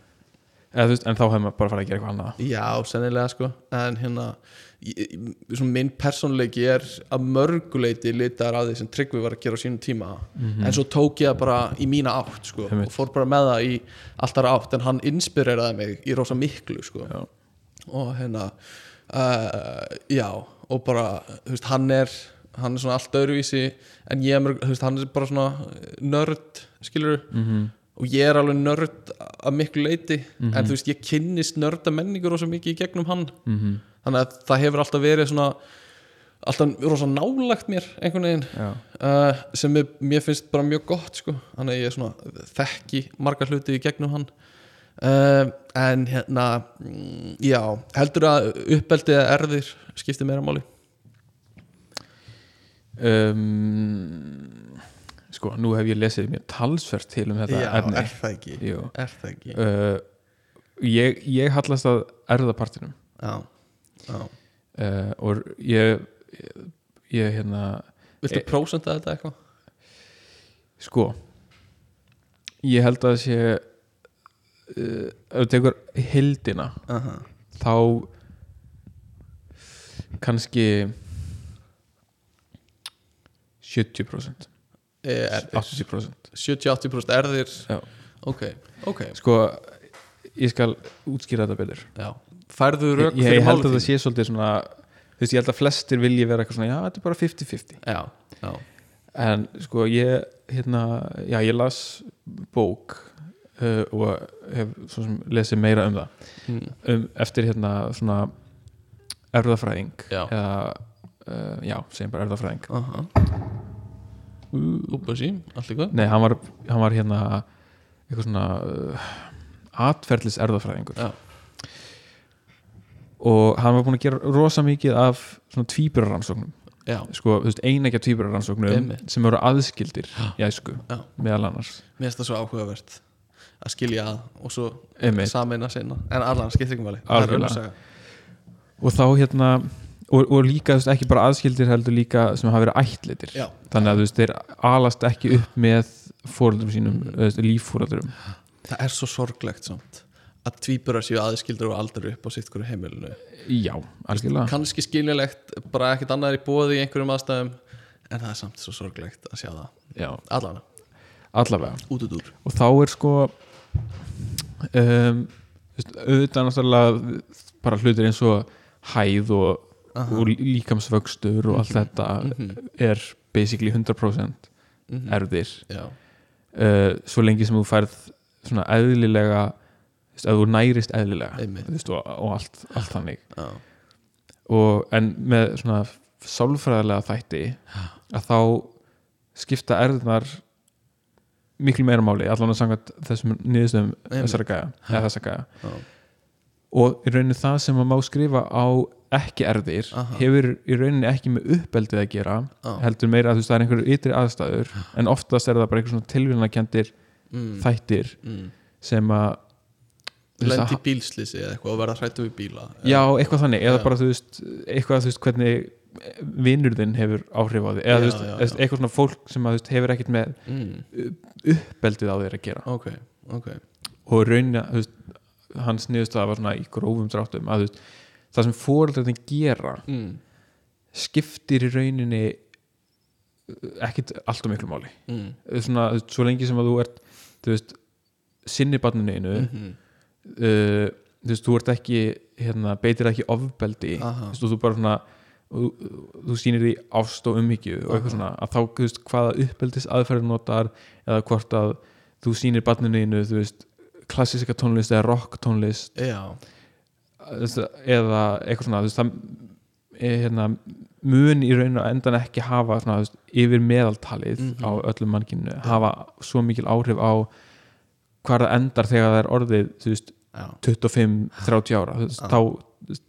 Eða, þú veist, en þá hefði maður bara farið að gera eitthvað annað
Já, sennilega sko en hérna, ég- ég- svona minn persónuleiki er að mörguleiti litar að því sem Tryggvi var að gera á sínum tíma en svo tók ég það bara í mína átt sko,
Mhm. Einmitt.
og fór bara með það í alltaf átt en hann inspireraði mig í rosa miklu sko.
Já.
og hérna uh, já, og bara þú veist, hann er hann er svona allt öðruvísi en ég er mörg, þú veist, hann er bara svona nörd, skilur
Mhm.
-hmm. og ég er alveg nörd að miklu leiti en þú
Mhm.
veist, ég kynnist nörda menningur rosa mikið í gegnum hann -hmm.
Mhm.
þannig að það hefur alltaf verið svona alltaf rosa nálagt mér einhvern veginn
Já.
uh, sem er, mér finnst bara mjög gott sko. þannig að ég svona þekki margar hluti í gegnum hann uh, en hérna mm, já, heldur að uppeldið eða erðir skiptir meira máli
um, sko, nú hef ég lesið mér talsvert til um þetta efni
það ekki
Jú.
er það ekki
uh, ég, ég hallast að erðapartinum
já, já.
uh, og ég ég, ég hérna
viltu
Eh,
prósenta þetta eitthvað?
sko ég held að sé uh, ef þú tekur heildina
Uh -huh.
þá kannski 70%
Eh, erðir
80%
70-80% erðir
Já.
ok, ok
sko ég skal útskýra þetta betur
já. færðu
ég,
rök
ég,
fyrir
ég held að
máli
það sé svolítið svona þú veist, ég held að flestir vilji vera eitthvað svona já, þetta er bara 50-50
já, já,
en sko ég hérna, já ég las bók uh, og hef svo sem lesið meira um það
Mm.
um, eftir hérna svona erðafræðing
Já.
eða uh, já, segjum bara erðafræðing
aha Úpa sí, allt í góð
nei, hann var, hann var hérna eitthvað svona uh, atferðlis erðafræðingur
Já.
og hann var búin að gera rosa mikið af svona tvíburarrannsóknum
Já,
sko, þú veist, einægja tvíburarrannsóknum
Einmitt.
sem eru aðskildir í æsku
Já.
meðal annars
mér finnst það svo áhugavert að skilja að og svo
Einmitt.
sameina sinna en allan skiptir ekki máli Það er
Algjörlega.
önnur saga.
og þá hérna og, og líka, þú veist, ekki bara aðskildir heldur líka sem hafa verið ættlitir
Já.
þannig að þú veist, þeir alast ekki upp með fóröldurum sínum, mm. líffóröldurum
Það er svo sorglegt samt að tvíburar séu aðskildur og aldrei upp á sitt hverju heimilinu
já, algjörlega
kannski skiljulegt, bara ekkert annað er í bóði í einhverjum aðstæðum en það er samt svo sorglegt að sjá það
já,
allan,
allavega
út út úr
og þá er sko um, þú veist, auðvitað náttúrulega bara hlutir eins og hæð og, og líkamsvöxtur og allt þetta
Mhm.
er basically 100% erfðir
já,
uh, svo lengi sem þú færð svona eðlilega þú veist, að þú nærist eðlilega
Einmitt.
þú veist, og, og allt, allt þannig
já,
og, en með svona sálfræðilega þætti að þá skipta erðnar miklu meira máli allan að sangat þessum niðurstöðum
Einmitt.
þessara gæja, eða þessa gæja
já,
og í rauninni það sem maður má skrifa á ekki erðir
Aha.
hefur í rauninni ekki með uppeldið að gera
Já.
heldur meira að þú veist það er einhverju ytri aðstæður en oftast er það bara einhver svona tilvílunarkendir
Mm.
þættir
Mm.
sem að þú veist,
lendi
að-
bílslýsi eða eitthvað og verða hrættu við bíla
já, eitthvað þannig, eða
Já.
bara þú veist eitthvað þú veist hvernig vinnur þinn hefur áhrif á því, eða
Já,
þú veist
já, já.
eitthvað svona fólk sem að þú veist hefur ekkert með
mm.
beldið á þér að gera
ok, ok
og raunin að þú veist hans niðurstaða var svona í grófum dráttum að þú veist, það sem fóreldrarnir gera
mm.
skiptir í rauninni ekkit allt og miklu máli
Mm.
svona, þú veist, svo lengi sem að þú ert þú veist, sinni barninu einu
Mm.
uh, þú veist, þú ert ekki hérna, beitir ekki ofbeldi þú
Aha.
veist, og þú bara svona og þú, þú sýnir því ást og umhyggju og eitthvað svona, að þá, þú veist, hvaða uppbeldis aðferður notar eða hvort að þú sýnir barninu einu, þú veist klassíska tónlist eða rock tónlist
já,
þú veist, eða eitthvað svona, þú veist, það er, hérna, mun í raun og endan ekki hafa svona, þú veist, yfir meðaltalið á öllum mannkinu, hafa svo mikil áhrif á hvar það endar þegar það er orðið, þú veist,
já,
25-30 ára þú veist, þá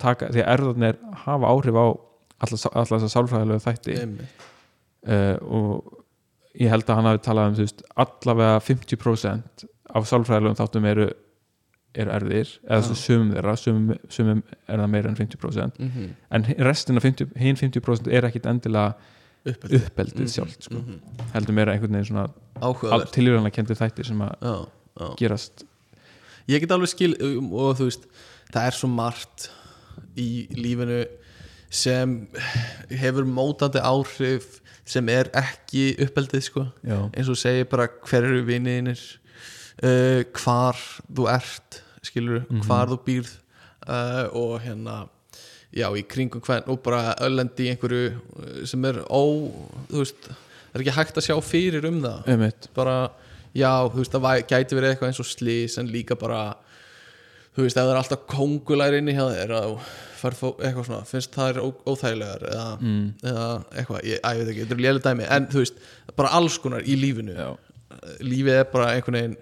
taka, því að erðarnir hafa áhrif á alla þess að sálfræðilegu þætti
einmitt
uh, og ég held að hann hafi talað um þú veist, allavega 50% af sálfræðilegum þáttum eru, eru erðir eða svo sumum þeirra, sumum, sumum er það meira en 50%
mm
en restin af 50, hinn 50% er ekkit endilega uppeldið
Mhm.
sjálft sko. heldur meira einhvern veginn svona
áhugavert
tilvíðanlega kendir þættir sem að
já, já.
gerast
ég get alveg skil um, og þú veist, það er svo margt í lífinu sem hefur mótandi áhrif sem er ekki uppeldið sko,
Já.
eins og segir bara hver eru viniðinir uh, hvar þú ert skilur, hvar þú býrð uh, og hérna já, í kringum hvern og bara öllandi í einhverju uh, sem er ó, þú veist, er ekki hægt að sjá fyrir um það
einmitt,
bara, já, þú veist, það væ- gæti verið eitthvað eins og slís en líka bara þú veist, ef það er alltaf kongulær inni hjá þér að fær fó, eitthvað svona, finnst það er ó, óþægilegar eða,
Mm.
eða eitthvað, ég, að, ég veit ekki, þetta er lélega dæmi en þú veist, bara alls konar í lífinu
Já.
lífið er bara einhvern veginn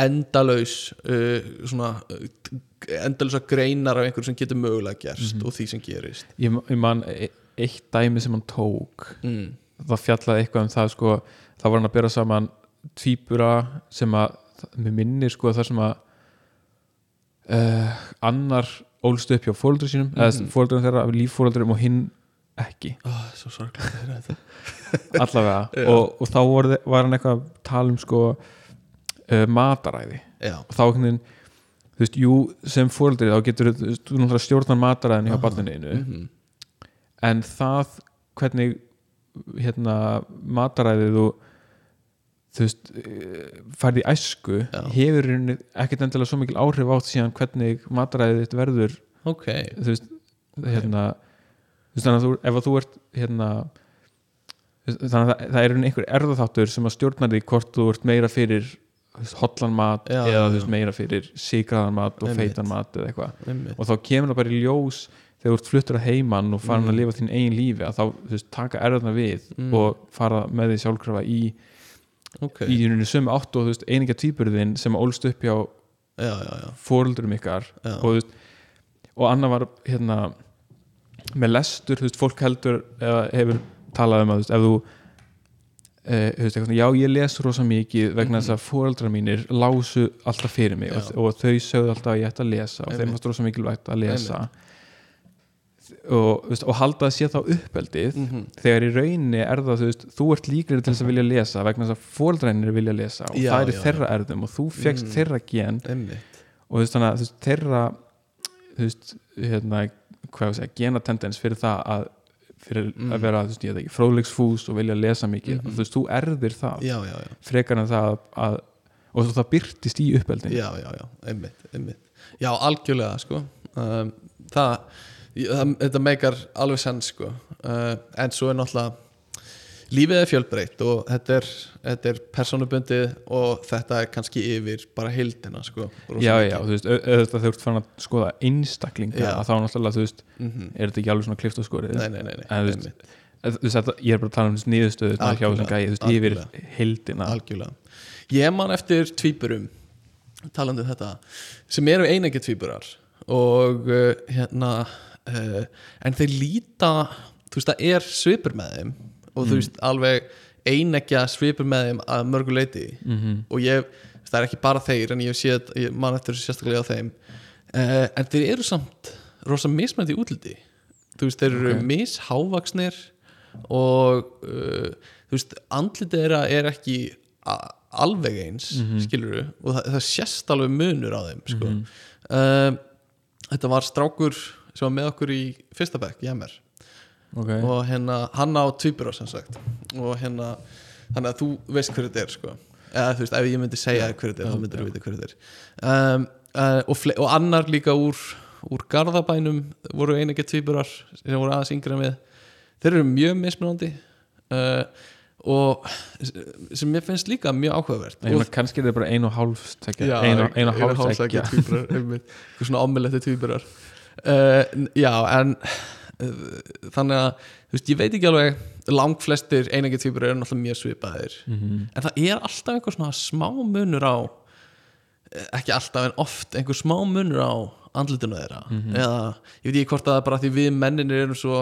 endalaus uh, svona uh, endalausa greinar af einhverju sem getur mögulega gerst
Mhm.
og því sem gerist
ég, ég man e- eitt dæmi sem hann tók
mm.
það fjallaði eitthvað um það sko, það var hann að bera saman tvíbura sem að, mér minnir sko það sem að uh, annar ólst upp hjá fóröldur sínum, eða fóröldurum þeirra líffóröldurum og hinn ekki
oh, svo sorglega að heyra þetta
allavega, og, og þá var, var hann eitthvað að tala um sko uh, mataræði
já,
og þá einhvern veginn þú veist, jú, sem fóreldri þá getur þú veist, þú náttúrulega stjórnar mataræðinu hjá barninu
Mhm.
mm en það hvernig hérna mataræðið þú þú veist, færði í æsku
Já.
hefur í rauninni ekkert endilega svo mikil áhrif átt síðan hvernig matræðið þitt verður
ok
þú veist, hérna þú veist, þannig að þú, ef að þú ert hérna þú veist, þannig að það, það er í rauninni einhver erðaþáttur sem að stjórnar því hvort þú ert meira fyrir þú veist, hollan mat
Já,
eða þú
já.
veist, meira fyrir síkraðan mat og
Einmitt.
feitan mat eða eitthvað
einmitt.
og þá kemur það bara í ljós þegar þú ert fluttur að heiman og farin að lifa þín eigin lífi að þá þú veist, taka erðarna við
Mm.
og fara með því sjálfkrafa í
ok,
í rauninni sömu átt og þú veist eininga tvíburðin sem ólst upp hjá
já, já, já,
fóruldurum ykkar
Já.
og, þú veist, og annar var hérna með lestur, þú veist, fólk heldur eða hefur talað um að þú veist, ef þú e, þú veist, eitthvað, svona, já, ég les rosa mikið vegna þess að fóreldrar mínir lásu alltaf fyrir mig og,
Mhm. Já.
og þau sögðu alltaf að ég ætti að lesa og þeim
Einmitt.
fannst rosa mikilvægt að lesa og, þú veist, og halda að sé þá uppeldið
Mm. Mhm.
þegar í rauninni er það, þú veist, þú ert líklega til þess að vilja lesa vegna þess að fóreldrarnir vilja lesa og
Já,
það er í
já, Mm.
þeirra erðum og þú fegst þeirra gen
einmitt
og þú veist þannig að þú veist, þeirra þú veist, hérna hvað ég að segja, genatendens fyrir það að fyrir
Mm.
að vera, þú veist, ég veit ekki fróðleiksfús og vilja lesa mikið, þú veist, þú erðir það
Mm-hmm. já, já, já
frekar en það að og svo það byrtist í uppeldin
já, já, já, einmitt, einmitt já, algjörlega, sko um, það, ég- það, þetta meikar alveg sens, sko uh, en svo er náttúrulega lífið er fjölbreytt og þetta er, þetta er personubundið og þetta er kannski yfir bara heildina, sko rosa
já,
mikið.
já, þú veist, auðvitað þegar þú ert fann að skoða einstaklinga,
Já.
að þá náttúrulega, þú veist
Mhm.
er þetta ekki alveg svona klift og skorið
nei, nei, nei, nei,
en þú veist,
einmitt,
þú veist, þetta, ég er bara að tala um þessi niðurstöðu hjá þessum
Algjörlega,
gæði, þú veist, yfir
algjörlega.
heildina
algjörlega ég man eftir tvíburum talandi um þetta, sem eru einegi tvíburar og uh, hérna uh, en þeir líta þú veist, það er svipur með þeim og þú veist, alveg einegja svipur með þeim að mörgu leiti -hmm.
Mhm,
og ég, það er ekki bara þeir en ég, sé, ég man eftir þessu sérstaklega á þeim uh, en þeir eru samt rosa mismændi útliti þú veist, þeir eru
Ok.
mishávaksnir og uh, þú veist, andlitið þeirra er ekki a- alveg eins mm og það, það sést alveg munur á þeim sko. mm þetta var strákur sem var með okkur í fyrsta bekk, Jammer
okay.
og hérna, hann á tvíbura sem sagt og hérna, þannig að þú veist hver þetta er sko, eða þú veist, ef ég myndi segja þér hver þetta er, þá myndir þú vita hver þetta er um, uh, og, fle- og annar líka úr úr Garðabænum voru einegja tvíburar sem voru aðeins yngra með þeir eru mjög mismunandi uh, og sem mér finnst líka mjög áhugavert
Ég meina, kannski er þetta bara ein og hálf
Já,
segja, ein og, ein og hálf
hálfsækja
segja
tvíburar, einmitt. Eitthvað svona omeletti tvíburar uh, n- Já, en uh, þannig að, þú veist, ég veit ekki alveg langflestir einengi tvíburar eru náttúrulega mjög svipaðir
Mhm.
en það er alltaf einhver svona smá munur á eh, ekki alltaf en oft einhver smá munur á andlutinu þeirra eða ég veit ekki hvort að það er bara því við menninir erum svo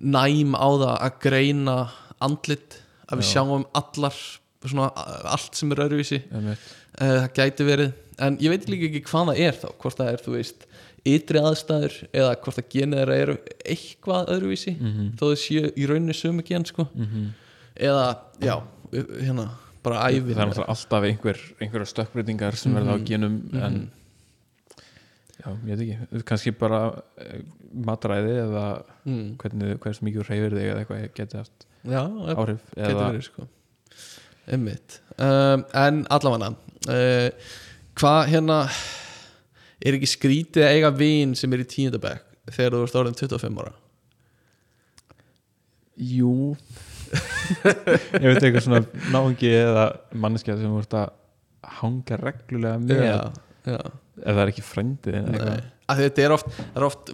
næm á það að greina andlit að við sjáum allar svona eh, allt sem er öðruvísi
Einmitt.
Eh, það gæti verið en ég veit líka ekki hvað það er þá hvort það er, þú veist, ytri aðstæður eða hvort að genið þeirra eru eitthvað öðruvísi,
Mm. Mhm.
þó þau séu í rauninni sömu gen, sko eða, já, hérna bara ævin
það er náttúrulega alltaf einhver, einhverja stökkbreytingar sem verða á
Mhm.
genum en já, ég veit ekki, kannski bara eh, matræði eða
mm.
hvernig, hversu mikið þú reyfir þig eða eitthvað geti haft
já, ef-
áhrif
gæti
eða,
verið, sko einmitt, um, en allavega uh, hvað hérna er ekki skrítið að eiga vin sem er í tíundabæk þegar þú ert orðin 25 ára
jú
<laughs>
ég veit eitthvað svona náungi eða manneskja sem þú ert að hanga reglulega með
já
ef það er ekki frændið eða eitthvað
að þetta er oft, það er oft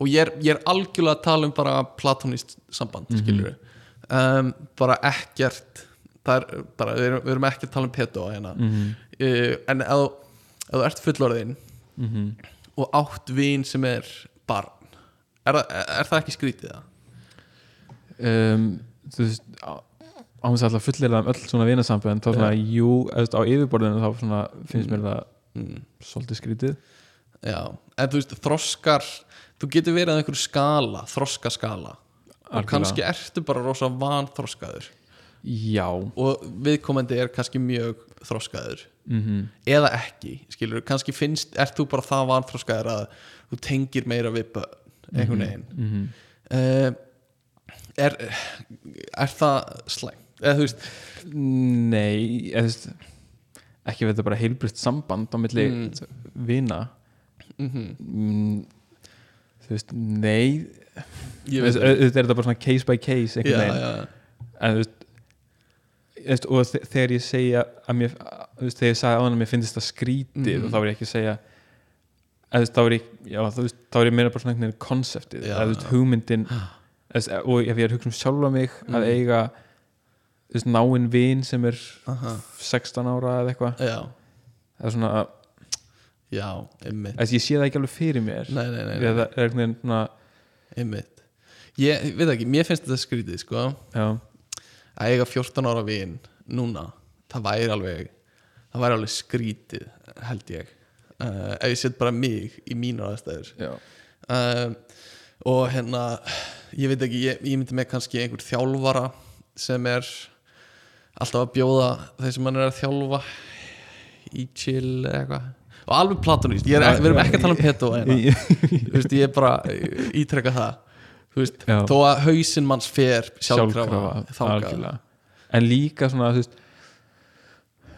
og ég er, ég er algjörlega að tala um bara platónist samband,
Mhm.
mm um, bara ekkert það er bara, við erum, við erum ekki að tala um peto hérna,
Mhm.
uh, en ef, þú- ef þú ert fullorðin
Mhm.
og átt vin sem er barn, er, það- er það ekki skrítið það?
um, þú veist á- án þess að alltaf fullir það um öll svona vinasambönd þá svona, jú, eða á yfirborðinu þá svona finnst mér það svolítið skrítið
Mm, Já, en þú veist, þroskar þú getur verið að einhverju skala þroskaskala og
Algjörlega.
kannski ertu bara rosa vanþroskaður
já,
og viðkomandi er kannski mjög þroskaður
mm
eða ekki, skilur, kannski finnst ert þú bara það vanþroskaður að þú tengir meira við börn
Mhm.
einhvern veginn mm er, er það slæmt eða þú veist
Nei, eða þú veist ekki við þetta bara heilbrist samband á milli vina
mhm.
mm, þú veist, nei
ég
þú veist,
veit
auðvitað er þetta bara svona case by case
já,
einhvern veginn
já,
en þú veist þú veist, og þe- þegar ég segja að mér, að, þú veist, þegar ég sagði á hann að mér finnst þetta skrítið
Mhm.
og þá er ég ekki að segja eða þú veist, þá er ég já, þú veist, þá er ég meira bara svona einhvern veginn konseptið
Já,
eða þú veist,
já.
hugmyndin eða þú veist, og ef ég er að hugsa um sjálfa mig
Mhm.
að eiga þú veist, náinn vin sem er
Aha.
16 ára eða eitthvað
já,
eða svona,
já, einmitt
eða ég sé það ekki alveg fyrir mér
nei, nei, nei, nei,
eða er einhvern veginn svona
einmitt ég ég veit ekki, mér finnst þetta skrítið sko
já,
að eiga 14 ára vin núna, það væri alveg það væri alveg skrítið held ég uh, ef ég set bara mig í mínar aðstæður
já,
um, og hérna ég veit ekki, ég, ég myndi með kannski einhver þjálfara sem er alltaf að bjóða þeir sem hann er að þjálfa í chill eða eitthvað og alveg platonist, ég er,
Já,
við erum
já,
ekki að tala um peto
<laughs>
hérna. Þú veist, ég er bara ég ítreka það Þú veist,
Já.
þó að hausinn manns fer sjálfkrafa,
sjálfkrafa
þangað
algjörlega. en líka svona, þú veist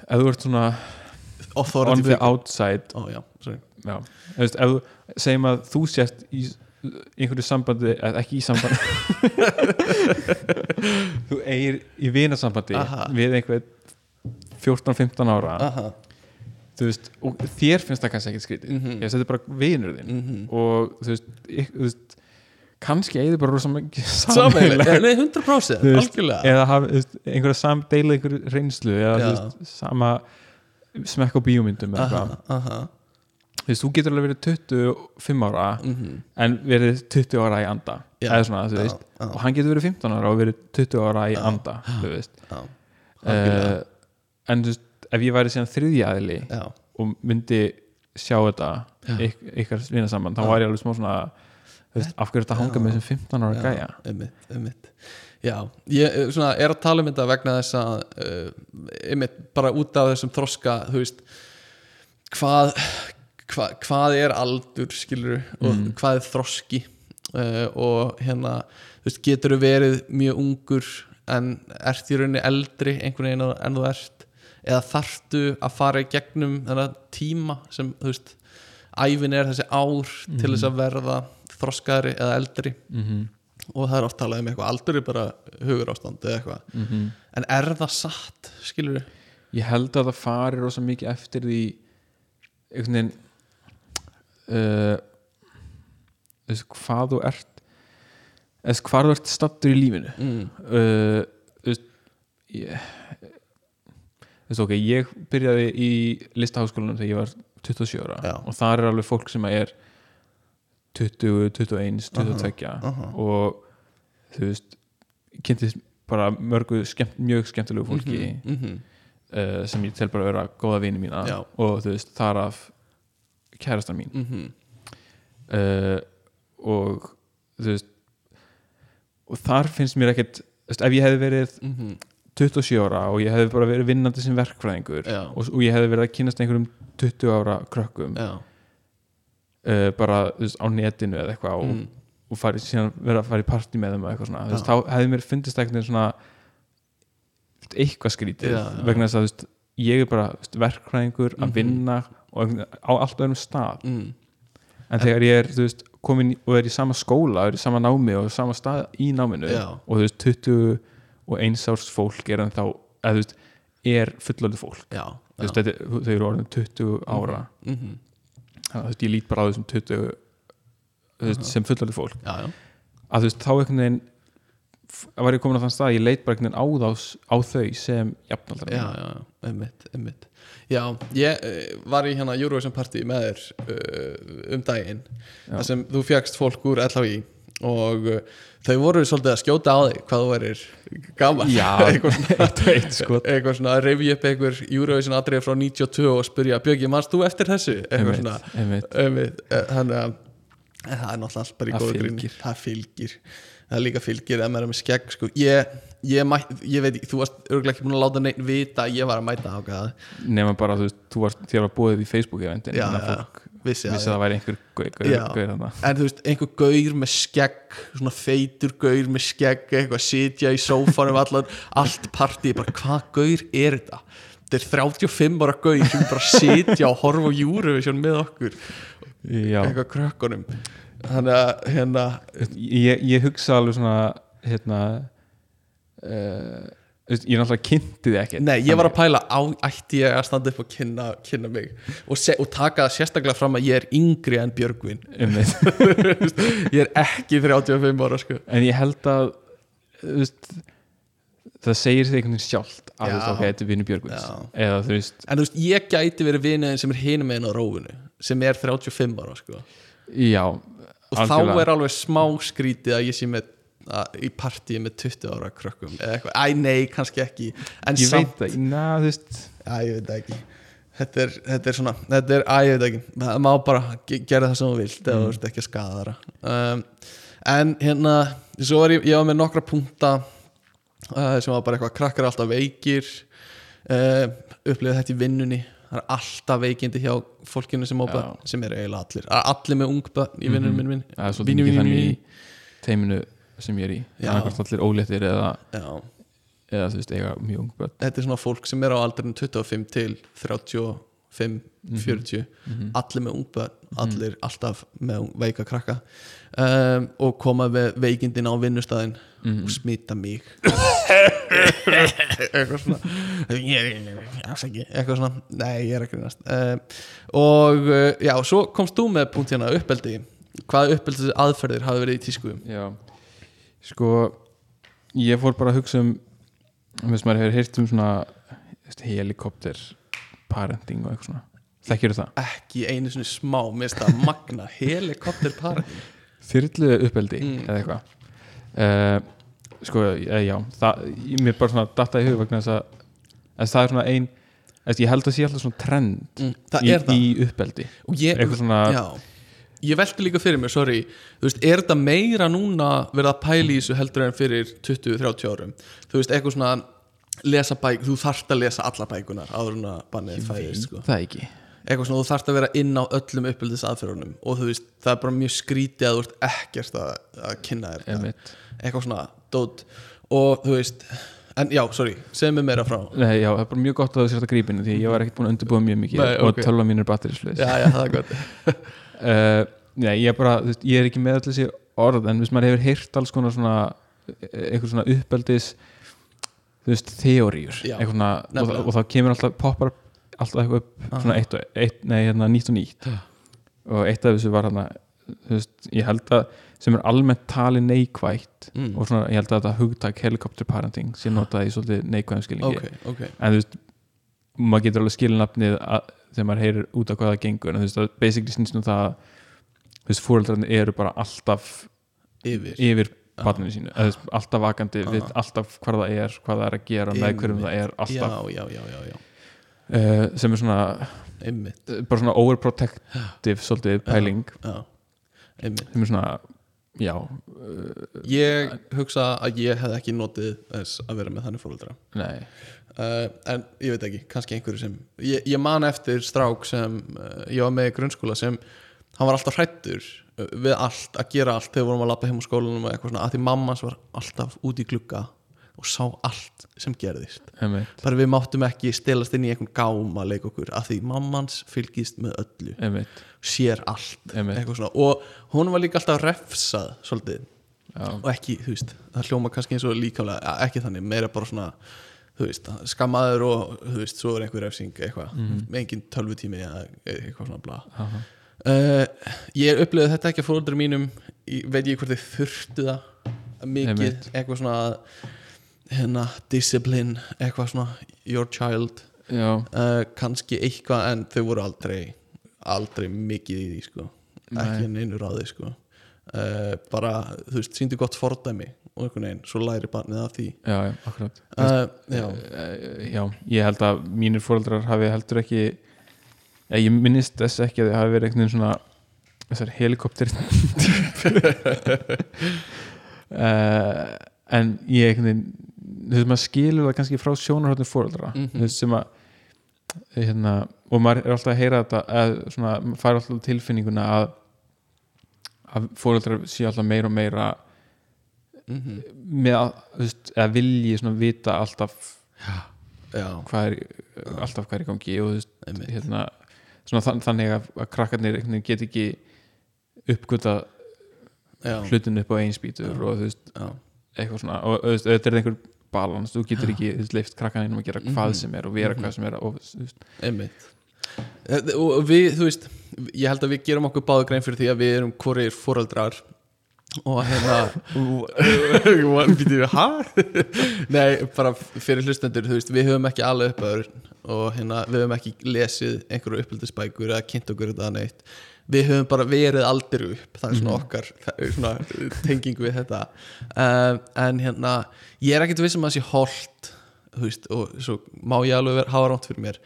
ef þú ert svona on
authority
the
figure
outside
Ó, já, sorry.
já, Þú veist, ef þú segjum að þú sést í einhverju sambandi, eða ekki í
<laughs>
sambandi þú eigir í vinasambandi
Aha.
við einhver 14-15 ára
Aha,
þú veist, og þér finnst það kannski ekkert skrítið mm -hmm. ég seti bara vinur þinn
mhm.
og þú veist, ég, þú veist kannski eigið þið bara rosa mikið
Sameiginlega,
sameiginlega.
nei, 100%
Þú veist,
algjörlega
eða hafa, þú veist, einhverja sam, deila einhverju reynslu eða
Já.
þú veist, sama smekk á bíómyndum eða
aha,
eitthvað.
aha,
þú veist, þú getur alveg verið 25 ára
mhm.
en verið 20 ára í anda
Já.
eða svona, þú
Já,
veist,
já.
og hann getur verið 15 ára og verið 20 ára í anda þú veist
Já,
uh,
algjörlega.
en þú veist, ef ég væri síðan þriðji aðili
já,
og myndi sjá þetta yk, ykkar vinasamann, þá væri ég alveg smá svona þú veist, af hverju er þetta að hanga með þessum 15 ára
já,
gæja
einmitt, einmitt Já, ég eh, svona, er að tala um þetta vegna þess að uh, einmitt, bara út af þessum þroska þú veist hvað, hva, hvað er aldur skilur og hvað er þroski uh, og hérna þú veist, getur þú verið mjög ungur en ert í rauninni eldri einhvern veginn en- en þú ert eða þarftu að fara í gegnum þennan tíma sem þú veist æfin er þessi ár til þess að verða þroskaðri eða eldri
Mhm,
og það er oft talað um eitthvað aldur er bara hugur ástand eða eitthvað
mhm.
en er það satt, skilur við
ég held að það fari rosa mikið eftir því einhvern veginn uh, þú veist, hvað þú ert eða hvað þú ert stattur í lífinu
mm.
uh, þú veist ég, þú veist ok ég byrjaði í listaháskólanum þegar ég var 27 ára
Já.
og þar er alveg fólk sem er 20, 21, 22
aha.
og þú veist kynntist bara mörgu skemmt, mjög skemmtilegu fólki
mm -hmm.
uh, sem ég tel bara að vera góða vini mína
Já.
og þú veist, þar af kærastan mín
Mm -hmm.
uh, og þú veist og þar finnst mér ekkert þú veist, ef ég hefði verið
mhm.
27 ára og ég hefði bara verið vinnandi sem verkfræðingur
Já.
og, og ég hefði verið að kynast einhverjum 20 ára krökkum
já,
uh, bara þú veist, á netinu eða eitthvað og,
mm.
og farið, síðan verið að fara í partí með þeim og eitthvað svona, þú veist, þá hefði mér fundist eitthvað svona eitthvað skrítið
Já, Mhm. já.
vegna þess að þú veist, ég er bara þú veist, verkfræðingur að vinna og einhvern veginn á allt öðrum stað
Mm.
en þegar ég er, þú veist, komin í- og er í sama skóla, er í sama námi og sama stað í náminu
Já.
og þú veist, 20 og einsárs fólk er en þá, eða þú veist er fullöldu fólk,
já,
þú veist,
já.
þetta, er- þau eru orðin 20 ára
Mm -hmm.
þannig að þú veist, ég lít bara á þessum 20 þú veist, sem fullöldu fólk
já, já,
að þú veist, þá einhvern veginn f- var ég komin á þann stað, að ég leit bara einhvern veginn á, þá, á þau sem jafnaldra
já,
mína.
já, einmitt, einmitt Já, ég eh, var í hérna Eurovision party með þér uh, um daginn
Já.
þar sem þú fjagst fólk úr LHI og uh, þau voru svolítið að skjóta á þig hvað þú verir gaman
Já,
<laughs> eitthvað svona
eitt og eitt sko
eitthvað svona að revja upp einhver Eurovision atriði frá 92 og spyrja Björgi, manst þú eftir þessu? <laughs> eitthvað svona
einmitt, einmitt.
einmitt, eh, þannig að en það er náttúrulega allt bara í
Það
góðu grín
fylgir.
það fylgir, það líka fylgir að maður er með skegg sko. ég, ég, mæ, ég veit, ekki, þú varst örgulega ekki búin að láta neinn vita að ég var að mæta ákveða
nema bara, þú veist, þú varst, þér var búið í Facebook eventin
Já,
þannig að
já.
fólk vissi
vissi
að
það
það væri einhver gau-
Já.
gau- gaur þarna
en þú veist, einhver gaur með skegg svona feitur gaur með skegg eitthvað sitja í sófanum allan allt partí, bara hvað gaur er þetta þetta er 35 ára gaur sem bara sitja og horfa á Eurovision með okkur,
Já,
eitthvað krökkunum þannig að hérna
ég, ég hugsa alveg svona hérna uh, veist, ég náttúrulega kynnti þið ekkert
Nei, ég var að pæla á ætti ég að standa upp og kynna, kynna mig og, se, og taka það sérstaklega fram að ég er yngri en Björgvin
Einmitt.
ég er ekki 35 ára sko.
en ég held að þú veist, það segir sig einhvern veginn sjálft að
Já.
þú veist, ok, þetta er vinnu Björgvins
Já.
eða þú veist,
en þú veist, ég gæti verið vinuðin sem er hinum meginn á rófinu sem er 35 ára sko.
já
og þá er alveg smá skrítið að ég sé með að, í partíi með 20 ára krökkum eða eitthvað, æ nei, kannski ekki en
ég
samt,
veit það, na, þú veist
æ, ég veit það ekki þetta er, þetta er svona, þetta er, æ, ég veit það ekki það má bara ge- gera það sem þú vilt eða þú
Mm.
veist ekki að skada þeirra um, en hérna, svo var ég, ég var með nokkra punkta uh, sem var bara eitthvað, krakkar er alltaf veikir uh, upplifið þetta í vinnunni það er alltaf veikindi hjá fólkinu sem, ópa, sem er eiginlega allir allir með ungbönn í vinnunum minn, minn
Mhm. það er svolítið
Vinnu,
mikið
vinnu,
þannig í
vinnu.
teiminu sem ég er í
Já.
annarkvæmt allir óléttir eða,
Já,
eða þú veist, eiga mjög ung börn
þetta er svona fólk sem er á aldrinum 25 til 35
Mhm.
40, allir með ungbönn allir alltaf með ung- veika krakka um, og koma við veikindin á vinnustæðin
Mhm.
og smita mig
<laughs>
eitthvað svona ég er afsaki eitthvað svona, nei ég er ekki næst um, og uh, já, svo komst þú með punkt hérna uppeldi hvaða uppeldis aðferðir hafi verið í tísku
já, sko ég fór bara að hugsa um þú veist, maður hefur heyrt um svona þú veist, helikopter parenting og eitthvað svona, þekkir það
ekki einu svona smá, minnst að
<laughs>
magna helikopterparti
þyrlu uppeldi
Mm.
eða eitthvað uh, sko, eh, já það, ég- mér bara svona datta í hug vegna þess að þess, það er svona ein þess, ég held að sé alltaf svona trend
Mm, það
í,
er það.
í uppeldi
Og ég,
eitthvað svona
já, ég velti líka fyrir mér, sorry þú veist, er þetta meira núna verið að pæla í þessu heldur en fyrir 20-30 árum þú veist, eitthvað svona lesa bæk, þú þarft að lesa alla bækunar áður en að bannið fæðist sko.
það ekki
eitthvað svona, þú þarft að vera inn á öllum uppeldis aðferðunum og þú veist, það er bara mjög skrítið að þú ert ekkert að, að kynna þér þetta.
Einmitt.
eitthvað svona, dót og þú veist, en já, sorry segð mér meira frá
Nei, já, það er bara mjög gott að þú sér þetta grípinu því að ég var ekkert búin að undirbúa mjög mikið
Nei,
og
ok.
tölva mín er batterisleis
já, já, það er gott
uh, Nei, ég er bara, þú veist, ég er ekki með allir sér orð en viðst maður hefur heyrt alls konar svona eitthvað svona uppeldis þú veist, teóriur
Já,
eitthvað svona, og,
nefnilega.
það- og þá kemur alltaf, poppar alltaf eitthvað upp,
Ah.
svona eitt og eitt, nei, hérna nýtt og nýtt og eitt af þessu var hérna þú veist, ég held að sem er almennt tali neikvætt
Mm.
og svona, ég held að þetta hugtak helikopterparenting sem notaði í svolítið neikvæðum skilningi
ok, ok,
en þú veist maður getur alveg skilnafnið þegar maður heyrir út af hvað það gengur en þú veist það basically snýst um það að, þú veist fóreldrarnir eru bara alltaf
yfir
yfir barninu sínu eða þú veist, alltaf vakandi,
Ah.
við alltaf hvað það er hvað það er að gera, með hverjum það er
já,
alltaf
já, já, já, já,
uh, sem er svona,
ymmið
bara svona overprotective svolítið pæling
Já, einmitt
sem er svona, já
Ég hugsa að ég hef ekki notið þess að vera með þannig fóröldra
nei,
uh, En ég veit ekki, kannski einhverju sem Ég, ég man eftir strák sem uh, ég var með í grunnskóla sem hann var alltaf hrættur við allt, að gera allt þegar við vorum að lappa heim úr skólanum og eitthvað svona, að því mamma hans var alltaf út í glugga og sá allt sem gerðist
einmitt,
bara við máttum ekki stelast inn í einhvern gám að leika okkur, að því mammans fylgist með öllu
einmitt
sér allt
Einmitt.
eitthvað svona og hún var líka alltaf refsað svolítið
Já.
og ekki, þú veist, það hljóma kannski eins og líkamlega, ja, ekki þannig, meira bara svona þú veist, skammaður og þú veist, svo er einhver refsing eitthvað engin tölvutími eða eitthvað svona bla uh, ég upplifði þetta ekki að fóröldri mínum ég, veit ég hvort þið þurftu það mikið,
Einmitt.
eitthvað svona að, hérna, discipline eitthvað svona, your child
já,
uh, kannski eitthvað en þau voru aldrei aldrei mikið í því sko ekki neinu ráði sko uh, bara, þú veist, síndu gott fordæmi og einhvern veginn, svo læri barnið af því
já, já, akkurat
uh, já,
Eh, já, ég held að mínir fóreldrar hafi heldur ekki ég, ég minnist þess ekki að þið hafi verið einhvern veginn svona þessar helikopter uh, en ég einhvern veginn þú veist maður skilur það kannski frá sjónarhóttin fóreldra mm -hmm. sem að hérna, og maður er alltaf að heyra þetta að svona, maður fær alltaf tilfinninguna að að fóreldrar séu alltaf meira og meira
eh,
með að, þú veist, að vilji svona vita alltaf
já,
hvað er, alltaf hvað er í gangi og þú veist,
Einmitt.
hérna svona þann, þannig að, að krakkarnir einhvern veginn get ekki uppgöta
já,
hlutinu upp á einspítur og þú veist,
já.
eitthvað svona og þú veist, þetta er einhver balans, þú getur ekki þú veist, leift krakkarnir um að
Mhm.
gera hvað sem er og vera hvað sem er og þú veist,
einmitt Eh, og við, þú veist, ég held að við gerum okkur báðu grein fyrir því að við erum hvorir fóreldrar og hérna býtum við, hæ? <laughs> nei, bara fyrir hlustendur, þú veist, við höfum ekki alveg upp öður og hérna, við höfum ekki lesið einhverju uppeldisbækur eða kynnt okkur þetta neitt við höfum bara verið aldir upp það er svona okkar það er svona tenging við þetta um, en hérna, ég er ekkert viss um að það sé holt þú veist, og svo má ég alveg vera hafa ránt fyrir mér,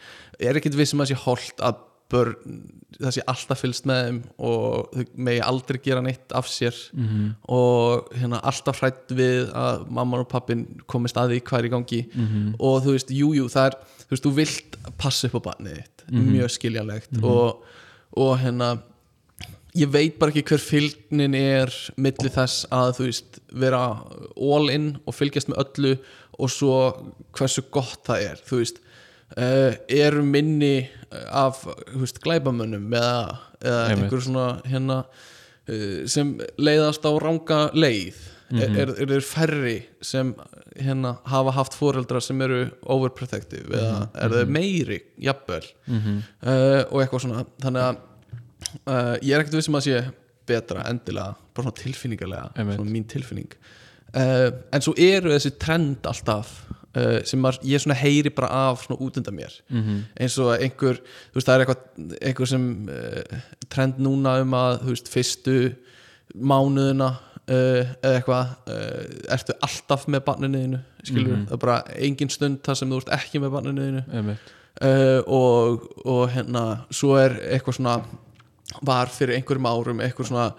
ég er ekkert viss um að það sé holt að börn, það sé alltaf fylgst með þeim og þau megi aldrei gera neitt af sér -hmm. og hérna alltaf hrætt við að mamman og pappin komist að því hvað er í gangi -hmm. og þú veist, jújú, jú, það er þú veist, þú vilt passa upp á barnið þitt mjög skiljanlegt og, og hérna ég veit bara ekki hver fylgnin er milli þess að þú veist vera all in og fylgjast með öllu og svo hversu gott það er þú veist uh, eru minni af þú veist, glæbamönnum eða, eða
Einmitt.
einhver svona hérna uh, sem leiðast á ranga leið mm er, er þeir færri sem hérna hafa haft foreldra sem eru overprotective eða er þeir meiri jafnvel uh, og eitthvað svona þannig að uh, ég er ekkert vissum að sé betra endilega, bara svona tilfinningarlega
Einmitt.
svona mín tilfinning uh, en svo eru þessi trend alltaf uh, sem maður, ég svona heyri bara af svona út undan mér -hmm. eins og einhver, þú veist, það er eitthvað einhver sem uh, trend núna um að, þú veist, fyrstu mánuðina uh, eða eitthvað, uh, ertu alltaf með barninuðinu, skilur það er bara engin stund þar sem þú ert ekki með barninuðinu
einmitt,
uh, og, og hérna svo er eitthvað svona var fyrir einhverjum árum eitthvað svona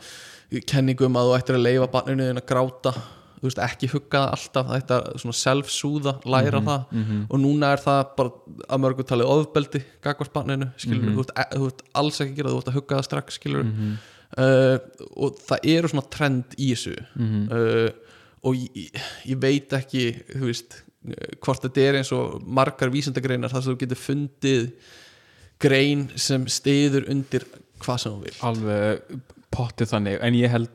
kenningu um að þú ættir að leifa barninu þinn að gráta þú veist ekki hugga það alltaf það ætti að svona self-súða, læra það og núna er það bara að mörgu talið ofbeldi gagvart barninu skilur, þú, ert, e- þú ert alls ekki að gera það, þú ert að hugga það strax skilur
Mhm.
uh, og það eru svona trend í þessu uh, og ég, ég veit ekki þú veist eh, hvort þetta er eins og margar vísindagreinar þar sem þú getur fundið grein sem stiður undir hvað sem þú vil
alveg pottið þannig, en ég held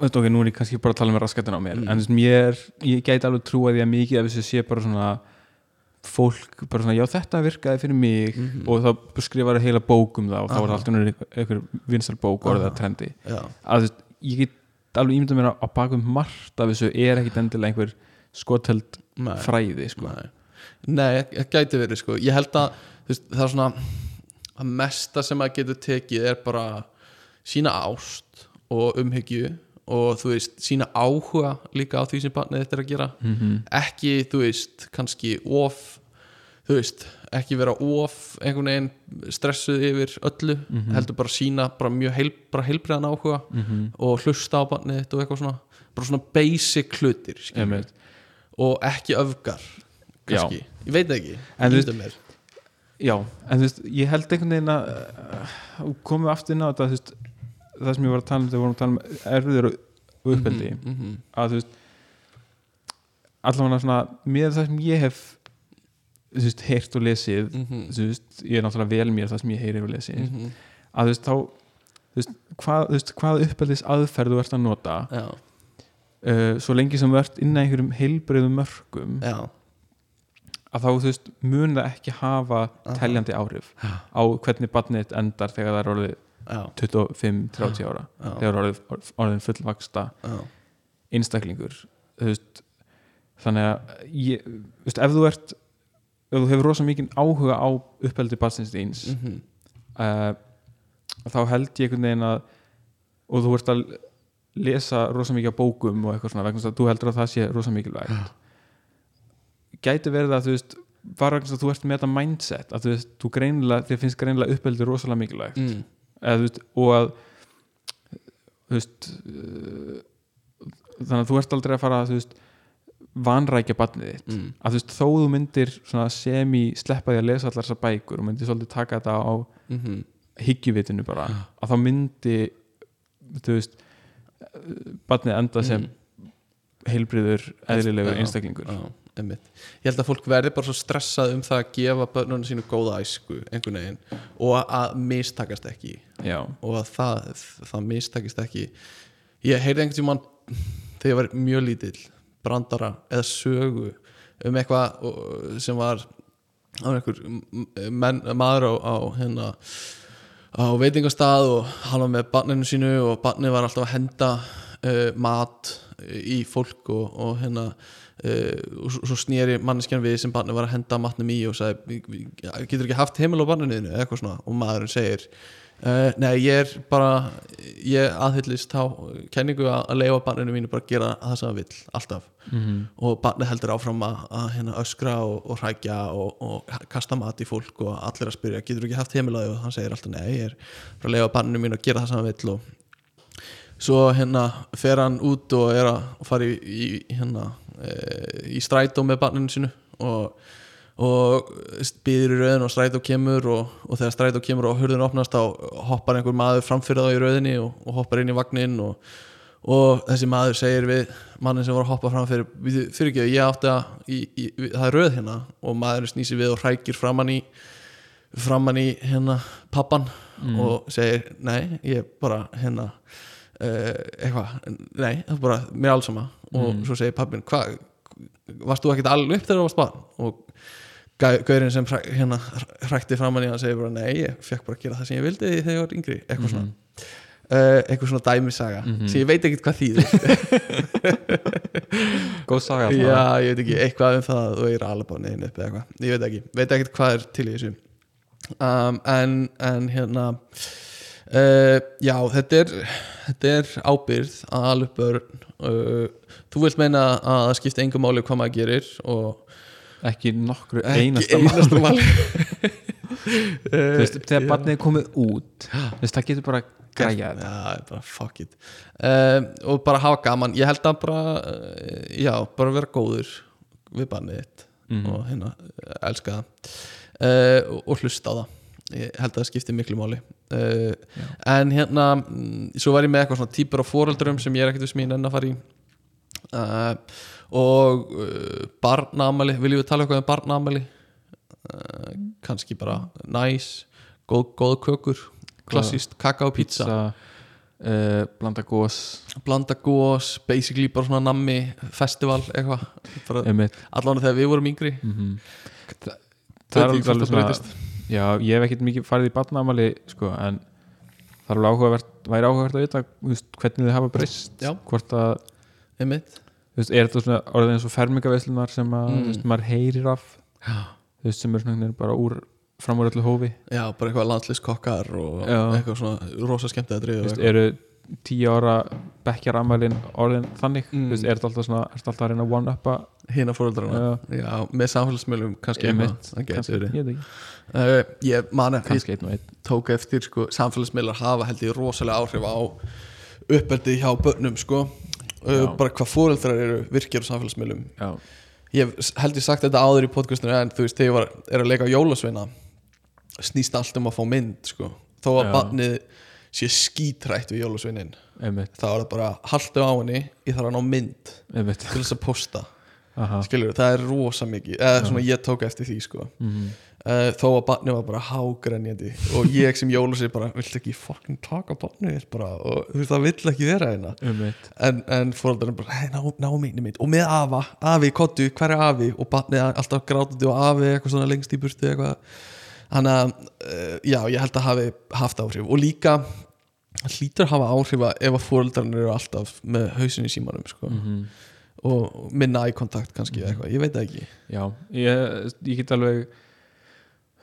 veit ok, nú er ég kannski bara að tala með raskatinn á mér, en þú veist, mér ég gæti alveg trúa því að mikið af þessu sé bara svona fólk, bara svona já þetta virkaði fyrir mig og þá skrifaði heila bók um það og þá var alltaf einhver, einhver vinsal bók orðið að trendi
Já,
að þú veist, ég get alveg ímynda mér að, að baka um margt af þessu er ekkit endilega einhver skoteld
Nei.
fræði sko.
nei, nei það gæti verið sko ég held að þú veist, það er svona að mesta sem maður getur tekið er bara sína ást og umhyggju og þú veist, sína áhuga líka á því sem barnið þetta er að gera -hmm. ekki, þú veist, kannski of þú veist, ekki vera of einhvern veginn stressuð yfir öllu,
Mhm.
heldur bara sína bara mjög heil, bara heilbriðan áhuga -hmm. og hlusta á barnið þetta og eitthvað svona bara svona basic hlutir skilur við
Einmitt.
og ekki öfgar kannski, ég veit það ekki
En þú veist-
Ímynda mér.
Já, en þú veist, ég held einhvern veginn að uh, komum við aftur inn á þetta þú veist, það sem ég var að tala um þegar við vorum að tala um erfiður og uppeldi
Mhm.
að þú veist allavega svona, með það sem ég hef þú veist, heyrt og
mhm,
lesið þú veist, ég er náttúrulega vel mér það sem ég heyri og lesið að þú veist, þá þú veist, hvað, þú veist, hvað uppeldis aðferð þú ert að nota
já,
uh, svo lengi sem þú ert inn að einhverjum heilbreyðum mörgum
já,
að þá þú veist mun það ekki hafa teljandi áhrif á hvernig barnið þitt endar þegar það er orðið
já,
25-30 ára þegar
Já.
það er orðið, orðin fullvaksta
já,
einstaklingur þú veist, þannig að ég, þú veist, ef þú ert ef þú hefur rosa mikið áhuga á uppeldi barnsins þíns mm
Mhm.
þá held ég einhvern veginn að og þú ert að lesa rosa mikið á bókum og eitthvað svona vegna þess að þú heldur að það sé rosa mikilvægt gæti verið að þú veist bara vegna þess að þú ert með þetta mindset að þú veist, þú greinilega, þér finnst greinilega uppeldi rosalega mikilvægt
Mm.
eða, þú veist, og að þú veist, uh, þannig að þú ert aldrei að fara þú veist, vanrækja barnið þitt
mm.
að þú veist þó þú myndir svona semi sleppa því að lesa allar þessar bækur og myndir svolítið taka þetta á
Mm -hmm.
hyggjuvitinu bara að þá myndi þú veist barnið enda sem heilbriður, eðlilegur
Já,
einstaklingur
Já, einmitt. Ég held að fólk verði bara svo stressað um það að gefa börnunum sínu góða æsku einhvern veginn og að mistakast ekki
já,
og að það, það mistakist ekki ég heyrði einhvern tímann <laughs> þegar ég var mjög lítill brandara eða sögu um eitthvað og- sem var það var einhver m- menn, maður á, á hérna á veitingastað og hann var með barninu sínu og barnið var alltaf að henda uh, mat eh, í fólk og, og hérna uh, og svo- svo snýri manneskjan við sem barnið var að henda matnum í og sagði "Vi- vi- getur ekki haft heimil á barninu þínu?" eða eitthvað svona og maðurinn segir uh, nei ég er bara ég aðhyllist þá kenningu að, að leifa barninu mínu bara að gera það sem það vill alltaf og barnið heldur áfram að, að hérna, öskra og, og hrækja og, og kasta mat í fólk og allir að spyrja, getur ekki haft heimilaði og hann segir alltaf nei, ég er frá að leifa barninu mín að gera það sem hann vill og svo hérna fer hann út og er að fara í, í hérna e, í strætó með barninu sínu og, og býður í rauðin og strætó kemur og, og þegar strætó kemur og hurðin opnast þá hoppar einhver maður framfyrir þá í rauðinni og, og hoppar inn í vagninn og og þessi maður segir við mannin sem var að hoppa fram fyrir "Bíddu, fyrirgefðu, ég átti að í, í, í, það er röð hérna og maðurinn snýsi við og hrækir framann í framann í hérna pappan og segir nei, ég bara hérna uh, eitthvað, nei, það er bara mér alls sama og svo segir pappin hvað, varst þú ekkert alveg upp þegar þú varst barn og gau- gaurinn sem hræ- hérna hrækti framann í hann segir bara nei, ég fekk bara að gera það sem ég vildi þegar ég var yngri, eitthvað
Mhm.
svona uh, eitthvað svona dæmisaga sem ég veit ekkert hvað þýðir
Mm. góð saga
já, ég veit ekki, eitthvað um það og ég er alveg bara neðin upp eða eitthvað ég veit ekki, veit ekkert hvað er til í þessu um, en, en hérna uh, já, þetta er þetta er ábyrð að alveg börn uh, þú vilt meina að það skipta engum máli hvað maður gerir og
ekki nokkru
ekki
einasta
einasta
máli.
máli
Þú veist, þegar barnið er komið út þú veist, það getur bara græja þetta
Já, bara fuck it um, Og bara hafa gaman Ég held að bara, uh, já, bara vera góður Við bannið þitt
Mm-hmm. Mm. Mhm.
Og hérna, uh, elska það uh, og, og hlusta á það Ég held að það skipti miklu máli uh, En hérna, mm, svo var ég með eitthvað svona Týpur á foreldrum sem ég er ekkert við smín enn að fara í uh, Og uh, barnaamæli Viljum við tala eitthvað um barnaamæli? Uh, kannski bara næs góð, góð kökur klassíst kakao pizza
pizza, uh, blanda gós
blanda gós, basically bara svona nammi festival eitthvað Bara-
einmitt.
allan þegar við vorum yngri
Mm-hmm. það er
Veit
alveg
ekki hvort
alveg
það breytist.
svona já, ég hef ekkert mikið farið í barnaamali sko, en það er alveg áhugavert væri áhugavert að vita þú veist, hvernig þið hafa breyst
Já.
hvort að,
einmitt
þú veist, er þetta svona orðið eins og fermingaveislunar sem
Mm.
að, þú veist, maður heyrir af
já.
þú veist, sem er svona einhvern veginn bara úr fram úr öllu hófi,
já, bara eitthvað landsliskokkar og
Já.
eitthvað svona rosa skemmt að
þú
driða
veist, eru tíu ára bekkjar ammalin orðin þannig
Mm.
þú veist, er þetta alltaf svona, er þetta alltaf að reyna að one-upa
hina fóröldrarna já. með samfélagsmiðlum kannski
einmitt,
eitthvað. Það gæti
kannski,
verið.
ég veit ekki,
Uh, ég man að
kannski einn og einn
tók eftir sko, samfélagsmiðlar hafa held ég rosalega áhrif á uppeldi hjá börnum sko. uh,
Já.
bara hvað fóreldrar eru virkir á samfélagsmiðlum
já,
ég hef held ég sagt þetta áður í podcastinu en þú veist, þegar ég var, er að leika á jólasveina snýst allt um að fá mynd sko. þó að
Já.
barnið sé skítrætt við jólasveinin
einmitt,
þá er það bara, haltu á henni ég þarf að ná mynd
einmitt
til þess að posta
Aha.
skilur, það er rosa mikið eða svona ég tók eftir því sko.
mhm,
uh, þó að barnið var bara hágrenjandi og ég sem jólasvein bara, vill ekki fucking taka barnið þitt bara og þú veist, það vill ekki vera hérna
einmitt,
en, en fóröldarinn bara, hei, ná, ná mínu mitt og með afa, afi, kottu, hver er afi og barnið alltaf grátandi og afi eitthvað svona lengst í burtu eitthvað þannig að, uh, já, ég held að hafi haft áhrif og líka það hlýtur að hafa áhrif að ef að fóröldarinn eru alltaf með hausinni símanum sko.
Mhm.
og minna í kontakt kannski eða eitthvað, ég veit það ekki
já, ég, ég get alveg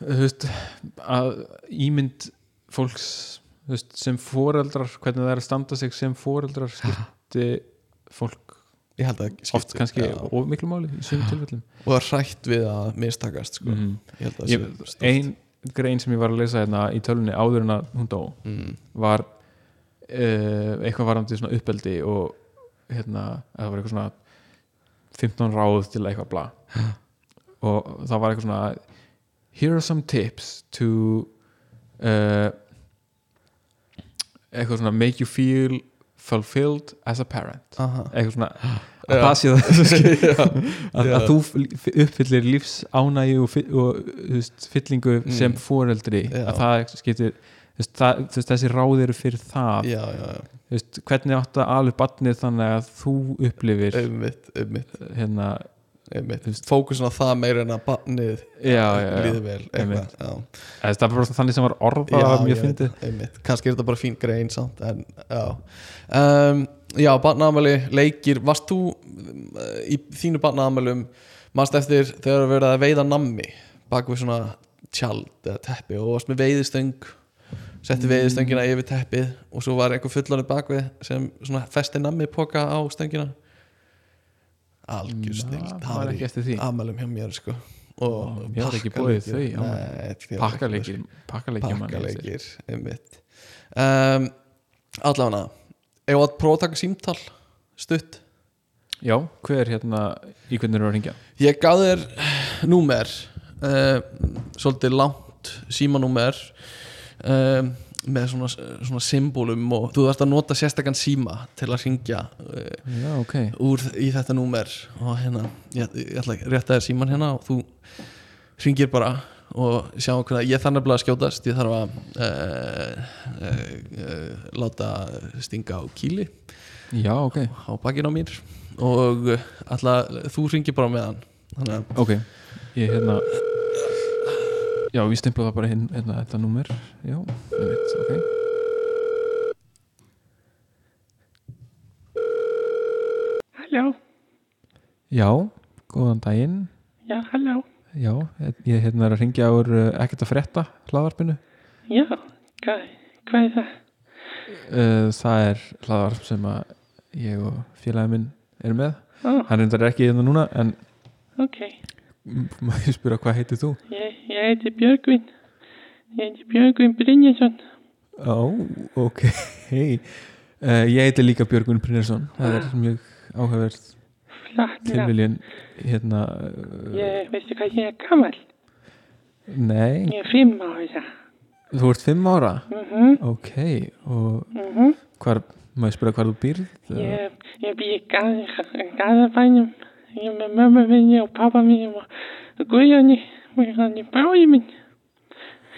þú veist að ímynd fólks þú veist, sem foreldrar hvernig það er að standa sig sem foreldrar skipti fólk
ég held að skipti,
oft kannski
já,
of miklu máli í sum tilfellum
og er hrætt við að mistakast sko.
Mhm.
ég held að
ég,
sé stórt.
ein grein sem ég var að lesa hérna í tölunni áður en að hún dó
mm.
var eh, uh, eitthvað varandi svona uppeldi og hérna, eða það var eitthvað svona 15 ráð til eitthvað bla og það var eitthvað svona here are some tips to uh, eitthvað svona make you feel fulfilled as a parent
Aha.
eitthvað svona að það sé það <laughs> sem skil-
<laughs>
að, að þú f- uppfyllir lífs ánægi og, fi- og þú veist, fyllingu
Mm.
sem foreldri
Já.
að það skiptir þú veist, það, þú veist, þessi ráð eru fyrir það
já, já,
<laughs>
já,
Þú veist, hvernig átt að alveg barnið þannig að þú upplifir
einmitt, einmitt,
hérna
einmitt. fókusin á það meira en að barnið
já, já, já.
líði vel eitthvað, já.
Eða, það var bara þannig sem var orðað það var
ég
mjög
veit
fyndið
það, einmitt. kannski er þetta bara fín grein samt en, já um, já, barnaðamæli, leikir varst þú um, í þínu barnaðamælum manst eftir þegar verið að veiða nammi bak við svona tjald eða teppi og varst með veiðistöng setti veiðistöngina
Mm.
yfir teppið og svo var einhver fullorinn bak við sem svona festi nammi poka á stöngina algjör snill
það var ekki eftir því
amælum hjá mér sko og
Já, mér var ekki boðið þau, já.
já
pakkaleikir um pakkaleikir mann, ég
pakkaleikir einmitt um, allavega ef að prófa að taka símtal stutt
sé. já, hver hérna í hvernig eru að ringja
ég gaf þér númer uh, svolítið langt símanúmer um, með svona, svona symbolum og þú þarft að nota sérstakann síma til að ringja uh,
já, ok
úr í þetta númer og hérna, ég, ég ætla að rétta þér síman hérna og þú ringir bara og sjá hvernig ég þarf nefnilega að skjótast ég þarf að uh, uh, uh, láta stinga á kýli
já, ok,
á bakinn á mér og eh, ætla að þú ringir bara með hann þannig að
ok ég hérna já, við stimpla það bara hinn, hérna, þetta númer já, einmitt, ok
Halló,
já, góðan daginn
já, halló,
já, ég hérna er að ringja úr uh, ekkert að frétta hlaðvarpinu
já, hvað, hvað er það?
Uh, það er hlaðvarp sem að ég og félagin minn er með
Ó,
hann reyndar ekki hérna núna en
ok,
má ég spura hvað heitir þú?
ég, ég heiti Björgvin, ég heiti Björgvin Brynjason,
Ó, ok hey. uh, ég heiti líka Björgun Brynjarsson það er mjög áhæfverð
flatt nafn.
tilviljun hérna uh,
Ég, veistu hvað ég er gammal?
nei,
Ég er fimm ára það.
þú ert fimm ára
Mhm,
ok, og
mhm,
hvar má ég spura hvar þú býrð?
ég, ég bý í Garð- Garðabænum, ég er með mömmu minni og pappa minni og Guðjóni og hann er bróði minn.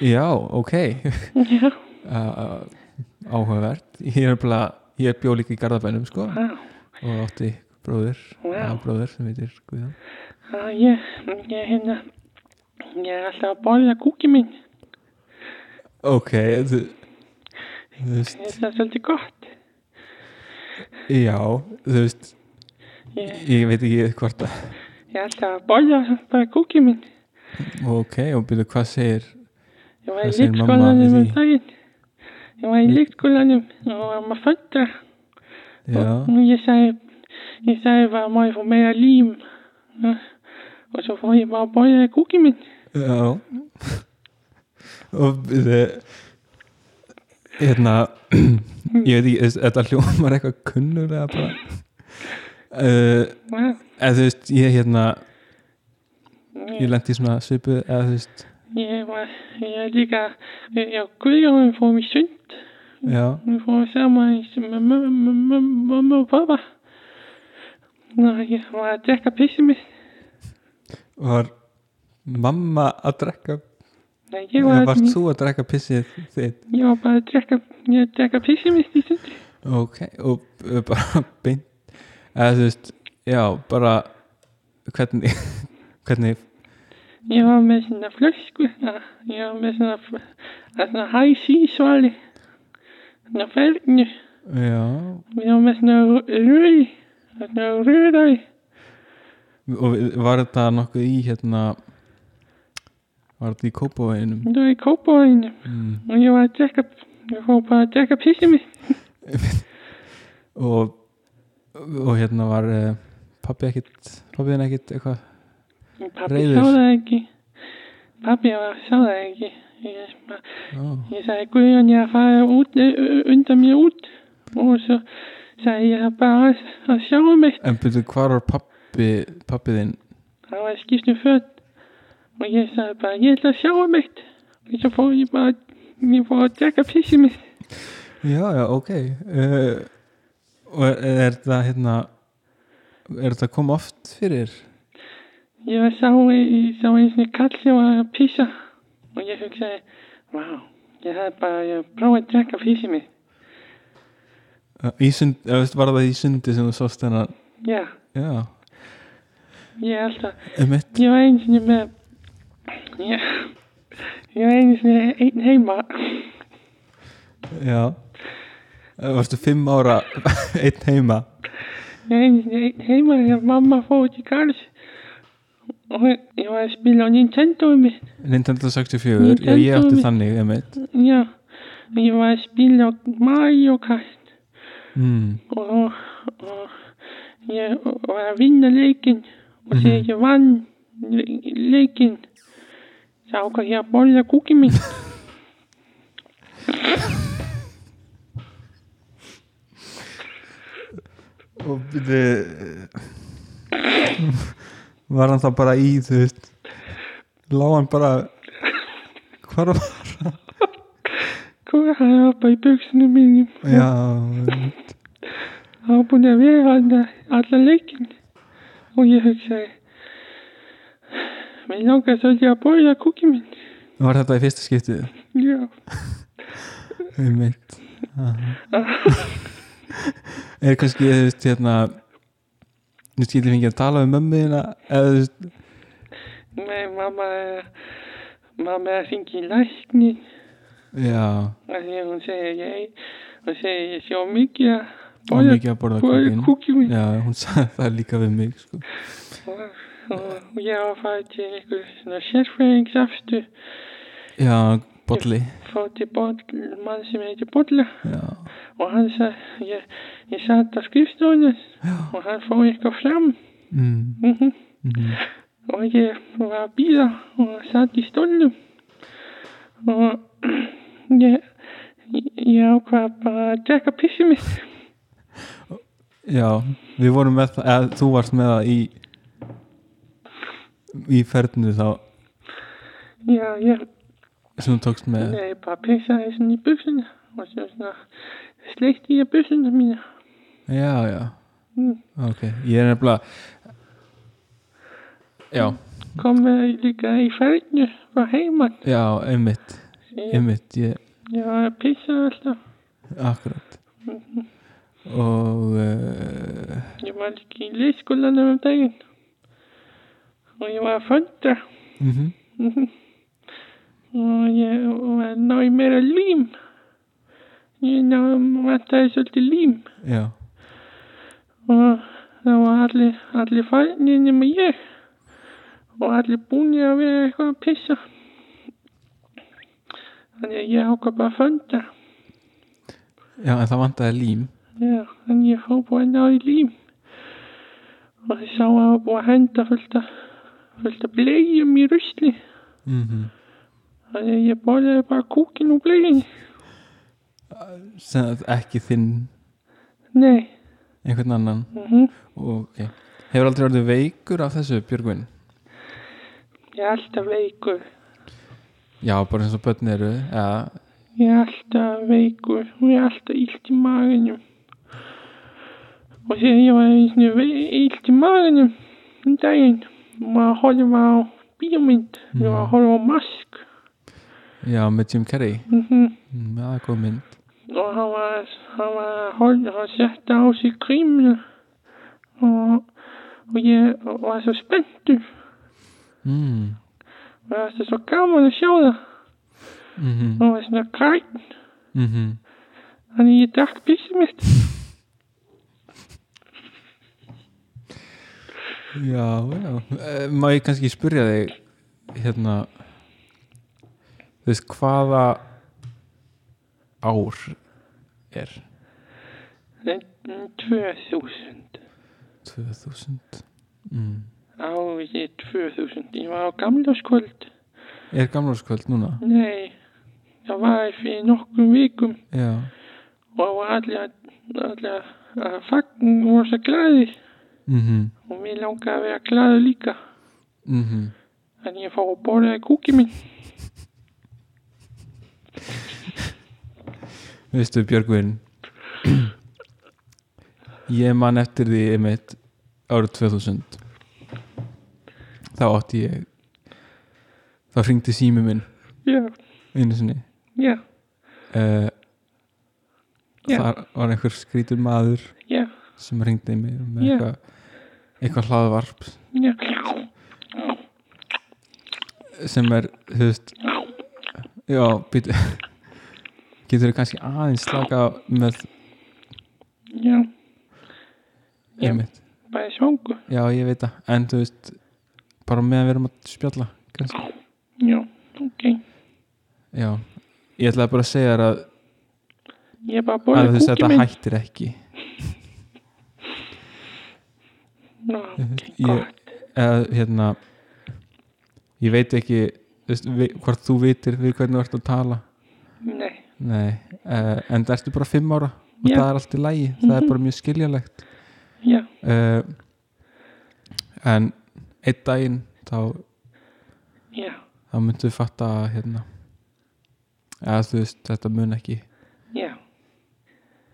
já, ok <laughs>
Já,
uh, áhugavert ég er bara, ég bjó líka í Garðabænum sko,
á,
og átti bróður
Vá.
wow. bróður sem heitir Guðjón
á, ég, ég hérna, ég er alltaf að borða kúki minn,
ok, þú þú veist,
Mér finnst það er svolítið gott.
já þú veist,
Ég,
ég veit ekki hvort að
ég er alltaf að borða bara kúki minn.
ok, og byrju hvað segir
Ég var
Hvað
í
segir mamma við
líkskólanum um
því?
daginn. Ég var í líkskólanum og var maður föndra.
já,
Og ég sagði, ég sagði bara má ég fá meira lím. Ja. Og svo fór ég bara að borða kúki minn.
já og byrju hérna <clears throat> ég veit ekki, þú veist, þetta hljómar eitthvað kunnulega bara uh,
Ja.
eða þú veist, ég hérna ég lendi í svona svipu eða þú veist,
Ég var, ég er líka, ég og Guðjóðum fórum í sund.
já
Við fórum saman í- með mömmu- mömmu mömmu- mömmu og pappa. Og ég var að drekka pissið mitt.
var mamma að drekka
Nei, ég
eða
var,
varst þú að drekka pissið þitt
ég var bara að drekka, ég að drekka pissið mitt í sundi.
ok, og uh, bara <laughs> beint eða þú veist, já, bara hvernig <laughs> hvernig,
Ég var með svona flösku, ja, ég var með svona, fl- að svona altså, high sea svali, svona felgnu,
já
ég var með svona röði, svona röðaði,
og var þetta nokkuð í hérna var þetta í kópavæginum
það var í kópavæðinu
mm.
og ég var að drekka, ég fór bara að drekka pissið mitt.
og og hérna var uh, pappi ekkit, pappiðin ekkit eitthvað
Pappi
Reiður.
sá það ekki, pappi var, sá það ekki, ég, bara-
oh.
ég sagði Guðjón ég er að fara út, eh, undan mér út og svo sagði ég bara að, að sjá mig,
en byrju, hvar var pappi pappi, pappi þinn
Það var skipt um föt og ég sagði bara, ég ætla að sjá um eitt og svo fór ég bara ég fór að drekka pissið mitt
Já, já, ok uh, Og er, er þetta hérna Er þetta kom oft fyrir?
ég var sá, ég sá einu sinni kall sem var að pissa og ég hugsaði, vá ég hafði bara, ég prófaði að drekka pissið mitt
Uh, Í sund, eða veist, var það í sundi sem þú sást hennar
já,
Já,
ég er alltaf
um eitt
Ég altså, var einu sinni með ég, ég var einu sinni einn heima
Já Uh, Varstu fimm ára <laughs> einn heima
ég var einu sinni einn heima þegar mamma fór út í garðs og ég var að spila á Nintendo mitt
Nintendo 64, já ég átti
Nintendo.
þannig um eitt
já, og ég var að spila á Mario Kart
mm.
og, og ég var að vinna leikinn og þegar ég vann le- leikinn þá ákvað ég að borða kúkið minn
Og byrju Var hann þá bara í þú veist Lá hann bara Hvar var hann?
hvað hann var bara í buksunum mínum
Já
Það var búin að vera alla, alla leikinn og ég hugsaði mér langar svolítið að borða kúkið minn.
Var þetta í fyrsta skiptið?
Já,
Um eitt Er kannski þú veist hérna Nú skildi fengið að tala um mömmuðina eða þú veist
nei, mamma er- mamma er að syngja í læknin
Já,
og þegar hún segir ég og segir ég sjá mikið að
var
borða
mikið að borða
borða
kúkin
kúkið minn
Já, hún sagði það líka við mig sko.
og, og ég var að fara til einhver svona sérfræðings aftur
Já, bolli
fór til botl, mann sem heitir Bolla
Já,
og hann sagði, ég, ég satt á skrifstofunum og hann fór eitthvað fram
mm.
Mhm. Og ég var að býða og satt í stólnum og ég, ég ákvað bara að drekka pissið mitt.
Já, við vorum með það eða þú varst með það í í ferðinu þá
Já, ég,
sem þú tókst með
ég bara pissaði svona í buksuna og svo svona sleikti ég buksuna mína.
Já, já,
Mm.
ok Ég er nefnilega Já,
Kom með líka í ferðinu frá heimann.
já, einmitt
Ég,
einmitt, ég,
ég var að pissa alltaf.
akkurat og uh,
Ég var líka í leyskólanum um daginn og ég var að föndra.
mm
og ég var að ná í meira lím ég ná vantaði svolítið lím
já,
og það var allir allir farnir nema ég og allir búinir að vera eitthvað að pissa þannig að ég ákvað bara að funda
já, en það vantaði lím
já, þannig að ég fór bara að ná í lím og ég sá að það var búið að henda fullt að fullt að bleiðum í rusli
mm
þannig að ég borðaði bara kúkin úr bleiðinni
sem að ekki þinn
nei,
einhvern annan
mhm
og, ok, hefur aldrei orðið veikur af þessu Björgvin?
Ég er alltaf veikur.
Já, bara eins og börn eru eða,
Ég er alltaf veikur. og ég er alltaf illt í maganum. Og þegar ég var einu sinni illt í maganum um daginn. Maður horfum á bíómynd. Ég var að horfa á mask.
já, með Jim Carrey
Mm
Mm, já, það er góð mynd
Og hann var, hann var að horfa að setja á sig krimlu. Og, og ég var svo spenntur.
mm.
Og það var svo gaman að sjá það.
Mm -hmm.
Og var svona græn.
Mm
Þannig ég drakk písið mitt.
já, já Eh, má ég kannski spyrja þig hérna þú veist, hvaða ár er
Lentin 2000
2000 mm.
árið 2000 ég var á gamlarskvöld
Er gamlarskvöld núna?
nei, það var fyrir nokkrum vikum
Já,
og það var allir að- allir að fagn og var svo glæði
mhm,
og mér langaði að vera glaður líka
mhm
en ég fór að borðaði kúki minn
Veistu Björgvin Ég man eftir því einmitt árið 2000 Þá átti ég Þá hringdi sími minn
já,
einu sinni
já,
uh,
Já.
Þar var einhver skrítur maður
já,
sem hringdi mig með
Já.
eitthvað eitthvað hlaðvarp
já
sem er, þú veist Já, <laughs> býtu Getur þú kannski aðeins slaka á með
já, Já.
einmitt
bara svangu
Já, ég veit það, en þú veist bara meðan við erum að spjalla kannski.
já, ok,
Já, ég ætlaði bara að segja þér að,
ég bara
að þú
borðaði
veist
kúki
þetta
minn
hættir ekki
Ná, ok,
Mhm, ég,
gott
eða, hérna ég veit ekki þú veist, vi, hvort þú vitir við hvernig þú ert að tala
nei,
Nei, uh, en það ertu bara fimm ára og
Já. Mhm.
það er allt í lægi, það er bara mjög skiljalegt
já,
uh, en einn daginn þá,
já,
þá myndu við fatta að, hérna eða þú veist, þetta mun ekki
já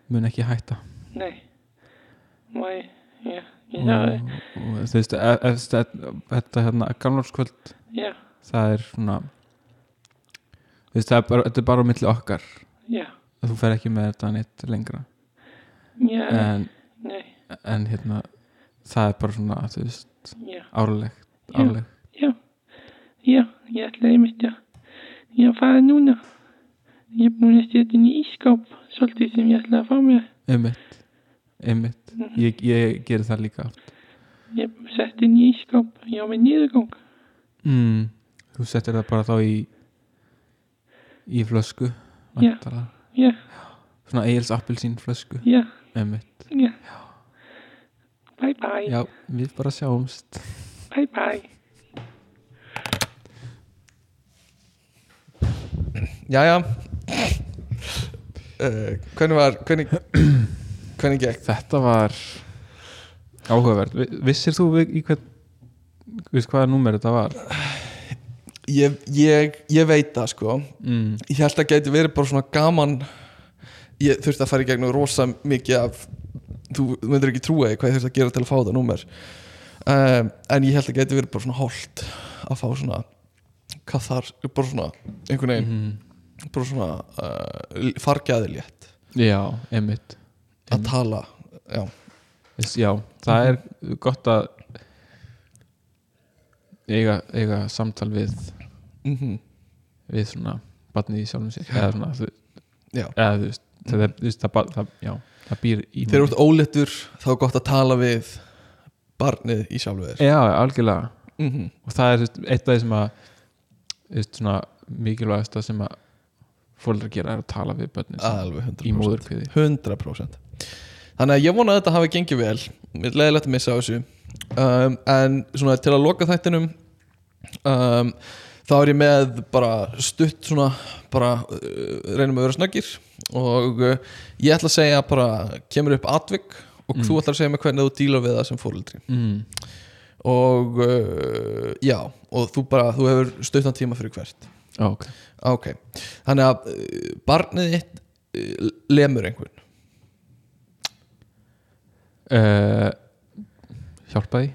mun ekki hætta
nei mæ, já, ég sagði
og, og þú veist, e- ef, ef, þetta- þetta hérna gamlarskvöld
já,
það er svona þú veist, það er bara, þetta er bara á milli okkar
já,
þú fer ekki með þetta neitt lengra
já,
en,
nei,
en hérna það er bara svona, þú veist,
já
árlegt
Já.
árleg,
Já, já, ég ætlaði mitt að ég er að fara núna. Ég er búin að setja inn í ískáp, svolítið sem ég ætlaði að fá mér.
einmitt einmitt,
Mhm.
ég, ég geri það líka oft
Ég er sett inn í ískáp, ég á með niðurgang.
mm. þú settir það bara þá í í flösku
Já.
væntanlega.
Já,
svona eigils appelsín flösku
já,
einmitt,
já. Bye bye,
já, við bara sjáumst
bye bye.
Jæja uh, Hvernig var Hvernig Hvernig gekk
þetta var áhugaverð, Vi- vissir þú við- í hvern Þú veist hvaða númer þetta var?
ég, ég, ég veit það sko
Mm.
Ég held að gæti verið bara svona gaman Ég þurfti að fara í gegnum rosa mikið af Þú þú myndir ekki trúa því hvað ég þurfti að gera til að fá þetta númer um, En ég held að gæti verið bara svona holt Að fá svona Kathar, bara svona Einhvern veginn,
Mm.
bara svona uh, Fargjaði létt
Já, einmitt Mhm.
Að tala, já
Þess- Já, það er gott að eiga, eiga samtal við
mm
Mhm. við svona barnið í sjálfum sér eða svona, þú,
Já.
eða, þú veist, það, er- þú veist það, það, það, já, það býr í
Þegar þú
manni.
ert óléttur þá er gott að tala við barnið í sjálfu þér
Já, algjörlega
mm -hmm.
og það er þú veist, eitt af því sem að þú veist, svona mikilvægast að sem að fólk gera er að tala við börnin sín
Alveg 100%
í móðurkviði
100% Þannig að ég vona að þetta hafi gengið vel Mér er leiðilegt að missa á þessu um, En svona til að loka þættinum um, Þá er ég með bara stutt svona bara uh, reynum að vera snöggir og uh, ég ætla að segja bara kemur upp atvik og þú ætlar að segja mig hvernig þú dílar við það sem fóreldri
mm,
og uh, já, og þú bara þú hefur stuttan tíma fyrir hvert
já, ok
Ok, þannig að uh, barnið þitt uh, lemur einhvern Eh,
uh, Hjálpa því?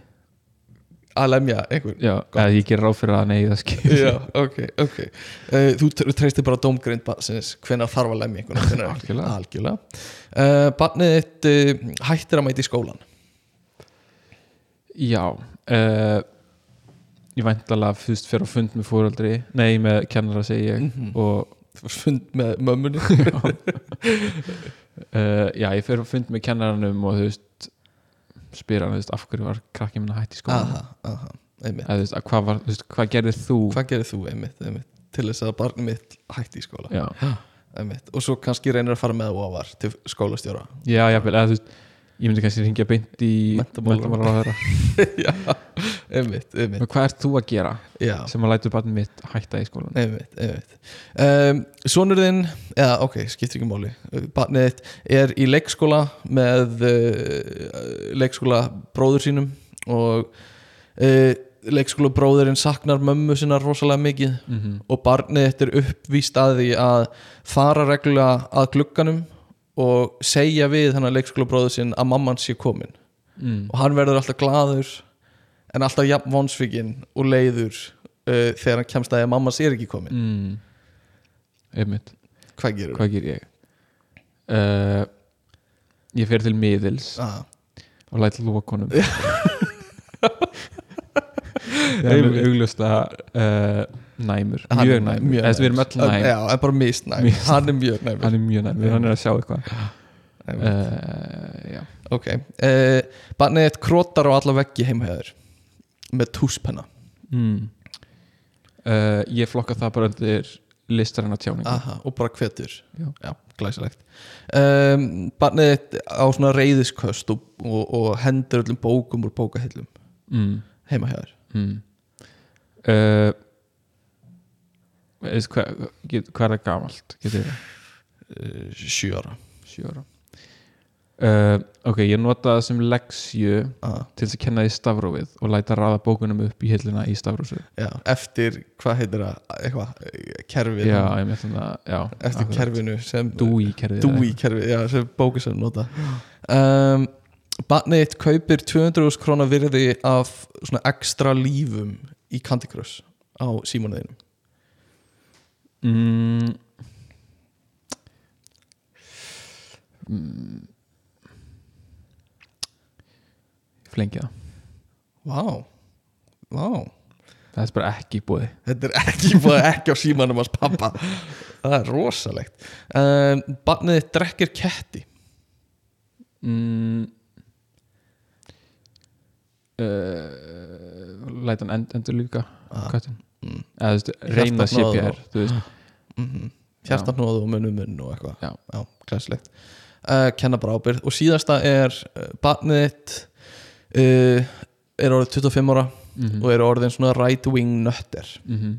að lemja einhvern
Já, eða ég ger ráð fyrir að nei, það skil
Já, ok, ok uh, Þú tr- treystir bara dómgrind barnsins hvenær þarf að lemja einhvern hvenær ekki.
Algjörlega.
Algjörlega. Uh, Barnið þitt uh, hættir að mæta í skólan
Já uh, Ég vænt alveg fyrst fyrir að fund með fóröldri Nei, með kennara segi
Mm.
ég
Mhm.
og
Þú varst fund með mömmunni
uh, já, ég fyrir að fund með kennaranum og þú veist spyr hann, þú veist, af hverju var krakkið minna hætt í skóla
<laughs> Aha, aha, einmitt
eða þú veist, að hvað var, þú veist, hvað gerðir þú
Hvað gerir þú einmitt, einmitt til þess að barnið mitt hætti í skóla
Já,
einmitt. og svo kannski reynir að fara með ofar til skólastjóra
já, já, eða þú veist ég myndi kannski ringja beint í
<laughs> Menntamálaráðherra.
menntamálaráðherra.
<laughs> Já, einmitt, einmitt
Og hvað ert þú að gera
já,
sem að lætu barnið mitt hætta í skólan
einmitt, einmitt um, Svonur þinn, eða ok, skiptir ekki máli barnið þitt er í leikskóla með uh, leikskóla bróður sínum og uh, leikskóla bróðurinn saknar mömmu sinna rosalega mikið
mm -hmm.
og barnið þetta er uppvíst að því að fara reglulega að glugganum og segja við hennar leikskólabróður sinn að mamman sé komin
mm.
og hann verður alltaf glaður en alltaf jafn vonsvikinn og leiður uh, þegar hann kemst að því að mamman sé ekki komin
mm. einmitt,
hvað gerum við?
hvað ger ég uh, ég fer til miðils
Ah,
og læt
<laughs>
lókonum það er augljósta uh, næmur,
Ah, hann
mjög
er
næmur Eða, við erum öll
En-
næm,
já, en bara misnæm,
Misnæm.
hann er mjög næm
hann er mjög næmur hann er að sjá eitthvað
Einmitt.
uh, já.
ok, uh, barnið þetta krótar á alla veggi heimhæður með túspenna
mm. uh, ég flokka það bara undir listarinnar tjáning
Aha, og bara hvetur
Já.
glæsilegt um, Barnið þitt á svona reyðisköst og, og, og hendur öllum bókum úr bókahillum
mm.
heima hjá þér
mm. uh, veist hvað get- hvað er það gamalt getur það
uh, sjö ára
sjö ára uh, ok, ég nota það sem leksju
ah,
til þess að kenna því stafrófið og læta ráða bókunum upp í hilluna í stafrófið
já. eftir, hvað heitir það, eitthvað eh, kerfið,
já, ég með þannig að já,
eftir
akkurat.
kerfinu sem,
Dewey kerfið
Dewey kerfið, já, sem bókið sem nota um, Barnið þitt kaupir 200.000 krónar virði af svona ekstra lífum í Candy Crush á símanuðinum
mm, mm, flengi það
Vá, wow. vá wow.
það er bara ekki í búið
Þetta er ekki <laughs> búið ekki á símanum hans pappa Það er rosalegt um, Barnið þitt drekkir ketti
mm, uh, læta hann end, endur líka
Ah.
kattin
Mm.
eða þú veist, reyna
Hjartað hnoðað
CPR þú veist,
mm -hmm. Hjartanóð og munum munn og eitthvað
Já.
Já glæsilegt uh, Kenna bara ábyrð Og síðasta er uh, Barnið þitt uh, Er orðið 25 ára
mhm,
Og er orðin svona right wing nötter
mhm,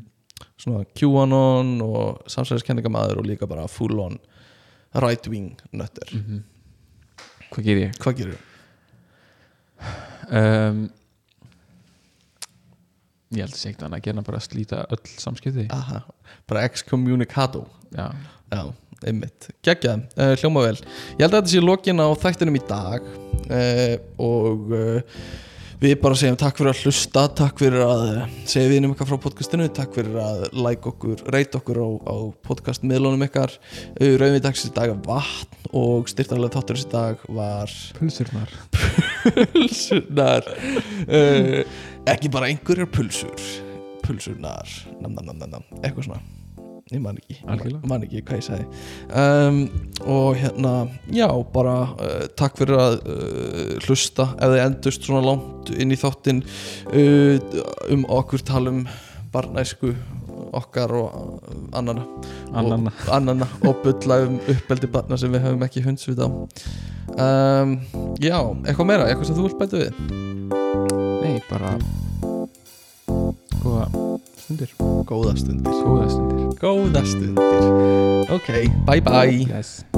Svona QAnon og samsæðiskenningamaður Og líka bara full on right wing nötter
mhm. hvað ger ég?
Hvað gerir
um, ég held að sé ekkert annað að gera en bara að slíta öll samskipti
Aha, bara excommunicado
já,
Já, einmitt, geggjað, uh, hljóma vel Ég held að þetta sé lokin á þættinum í dag uh, og uh, við bara segjum takk fyrir að hlusta takk fyrir að eh, segja viðnum eitthvað frá podcastinu takk fyrir að like okkur, reyta okkur á, á podcastmiðlunum ykkar uh, rauðið dagsins í dag er vatn og styrtanlega þátturins í dag var
pulsurnar
pulsunar uh, ekki bara einhverjar pulsur pulsunar nam, nam, nam, nam, nam. eitthvað svona ég man ekki,
Algjörlega.
man ekki hvað ég sagði um, og hérna já, bara uh, takk fyrir að uh, hlusta ef þið endust svona langt inn í þáttinn uh, um okkur talum barnæsku okkar og uh, annana
Annanna.
og, annana, og bulla um uppeldi barna sem við höfum ekki hundsvit á um, já, eitthvað meira, eitthvað sem þú vilt bæta við
nei, bara góða stundir
góða stundir,
góða stundir
góða stundir ok, bye bye
yes.